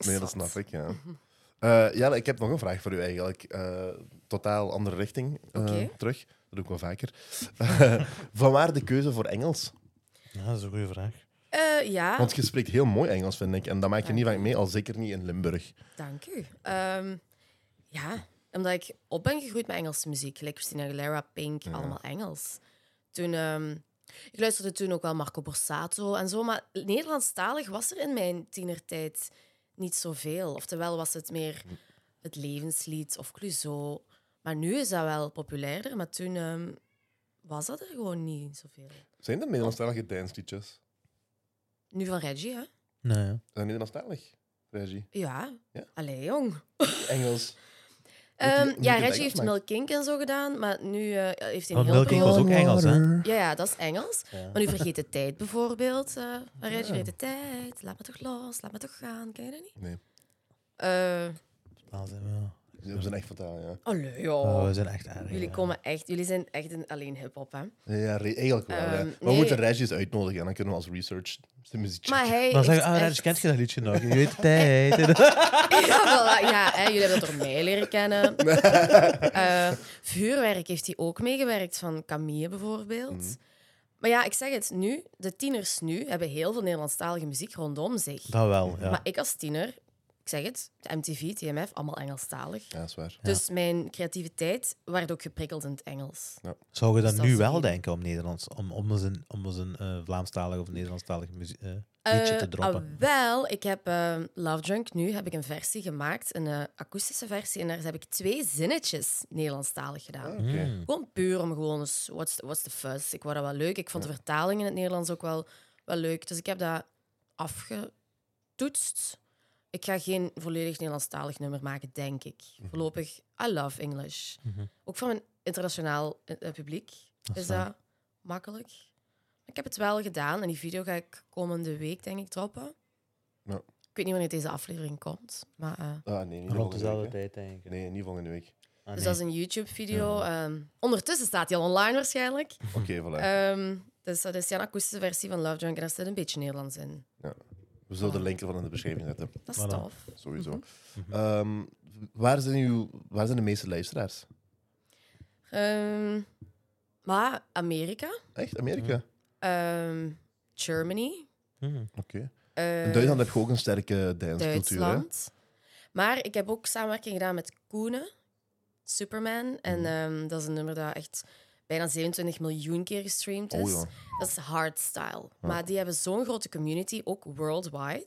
Speaker 2: Nee, dat snap ik, ja. Eh, Jelle, ik heb nog een vraag voor u eigenlijk. Eh, totaal andere richting eh,
Speaker 1: Oké.
Speaker 2: terug. Dat doe ik wel vaker. <laughs> vanwaar de keuze voor Engels?
Speaker 3: Ja, dat is een goede vraag.
Speaker 1: Eh, ja,
Speaker 2: Want je spreekt heel mooi Engels, vind ik. En dat maak je niet
Speaker 1: Dank
Speaker 2: vaak mee, al zeker niet in Limburg.
Speaker 1: dank u. Ehm, ja, omdat ik op ben gegroeid met Engelse muziek. Like Christina Aguilera, Pink, allemaal Engels. Toen, ehm, ik luisterde toen ook wel Marco Borsato en zo. Maar Nederlandstalig was er in mijn tienertijd niet zoveel. Oftewel was het meer het levenslied of Cluzo. Maar nu is dat wel populairder. Maar toen ehm, was dat er gewoon niet zoveel.
Speaker 2: Zijn er Nederlandstalige dansliedjes?
Speaker 1: Nu van Reggie, hè?
Speaker 3: Nee, ja.
Speaker 2: Zijn die Nederlandstalig, Reggie?
Speaker 1: Ja.
Speaker 2: Ja.
Speaker 1: Allee, jong.
Speaker 2: Engels.
Speaker 1: Ehm,
Speaker 2: Moet je- moet je
Speaker 1: ja,
Speaker 2: het Engels
Speaker 1: Reggie heeft
Speaker 2: maken?
Speaker 1: Milk Inc. en zo gedaan, maar nu eh, heeft hij een
Speaker 3: Want
Speaker 1: heel
Speaker 3: Milk Inc. was ook Engels, hè?
Speaker 1: Ja, ja, dat is Engels.
Speaker 3: Ja.
Speaker 1: Maar nu vergeet de tijd bijvoorbeeld. eh van Reggie vergeet de tijd. Laat me toch los, laat me toch gaan. Ken je dat niet?
Speaker 2: Nee,
Speaker 1: Eh
Speaker 3: Taal zijn we- ja.
Speaker 2: we zijn echt vertaal, ja.
Speaker 1: allee,
Speaker 3: Oh,
Speaker 1: joh.
Speaker 3: we zijn echt erg.
Speaker 1: Jullie,
Speaker 3: ja.
Speaker 1: komen echt, jullie zijn echt een alleen hip-hop, hè?
Speaker 2: Ja, re- eigenlijk wel. ja.
Speaker 1: Ehm,
Speaker 2: Maar
Speaker 1: nee.
Speaker 2: We moeten Regis uitnodigen en dan kunnen we als research de muziek
Speaker 1: Maar
Speaker 2: checken.
Speaker 1: hij.
Speaker 3: Dan
Speaker 1: heeft
Speaker 3: zeggen ah, Reg,
Speaker 1: echt-
Speaker 3: kent je dat liedje nog? Je weet de tijd.
Speaker 1: Ja, voilà, ja hè, jullie hebben het door mij leren
Speaker 3: <laughs>
Speaker 1: kennen. Eh, vuurwerk heeft hij ook meegewerkt, van Camille bijvoorbeeld.
Speaker 3: Mhm.
Speaker 1: Maar ja, ik zeg het nu, de tieners nu hebben heel veel Nederlandstalige muziek rondom zich.
Speaker 3: Dat wel, ja.
Speaker 1: Maar ik als tiener, ik zeg het, de MTV, TMF, allemaal Engelstalig.
Speaker 2: Ja, dat is waar.
Speaker 1: Dus mijn creativiteit werd ook geprikkeld in het Engels.
Speaker 3: Zou je
Speaker 1: Dus
Speaker 3: dan
Speaker 1: dat
Speaker 3: nu
Speaker 1: is
Speaker 3: wel
Speaker 1: een-
Speaker 3: denken om Nederlands, om, om eens een, om eens een eh, Vlaamstalig of Nederlandstalig muzie- eh, liedje te
Speaker 1: Eh,
Speaker 3: droppen?
Speaker 1: ah, wel, ik heb eh, Love Drunk nu heb ik een versie gemaakt, een eh, akoestische versie. En daar heb ik twee zinnetjes Nederlandstalig gedaan.
Speaker 2: Ah, oké.
Speaker 3: Hmm. Mm.
Speaker 1: Gewoon puur om gewoon eens, what's, what's the fuss? Ik vond dat wel leuk. Ik vond de vertaling in het Nederlands ook wel, wel leuk. Dus ik heb dat afgetoetst. Ik ga geen volledig Nederlandstalig nummer maken, denk ik. Voorlopig, I love English. Ook voor mijn internationaal eh, eh, publiek is
Speaker 3: fijn.
Speaker 1: dat makkelijk. Ik heb het wel gedaan en die video ga ik komende week, denk ik, droppen.
Speaker 2: Ja.
Speaker 1: Ik weet niet wanneer deze aflevering komt, maar... eh,
Speaker 2: Ah, nee, niet
Speaker 3: Rond
Speaker 2: volgende
Speaker 3: dezelfde
Speaker 2: week, hè.
Speaker 3: tijd, denk ik.
Speaker 2: Nee, niet volgende week.
Speaker 3: Ah,
Speaker 1: Dus
Speaker 3: nee.
Speaker 1: dat is een YouTube-video. Ehm, ondertussen staat die al online waarschijnlijk.
Speaker 2: Oké,
Speaker 1: <laughs>
Speaker 2: voilà.
Speaker 1: Ehm, dus dat is ja, een akoestische versie van Love Drunk en daar zit een beetje Nederlands in.
Speaker 2: We zullen de link ervan in de beschrijving zetten.
Speaker 1: Dat is
Speaker 3: Voilà.
Speaker 1: tof.
Speaker 2: Sowieso.
Speaker 1: Mhm.
Speaker 3: Mhm.
Speaker 2: Ehm, waar, zijn uw, waar zijn de meeste luisteraars?
Speaker 1: Ehm, maar Amerika,
Speaker 2: Echt? Amerika?
Speaker 1: ehm, Germany,
Speaker 3: Hmm.
Speaker 2: Oké.
Speaker 1: eh,
Speaker 2: In Duitsland heb je ook een sterke dancecultuur, hè?
Speaker 1: Duitsland. Maar ik heb ook samenwerking gedaan met Koenen, Superman. En ehm, dat is een nummer dat echt bijna 27 miljoen keer gestreamd
Speaker 2: Oh
Speaker 1: is.
Speaker 2: ja.
Speaker 1: Dat is hardstyle. Maar die hebben zo'n grote community, ook worldwide,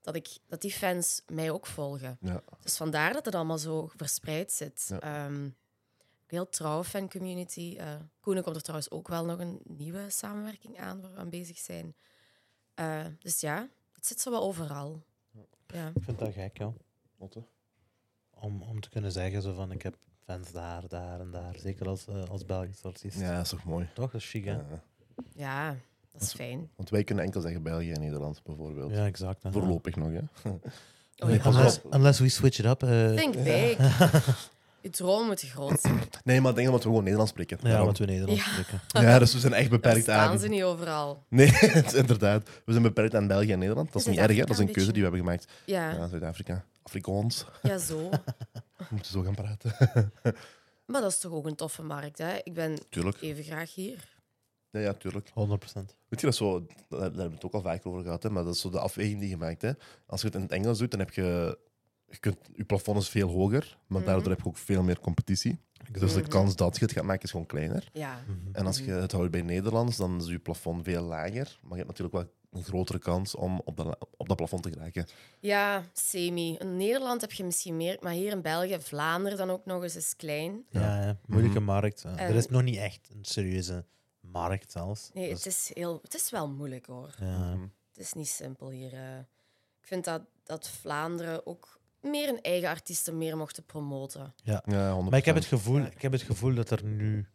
Speaker 1: dat, ik, dat die fans mij ook volgen.
Speaker 2: Ja.
Speaker 1: Dus vandaar dat het allemaal zo verspreid zit.
Speaker 2: Ja.
Speaker 1: Ehm, een heel trouw fancommunity. Eh Koenen komt er trouwens ook wel nog een nieuwe samenwerking aan waar we aan bezig zijn. Eh, dus ja, het zit zo wel overal. Ja.
Speaker 3: Ik vind dat gek, joh.
Speaker 2: Otte?
Speaker 3: Om, om te kunnen zeggen zo van, ik heb fans daar, daar en daar. Zeker als, eh, als Belgisch artiest.
Speaker 2: Ja, dat is toch mooi.
Speaker 3: Toch? Dat is chic, hè? Ja,
Speaker 2: Ja.
Speaker 1: ja, dat is fijn.
Speaker 2: Want wij kunnen enkel zeggen België en Nederland, bijvoorbeeld.
Speaker 3: exact. hè.
Speaker 2: Voorlopig nog, hè?
Speaker 1: Oh,
Speaker 3: Nee,
Speaker 1: ja.
Speaker 3: unless, unless we switch it up. eh,
Speaker 1: Think big.
Speaker 2: <laughs>
Speaker 1: Je droom moet groot zijn.
Speaker 2: Nee, maar ik denk dat we gewoon Nederlands spreken.
Speaker 3: ja,
Speaker 2: Daarom.
Speaker 3: want we Nederlands spreken.
Speaker 2: ja, dus we zijn echt
Speaker 1: Daar
Speaker 2: beperkt
Speaker 1: staan
Speaker 2: aan...
Speaker 1: ze niet overal.
Speaker 2: Nee, <laughs> het is inderdaad. We zijn beperkt aan België en Nederland. Dat is niet erg, hè?
Speaker 1: Zuid-Afrika
Speaker 2: Dat is een
Speaker 1: een
Speaker 2: keuze die we hebben gemaakt.
Speaker 1: Ja,
Speaker 2: Ja, Zuid-Afrika. Afrikaans.
Speaker 1: ja zo.
Speaker 2: We moeten zo gaan praten.
Speaker 1: Maar dat is toch ook een toffe markt, hè? Ik ben
Speaker 2: Tuurlijk.
Speaker 1: even graag hier.
Speaker 2: Ja, ja, tuurlijk.
Speaker 3: 100%.
Speaker 2: Weet je, dat is zo, daar daar hebben we het ook al vaker over gehad, hè, maar dat is zo de afweging die je maakt. Hè. Als je het in het Engels doet, dan heb je... Je, kunt, je plafond is veel hoger, maar daardoor heb je ook veel meer competitie. Dus de kans dat je het gaat maken is gewoon kleiner.
Speaker 1: Ja.
Speaker 3: Mhm.
Speaker 2: En als je het houdt bij Nederlands, dan is je plafond veel lager. Maar je hebt natuurlijk wel een grotere kans om op dat, la- op dat plafond te geraken.
Speaker 1: Ja, semi. In Nederland heb je misschien meer, maar hier in België, Vlaanderen dan ook nog eens, is klein.
Speaker 3: Ja, Mhm. hè. moeilijke markt. hè.
Speaker 1: En-
Speaker 3: Er is nog niet echt een serieuze markt zelfs.
Speaker 1: Eh. Nee,
Speaker 3: Dus-
Speaker 1: het is, heel, het is wel moeilijk hoor.
Speaker 3: ja.
Speaker 1: Het is niet simpel hier. eh. Ik vind dat, dat Vlaanderen ook meer een eigen artiesten meer mochten promoten.
Speaker 2: Ja, 100%.
Speaker 3: Maar ik heb, het gevoel, ik heb het gevoel dat er nu.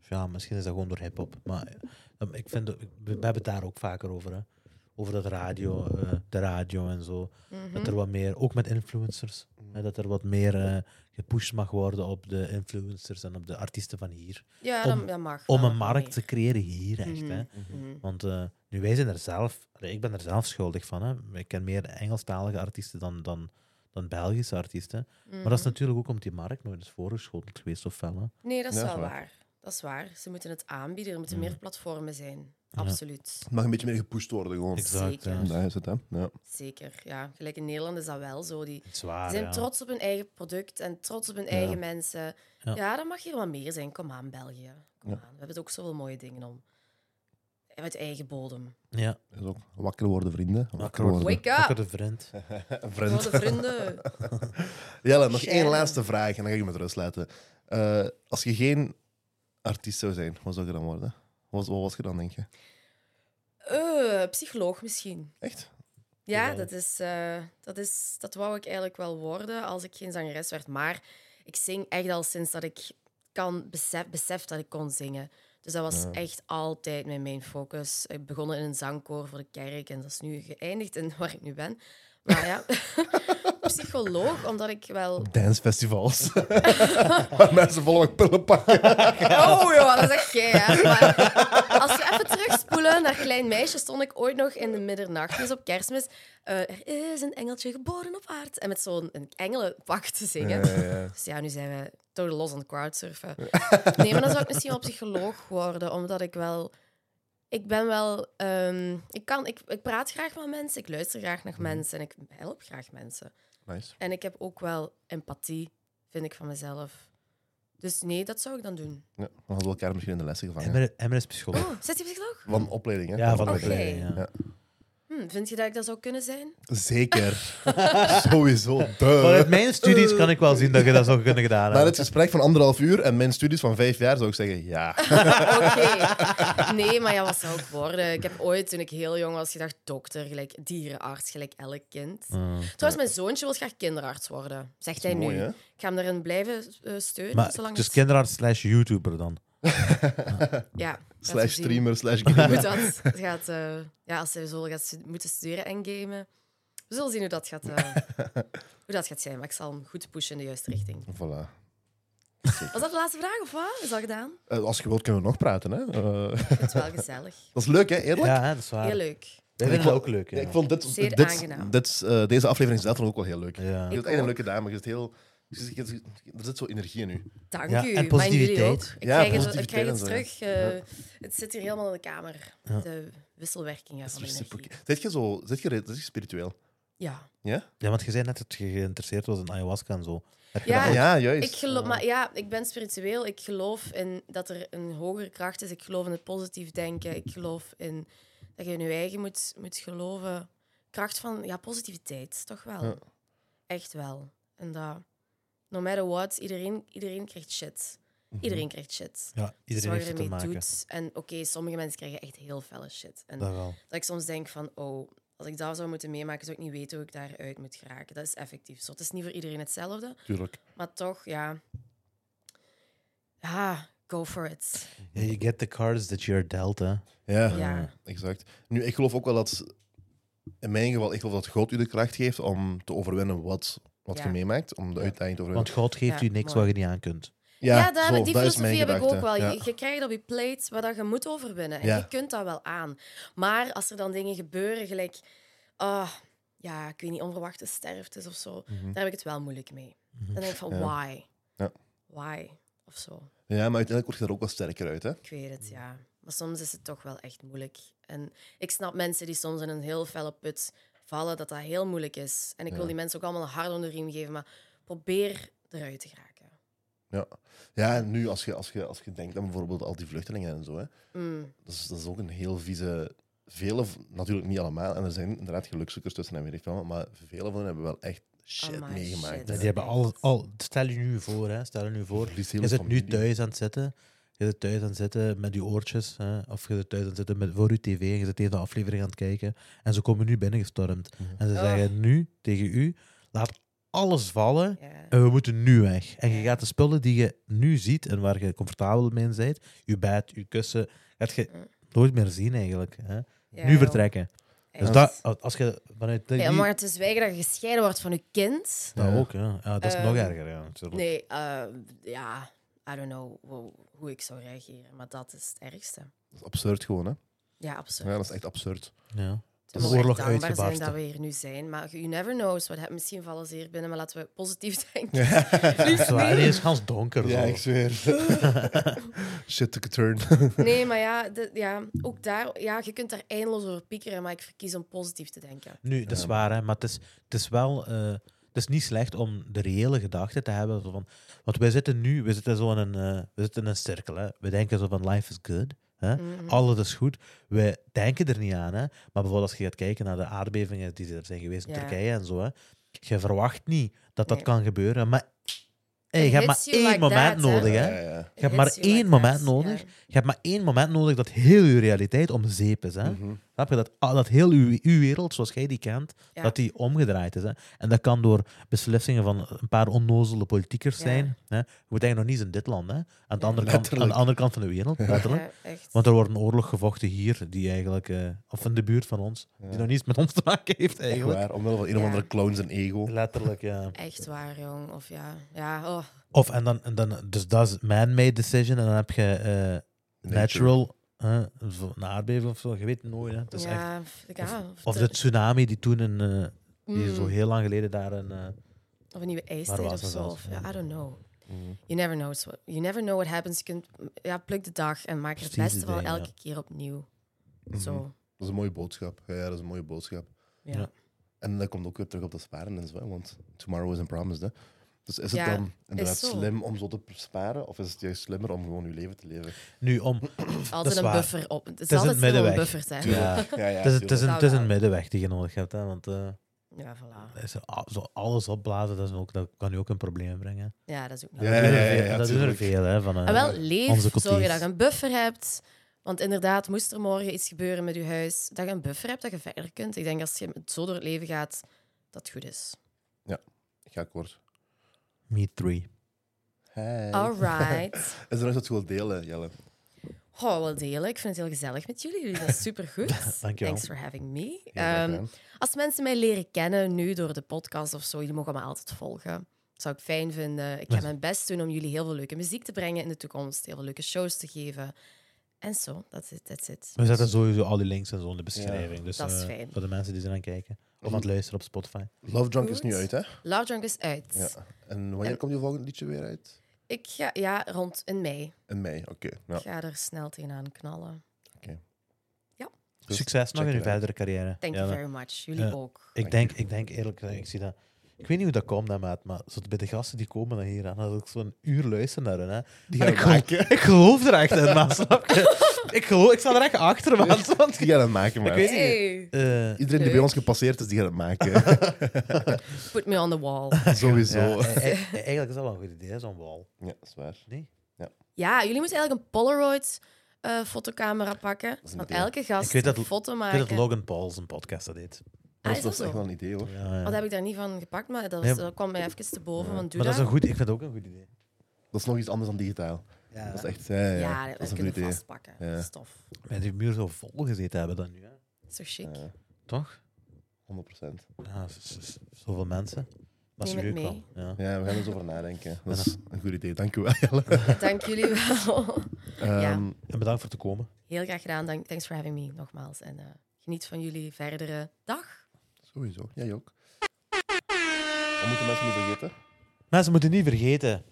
Speaker 3: Ja, misschien is dat gewoon door hip-hop. Maar eh, ik vind, dat- we, we hebben het daar ook vaker over. Hè?
Speaker 1: Mhm.
Speaker 3: Over dat radio, eh, de radio en zo. Dat er wat meer, ook met influencers. hè. Hè, dat er wat meer eh, gepusht mag worden op de influencers en op de artiesten van hier.
Speaker 1: Ja,
Speaker 3: Om-
Speaker 1: dat, dat mag.
Speaker 3: Om
Speaker 1: wel.
Speaker 3: een markt te
Speaker 1: Ah, Nee.
Speaker 3: creëren hier, echt. Hè.
Speaker 1: Mhm.
Speaker 3: Want eh, nu, wij zijn er zelf, allee, ik ben er zelf schuldig van. Hè. Ik ken meer Engelstalige artiesten dan, dan, dan Belgische artiesten. Maar
Speaker 1: Mhm.
Speaker 3: dat is natuurlijk ook omdat die markt nooit is voorgeschoteld geweest of fel. hè.
Speaker 1: Nee, dat is
Speaker 2: Ja,
Speaker 1: wel
Speaker 2: is waar.
Speaker 1: waar. Dat is waar. Ze moeten het aanbieden. Er moeten
Speaker 3: Mhm.
Speaker 1: meer platformen zijn. Absoluut.
Speaker 2: Het mag een beetje meer gepusht worden gewoon.
Speaker 1: Exact. Zeker.
Speaker 3: ja.
Speaker 2: Nee, is het, hè? Ja.
Speaker 1: Zeker. Ja, gelijk in Nederland is dat wel zo. Die
Speaker 3: Het is waar,
Speaker 1: zijn
Speaker 3: ja.
Speaker 1: trots op hun eigen product en trots op hun eigen mensen.
Speaker 3: Ja.
Speaker 1: Ja. dat mag hier wat meer zijn. Kom aan, België. Kom
Speaker 2: Ja.
Speaker 1: aan. We hebben het ook zoveel mooie dingen om. Uit eigen bodem.
Speaker 3: Ja,
Speaker 2: Dat is ook wakker worden, vrienden.
Speaker 3: wakker worden.
Speaker 1: Wake up!
Speaker 3: Wakker de vriend.
Speaker 2: <laughs> Vriend.
Speaker 1: Grote vrienden.
Speaker 2: Jelle, nog één
Speaker 1: Sharon.
Speaker 2: laatste vraag en dan ga ik je met rust laten. Eh, als je geen artiest zou zijn, wat zou je dan worden? Wat, wat was je dan, denk je?
Speaker 1: Eh, psycholoog misschien.
Speaker 2: Echt?
Speaker 1: Ja,
Speaker 3: Jawel.
Speaker 1: dat is, eh, dat is... Dat wou ik eigenlijk wel worden als ik geen zangeres werd. Maar ik zing echt al sinds dat ik kan besef, besef dat ik kon zingen. Dus dat was
Speaker 2: Ja.
Speaker 1: echt altijd mijn main focus. Ik begon in een zangkoor voor de kerk en dat is nu geëindigd in <laughs> waar ik nu ben. Maar ja, <laughs> psycholoog, omdat ik wel...
Speaker 3: <laughs>
Speaker 2: Dancefestivals. <laughs> Waar mensen volop pillen pakken.
Speaker 1: Oh joh, dat is echt gay, hè. Maar als we even terugspoelen naar Klein Meisje, stond ik ooit nog in de middernacht, dus op kerstmis. eh, er is een engeltje geboren op aard. En met zo'n een engelenpak te zingen.
Speaker 2: Ja, ja, ja.
Speaker 1: Dus ja, nu zijn we door los aan het crowdsurfen. Nee, maar dan zou ik misschien wel psycholoog worden, omdat ik wel... Ik ben wel... ehm, ik, kan, ik, ik praat graag met mensen, ik luister graag naar mensen en ik help graag mensen.
Speaker 2: Nice.
Speaker 1: En ik heb ook wel empathie, vind ik, van mezelf. Dus nee, dat zou ik dan doen.
Speaker 2: Ja, dan hadden we elkaar misschien in de lessen gevangen.
Speaker 3: Emmer Emmer is psycholoog.
Speaker 1: Oh, zit je psycholoog?
Speaker 2: Van een opleiding, hè?
Speaker 3: Ja, van de
Speaker 1: Oké.
Speaker 3: opleiding, ja.
Speaker 2: Ja.
Speaker 1: Hm, vind je dat ik dat zou kunnen zijn? <laughs>
Speaker 3: <laughs>
Speaker 2: Zeker. Sowieso. Duh.
Speaker 3: Vanuit mijn studies kan ik wel zien dat je dat zou kunnen gedaan
Speaker 2: Na
Speaker 3: hebben.
Speaker 2: dit gesprek van anderhalf uur en mijn studies van vijf jaar zou ik zeggen ja.
Speaker 1: Oké. Nee, maar ja, wat zou ik worden? Ik heb ooit, toen ik heel jong was, gedacht dokter, gelijk dierenarts, gelijk elk kind.
Speaker 3: Mm.
Speaker 1: Trouwens, mijn zoontje wil graag kinderarts worden, zegt hij
Speaker 2: Mooi,
Speaker 1: nu.
Speaker 2: hè?
Speaker 1: Ik ga hem daarin blijven eh, steunen,
Speaker 3: Maar
Speaker 1: zolang
Speaker 3: dus
Speaker 1: het...
Speaker 3: kinderarts slash YouTuber dan.
Speaker 1: Ja, laten we
Speaker 2: Slash
Speaker 1: zien.
Speaker 2: streamer, slash
Speaker 1: Hoe
Speaker 2: gamer. <laughs>
Speaker 1: moet dat? Het gaat, eh, ja, als hij zo gaat stu- moeten studeren en gamen. We zullen zien hoe dat, gaat,
Speaker 2: <laughs>
Speaker 1: eh, hoe dat gaat zijn, maar ik zal hem goed pushen in de juiste richting.
Speaker 2: Voilà.
Speaker 1: Was dat de laatste vraag, of wat? Is dat gedaan?
Speaker 2: Eh, als je wilt kunnen we nog praten. Hè? Eh, <laughs>
Speaker 1: Ik vind het wel gezellig.
Speaker 2: dat is leuk, hè? Eerlijk?
Speaker 3: Ja, hè, dat is waar.
Speaker 1: Heel leuk.
Speaker 3: Wij
Speaker 2: Ik
Speaker 3: vinden
Speaker 2: vond-
Speaker 3: dat ook leuk. Ja.
Speaker 2: Ik vond dit,
Speaker 1: Zeer
Speaker 2: dit,
Speaker 1: aangenaam.
Speaker 2: dit, eh, deze aflevering zelf vond ik ook wel heel leuk.
Speaker 3: Ja.
Speaker 2: Je
Speaker 1: Ik
Speaker 2: bent echt een
Speaker 1: ook.
Speaker 2: leuke dame. Je zit heel, je zit- je zit- er zit zo energie in u.
Speaker 1: Dank
Speaker 3: Ja,
Speaker 1: u. maar
Speaker 3: en
Speaker 1: jullie
Speaker 3: positiviteit.
Speaker 1: ook. Ik
Speaker 2: Ja,
Speaker 1: krijg het, ik
Speaker 2: positiviteit
Speaker 1: krijg het
Speaker 2: en zo,
Speaker 1: terug. eh, Het zit hier helemaal in de kamer.
Speaker 3: Ja.
Speaker 1: De wisselwerkingen
Speaker 2: Dat is dus
Speaker 1: van de energie.
Speaker 2: super- Zit je zo zit je, re- zit je spiritueel?
Speaker 1: Ja.
Speaker 2: Ja?
Speaker 3: ja, want je zei net dat je geïnteresseerd was in ayahuasca en zo. Heb je
Speaker 1: Ja,
Speaker 3: dat ook?
Speaker 2: ja, juist.
Speaker 1: Ik geloof, maar ja, ik ben spiritueel. Ik geloof in dat er een hogere kracht is. Ik geloof in het positief denken. Ik geloof in dat je in je eigen moet, moet geloven. Kracht van ja, positiviteit, toch wel.
Speaker 2: Ja.
Speaker 1: Echt wel. En dat, no matter what, iedereen, iedereen krijgt shit.
Speaker 2: Mhm,
Speaker 1: Iedereen krijgt shit.
Speaker 3: Ja, iedereen
Speaker 1: Zorg
Speaker 3: heeft het te
Speaker 1: ermee
Speaker 3: maken.
Speaker 1: doet. En oké, sommige mensen krijgen echt heel felle shit. En
Speaker 3: Dat wel.
Speaker 1: Dat ik soms denk van, oh, als ik dat zou moeten meemaken, zou ik niet weten hoe ik daaruit moet geraken. Dat is effectief zo. Het is niet voor iedereen hetzelfde,
Speaker 2: Tuurlijk.
Speaker 1: maar toch, ja. Ja, go for it.
Speaker 3: Ja, you get the cards that you're dealt, hè.
Speaker 2: Ja,
Speaker 1: Ja.
Speaker 2: exact. Nu, ik geloof ook wel dat, in mijn geval, ik geloof dat God u de kracht geeft om te overwinnen wat, wat
Speaker 1: Ja.
Speaker 2: je meemaakt. Om de uitdaging te
Speaker 3: Want
Speaker 2: overwinnen.
Speaker 3: God geeft
Speaker 1: Ja,
Speaker 3: u niks
Speaker 1: mooi.
Speaker 3: wat je niet aan kunt.
Speaker 1: Ja,
Speaker 2: zo,
Speaker 1: daar, die
Speaker 2: dat is mijn
Speaker 1: filosofie heb ik
Speaker 2: gedachte.
Speaker 1: ook wel.
Speaker 2: Ja.
Speaker 1: Je, je krijgt op je plate wat dat je moet overwinnen. En
Speaker 2: Ja.
Speaker 1: je kunt dat wel aan. Maar als er dan dingen gebeuren, gelijk... ah, ja, ik weet niet, onverwachte sterftes of zo. Daar heb ik het wel moeilijk mee. Dan denk ik van,
Speaker 2: Mhm. Ja.
Speaker 1: why?
Speaker 2: Ja.
Speaker 1: Why? Of zo.
Speaker 2: Ja, maar uiteindelijk word je er ook wel sterker uit. Hè?
Speaker 1: Ik weet het, ja. Maar soms is het toch wel echt moeilijk. En ik snap mensen die soms in een heel felle put vallen, dat dat heel moeilijk is. En ik wil die mensen ook allemaal een hard onder de riem geven, maar probeer eruit te geraken.
Speaker 2: Ja. ja, en nu als je, als, je, als je denkt aan bijvoorbeeld al die vluchtelingen en zo. Hè,
Speaker 1: Mm,
Speaker 2: dat, is, dat is ook een heel vieze... Vele, v- natuurlijk niet allemaal, en er zijn inderdaad gelukzoekers tussen en weet ik veel wat, maar vele van hen hebben wel echt shit
Speaker 1: Amai,
Speaker 2: meegemaakt.
Speaker 1: shit.
Speaker 3: Ja,
Speaker 2: hè.
Speaker 3: die hebben al, al, stel je nu voor, hè, stel je nu voor,
Speaker 2: Verliest
Speaker 3: je
Speaker 2: hele
Speaker 3: zit nu
Speaker 2: familie.
Speaker 3: thuis aan het zitten, je zit thuis aan het zitten met je oortjes, hè, of je zit thuis aan het zitten met, voor je tv, je zit deze aflevering aan het kijken, en ze komen nu binnengestormd. En ze
Speaker 1: Ah.
Speaker 3: zeggen nu tegen u, laat alles vallen,
Speaker 1: ja.
Speaker 3: en we moeten nu weg. En je gaat de spullen die je nu ziet en waar je comfortabel mee bent, je bed, je kussen, gaat je nooit meer zien eigenlijk. Hè.
Speaker 1: Mm. Ja,
Speaker 3: nu
Speaker 1: joh.
Speaker 3: vertrekken. Dus
Speaker 1: Echt.
Speaker 3: dat, als je vanuit die...
Speaker 1: Ja, maar te zwijgen dat je gescheiden wordt van je kind.
Speaker 3: Dat
Speaker 2: Ja.
Speaker 3: ook, ja. ja dat is nog
Speaker 1: Ehm,
Speaker 3: erger, ja. natuurlijk.
Speaker 1: Nee, eh, ja, I don't know hoe, hoe ik zou reageren, maar dat is het ergste.
Speaker 2: Dat is absurd gewoon, hè?
Speaker 1: Ja, absoluut.
Speaker 2: Ja, dat is echt
Speaker 3: <laughs>
Speaker 2: absurd.
Speaker 3: Ja.
Speaker 1: Het
Speaker 3: is
Speaker 1: wel
Speaker 3: oorlog
Speaker 1: echt dankbaar zijn
Speaker 3: uitgebarsten.
Speaker 1: dat we hier nu zijn, maar you never know. Wat heb- misschien vallen ze hier binnen, maar laten we positief denken.
Speaker 2: ja,
Speaker 3: Het is waar, die is gans donker. zo.
Speaker 1: <laughs>
Speaker 2: ik zweer. Shit took a
Speaker 3: <laughs>
Speaker 2: turn.
Speaker 1: Nee, maar ja, de- ja, ook daar, ja, je kunt daar eindeloos over piekeren, maar ik verkies om positief te denken.
Speaker 3: Nu, dat is
Speaker 2: Ja.
Speaker 3: waar, hè, maar het is, het is wel. eh, het is niet slecht om de reële gedachte te hebben. zo Van, want wij zitten nu, we zitten zo in een, eh, we zitten in een cirkel. Hè. We denken zo van life is good. Hè.
Speaker 1: Mhm.
Speaker 3: Alles is goed. We denken er niet aan. Hè. Maar bijvoorbeeld als je gaat kijken naar de aardbevingen die er zijn geweest in
Speaker 1: Ja.
Speaker 3: Turkije en zo. Hè. Je verwacht niet dat dat
Speaker 1: Nee.
Speaker 3: kan gebeuren. Maar hey, je
Speaker 1: It
Speaker 3: hebt maar
Speaker 1: hits you
Speaker 3: één
Speaker 1: like
Speaker 3: moment
Speaker 1: that, hè.
Speaker 3: nodig. Hè.
Speaker 2: Ja, ja.
Speaker 3: Je hebt maar
Speaker 1: Hits you
Speaker 3: één
Speaker 1: like
Speaker 3: moment
Speaker 1: that,
Speaker 3: nodig.
Speaker 1: ja.
Speaker 3: Je hebt maar één moment nodig dat heel je realiteit om zeep is. Hè?
Speaker 2: Mhm.
Speaker 3: Snap je? Dat, ah, dat heel uw, uw wereld, zoals jij die kent,
Speaker 1: Ja.
Speaker 3: dat die omgedraaid is. Hè? En dat kan door beslissingen van een paar onnozele politiekers
Speaker 1: Ja.
Speaker 3: zijn. Hè? Je moet eigenlijk nog niet eens in dit land. Hè? Aan, de andere kant, aan
Speaker 2: letterlijk.
Speaker 3: de andere kant van de wereld, letterlijk.
Speaker 1: Ja, echt.
Speaker 3: Want er wordt een oorlog gevochten hier, die eigenlijk, eh, of in de buurt van ons, die nog niets met ons te maken heeft
Speaker 2: Echt
Speaker 3: eigenlijk.
Speaker 2: waar, omwille van een of
Speaker 1: Ja.
Speaker 2: andere clowns en ego.
Speaker 3: Letterlijk, ja.
Speaker 1: Echt waar, jong. Of ja, ja oh,
Speaker 3: Of en dan, en dan dus dat is man-made decision. En dan heb je eh, natural, hè, zo een aardbeving of zo. Je weet het nooit. Hè. Het is echt,
Speaker 1: ja, f- ja,
Speaker 3: of de
Speaker 1: de-
Speaker 3: tsunami die toen in, eh, die
Speaker 1: Mm.
Speaker 3: zo heel lang geleden daar in. eh,
Speaker 1: Of een nieuwe ijstijd
Speaker 3: was
Speaker 1: of
Speaker 3: dat
Speaker 1: zo.
Speaker 3: zelfs?
Speaker 1: Of,
Speaker 3: Ja.
Speaker 1: I don't know.
Speaker 2: Mm.
Speaker 1: You never know, what, you never know what happens. Je kunt, ja, pluk de dag en maak er het
Speaker 3: Precies
Speaker 1: beste
Speaker 3: het
Speaker 1: van
Speaker 3: ding, ja. Mhm.
Speaker 1: elke keer opnieuw. Zo,
Speaker 2: Dat is een mooie boodschap. Ja, ja, dat is een mooie boodschap.
Speaker 1: ja.
Speaker 3: Ja.
Speaker 2: En dat komt ook weer terug op dat sparen en zo, hè, want tomorrow is promised, hè. Dus is het
Speaker 1: Ja,
Speaker 2: dan inderdaad
Speaker 1: zo.
Speaker 2: slim om zo te sparen, of is het juist slimmer om gewoon je leven te leven?
Speaker 3: Nu om.
Speaker 1: Altijd
Speaker 3: is
Speaker 1: een
Speaker 3: waar.
Speaker 1: buffer op. Het is,
Speaker 3: een
Speaker 1: altijd slim om
Speaker 3: middenweg.
Speaker 1: buffer te hebben.
Speaker 3: Ja.
Speaker 2: Ja, ja,
Speaker 3: Het is, het, is een, het is een
Speaker 1: Zou-
Speaker 3: middenweg die je nodig hebt. Hè, want eh,
Speaker 1: Ja, voilà.
Speaker 3: is er al- zo alles opblazen, dat, is ook, dat kan je ook in problemen brengen.
Speaker 1: Ja, dat is ook
Speaker 2: Ja,
Speaker 3: dat doen er
Speaker 2: ja,
Speaker 3: veel-
Speaker 2: ja,
Speaker 3: dat doen er
Speaker 2: tuurlijk.
Speaker 3: veel. Hè, van, eh,
Speaker 1: En Ah, wel,
Speaker 3: onze
Speaker 1: leef, zorg
Speaker 3: cultuur.
Speaker 1: dat je een buffer hebt. Want inderdaad, moest er morgen iets gebeuren met je huis, dat je een buffer hebt, dat je verder kunt. Ik denk als je zo door het leven gaat, dat het goed is.
Speaker 2: Ik ga kort.
Speaker 3: Meet three.
Speaker 2: Hey. <laughs>
Speaker 1: All right.
Speaker 2: Is er nog iets dat je wilt delen, Jelle?
Speaker 1: Oh, wel delen. Ik vind het heel gezellig met jullie. Jullie
Speaker 2: <laughs>
Speaker 1: zijn supergoed.
Speaker 3: Dankjewel.
Speaker 1: Thanks for having me.
Speaker 2: Heel graag
Speaker 1: Ehm,
Speaker 2: gedaan.
Speaker 1: als mensen mij leren kennen nu door de podcast of zo, jullie mogen me altijd volgen. Dat zou ik fijn vinden. Ik ga
Speaker 3: Ja.
Speaker 1: mijn best doen om jullie heel veel leuke muziek te brengen in de toekomst. Heel veel leuke shows te geven. En zo, dat is het.
Speaker 3: We zetten sowieso al die links en zo in de beschrijving. dus
Speaker 1: dat is
Speaker 3: eh,
Speaker 1: fijn.
Speaker 3: voor de mensen die zijn aan het kijken
Speaker 2: Mhm.
Speaker 3: of aan het luisteren op Spotify.
Speaker 2: Love Drunk is
Speaker 1: Goed.
Speaker 2: nu uit, hè?
Speaker 1: Love Drunk is uit.
Speaker 2: Ja. En wanneer komt je volgende liedje weer uit?
Speaker 1: Ik ga, ja, rond in mei.
Speaker 2: In mei, oké. Ja.
Speaker 1: Ik ga er snel tegenaan knallen.
Speaker 2: Dus
Speaker 3: Succes
Speaker 2: check
Speaker 3: nog in uw
Speaker 2: it out.
Speaker 3: verdere carrière.
Speaker 1: Thank
Speaker 3: Ja,
Speaker 1: you
Speaker 3: dat-
Speaker 1: very much. Jullie
Speaker 3: Ja.
Speaker 1: ook.
Speaker 3: Ik denk, ik denk eerlijk gezegd, ik zie dat. Ik weet niet hoe dat komt, hè, maat, maar zo bij de gasten die komen dan hier aan, dat ik zo'n uur luister naar hen. Hè.
Speaker 2: Die
Speaker 3: Maar
Speaker 2: gaan
Speaker 3: ik, geloof,
Speaker 2: maken. <laughs>
Speaker 3: ik geloof er echt in, maat. <laughs> Snap je? Ik, geloof, ik sta er echt achter, maat. Want,
Speaker 2: Die gaan het maken, man.
Speaker 3: Ik weet-
Speaker 1: Hey,
Speaker 2: Iedereen
Speaker 3: eh,
Speaker 2: die bij
Speaker 1: Leuk.
Speaker 2: ons gepasseerd is, die gaat het
Speaker 3: <laughs>
Speaker 2: maken. <laughs>
Speaker 1: put me on the wall.
Speaker 2: Sowieso.
Speaker 3: ja,
Speaker 2: Ja,
Speaker 3: eh, eh, eigenlijk is dat wel een goed idee, hè, zo'n wall.
Speaker 2: dat is
Speaker 1: Ah,
Speaker 2: waar.
Speaker 3: Nee?
Speaker 1: Ja, jullie moeten eigenlijk een Polaroid eh, fotocamera pakken.
Speaker 2: is een
Speaker 1: Van
Speaker 2: idee.
Speaker 1: elke
Speaker 3: Ik
Speaker 1: gast
Speaker 3: weet dat-
Speaker 1: een foto
Speaker 3: Ik
Speaker 1: maken.
Speaker 3: weet dat Logan Paul zijn podcast dat deed.
Speaker 1: Ah,
Speaker 2: Dat
Speaker 1: is
Speaker 2: is,
Speaker 1: dat
Speaker 2: echt wel
Speaker 1: zo?
Speaker 2: een idee, hoor.
Speaker 3: Ja, ja.
Speaker 1: Oh, dat heb ik daar niet van gepakt, maar dat, was,
Speaker 3: Nee.
Speaker 1: dat kwam mij even te boven. Want doe
Speaker 3: Maar dat is een
Speaker 1: dat.
Speaker 3: goed, ik vind het ook een goed idee.
Speaker 2: Dat is nog iets anders dan digitaal.
Speaker 3: Ja.
Speaker 2: Dat is echt... Ja, ja,
Speaker 1: Ja,
Speaker 2: dat
Speaker 1: dat
Speaker 2: is een
Speaker 1: kunnen
Speaker 2: goed
Speaker 1: we
Speaker 2: idee.
Speaker 1: vastpakken.
Speaker 2: Ja.
Speaker 1: Dat is tof.
Speaker 3: Maar die muur zou vol gezeten hebben dan nu, hè.
Speaker 1: Dat is toch chic?
Speaker 2: Ja,
Speaker 3: toch?
Speaker 2: 100%.
Speaker 3: Ja, z- z- z- zoveel mensen. Maar
Speaker 1: Neem
Speaker 3: is leuk
Speaker 1: het
Speaker 3: wel.
Speaker 1: mee.
Speaker 3: Ja.
Speaker 2: Ja, we gaan er eens over nadenken. Dat is een goed idee. Dank u wel, <laughs> Jelle.
Speaker 1: <laughs> Dank jullie wel.
Speaker 2: Ehm,
Speaker 3: En bedankt voor te komen.
Speaker 1: Heel graag gedaan. Dank- Thanks for having me, nogmaals. En eh, geniet van jullie verdere dag.
Speaker 2: Sowieso. Jij ook. Wat moeten mensen niet vergeten?
Speaker 3: Mensen moeten niet vergeten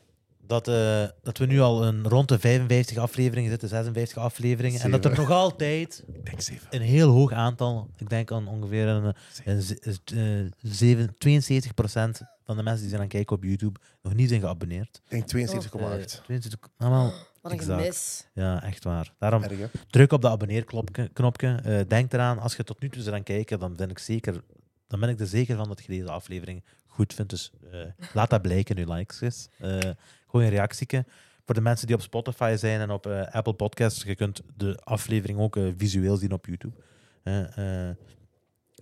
Speaker 3: dat, eh, dat we nu al een, rond de 55 afleveringen zitten, 56 afleveringen. En dat er nog altijd
Speaker 2: Denk zeven.
Speaker 3: een heel hoog aantal, ik denk aan ongeveer een, een, ze- eh, zeven- 72% van de mensen die zijn aan het kijken op YouTube nog niet zijn geabonneerd.
Speaker 2: Ik denk 72,8.
Speaker 3: Eh, 22 allemaal.
Speaker 1: Wat een
Speaker 3: Exact.
Speaker 1: gemis.
Speaker 3: Ja, echt waar. Daarom
Speaker 2: Erg, hè?
Speaker 3: druk op dat abonneerknopje. knopje. Eh, denk eraan, als je tot nu toe bent aan het kijken, dan ben ik, zeker, dan ben ik er zeker van dat je deze aflevering goed vindt. Dus eh, laat dat blijken in uw likes. is. Eh, gewoon een reactieke. Voor de mensen die op Spotify zijn en op eh, Apple Podcasts, je kunt de aflevering ook eh, visueel zien op YouTube. Eh, eh,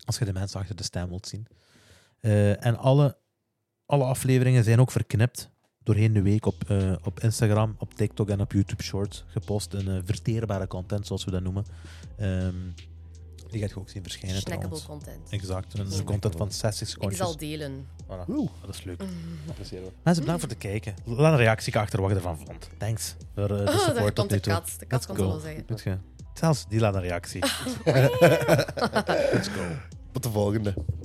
Speaker 3: als je de mensen achter de stem wilt zien. Eh, en alle, alle afleveringen zijn ook verknipt doorheen de week op, eh, op Instagram, op TikTok en op YouTube Shorts gepost. Een eh, verteerbare content, zoals we dat noemen. Ehm, Die gaat je ook zien verschijnen.
Speaker 1: Snackable
Speaker 3: trouwens.
Speaker 1: content.
Speaker 3: Exact. En dat is een
Speaker 1: Ja.
Speaker 3: content van 60
Speaker 1: Ik
Speaker 3: seconden.
Speaker 1: zal delen.
Speaker 3: Voilà. Ah,
Speaker 2: Woe.
Speaker 3: Dat is leuk.
Speaker 2: Appreciëren we.
Speaker 3: Mensen, bedankt voor het kijken. Laat een reactie achter wat je ervan vond. Thanks voor eh, de
Speaker 1: Oh,
Speaker 3: support
Speaker 1: daar
Speaker 3: tot
Speaker 1: komt <laughs>
Speaker 3: nu
Speaker 1: de
Speaker 3: toe.
Speaker 1: kat. De kat
Speaker 3: Let's
Speaker 1: komt het
Speaker 3: go.
Speaker 1: wel
Speaker 2: <laughs>
Speaker 1: zeggen.
Speaker 3: Moet je- Zelfs die laat een reactie.
Speaker 2: Tot de volgende.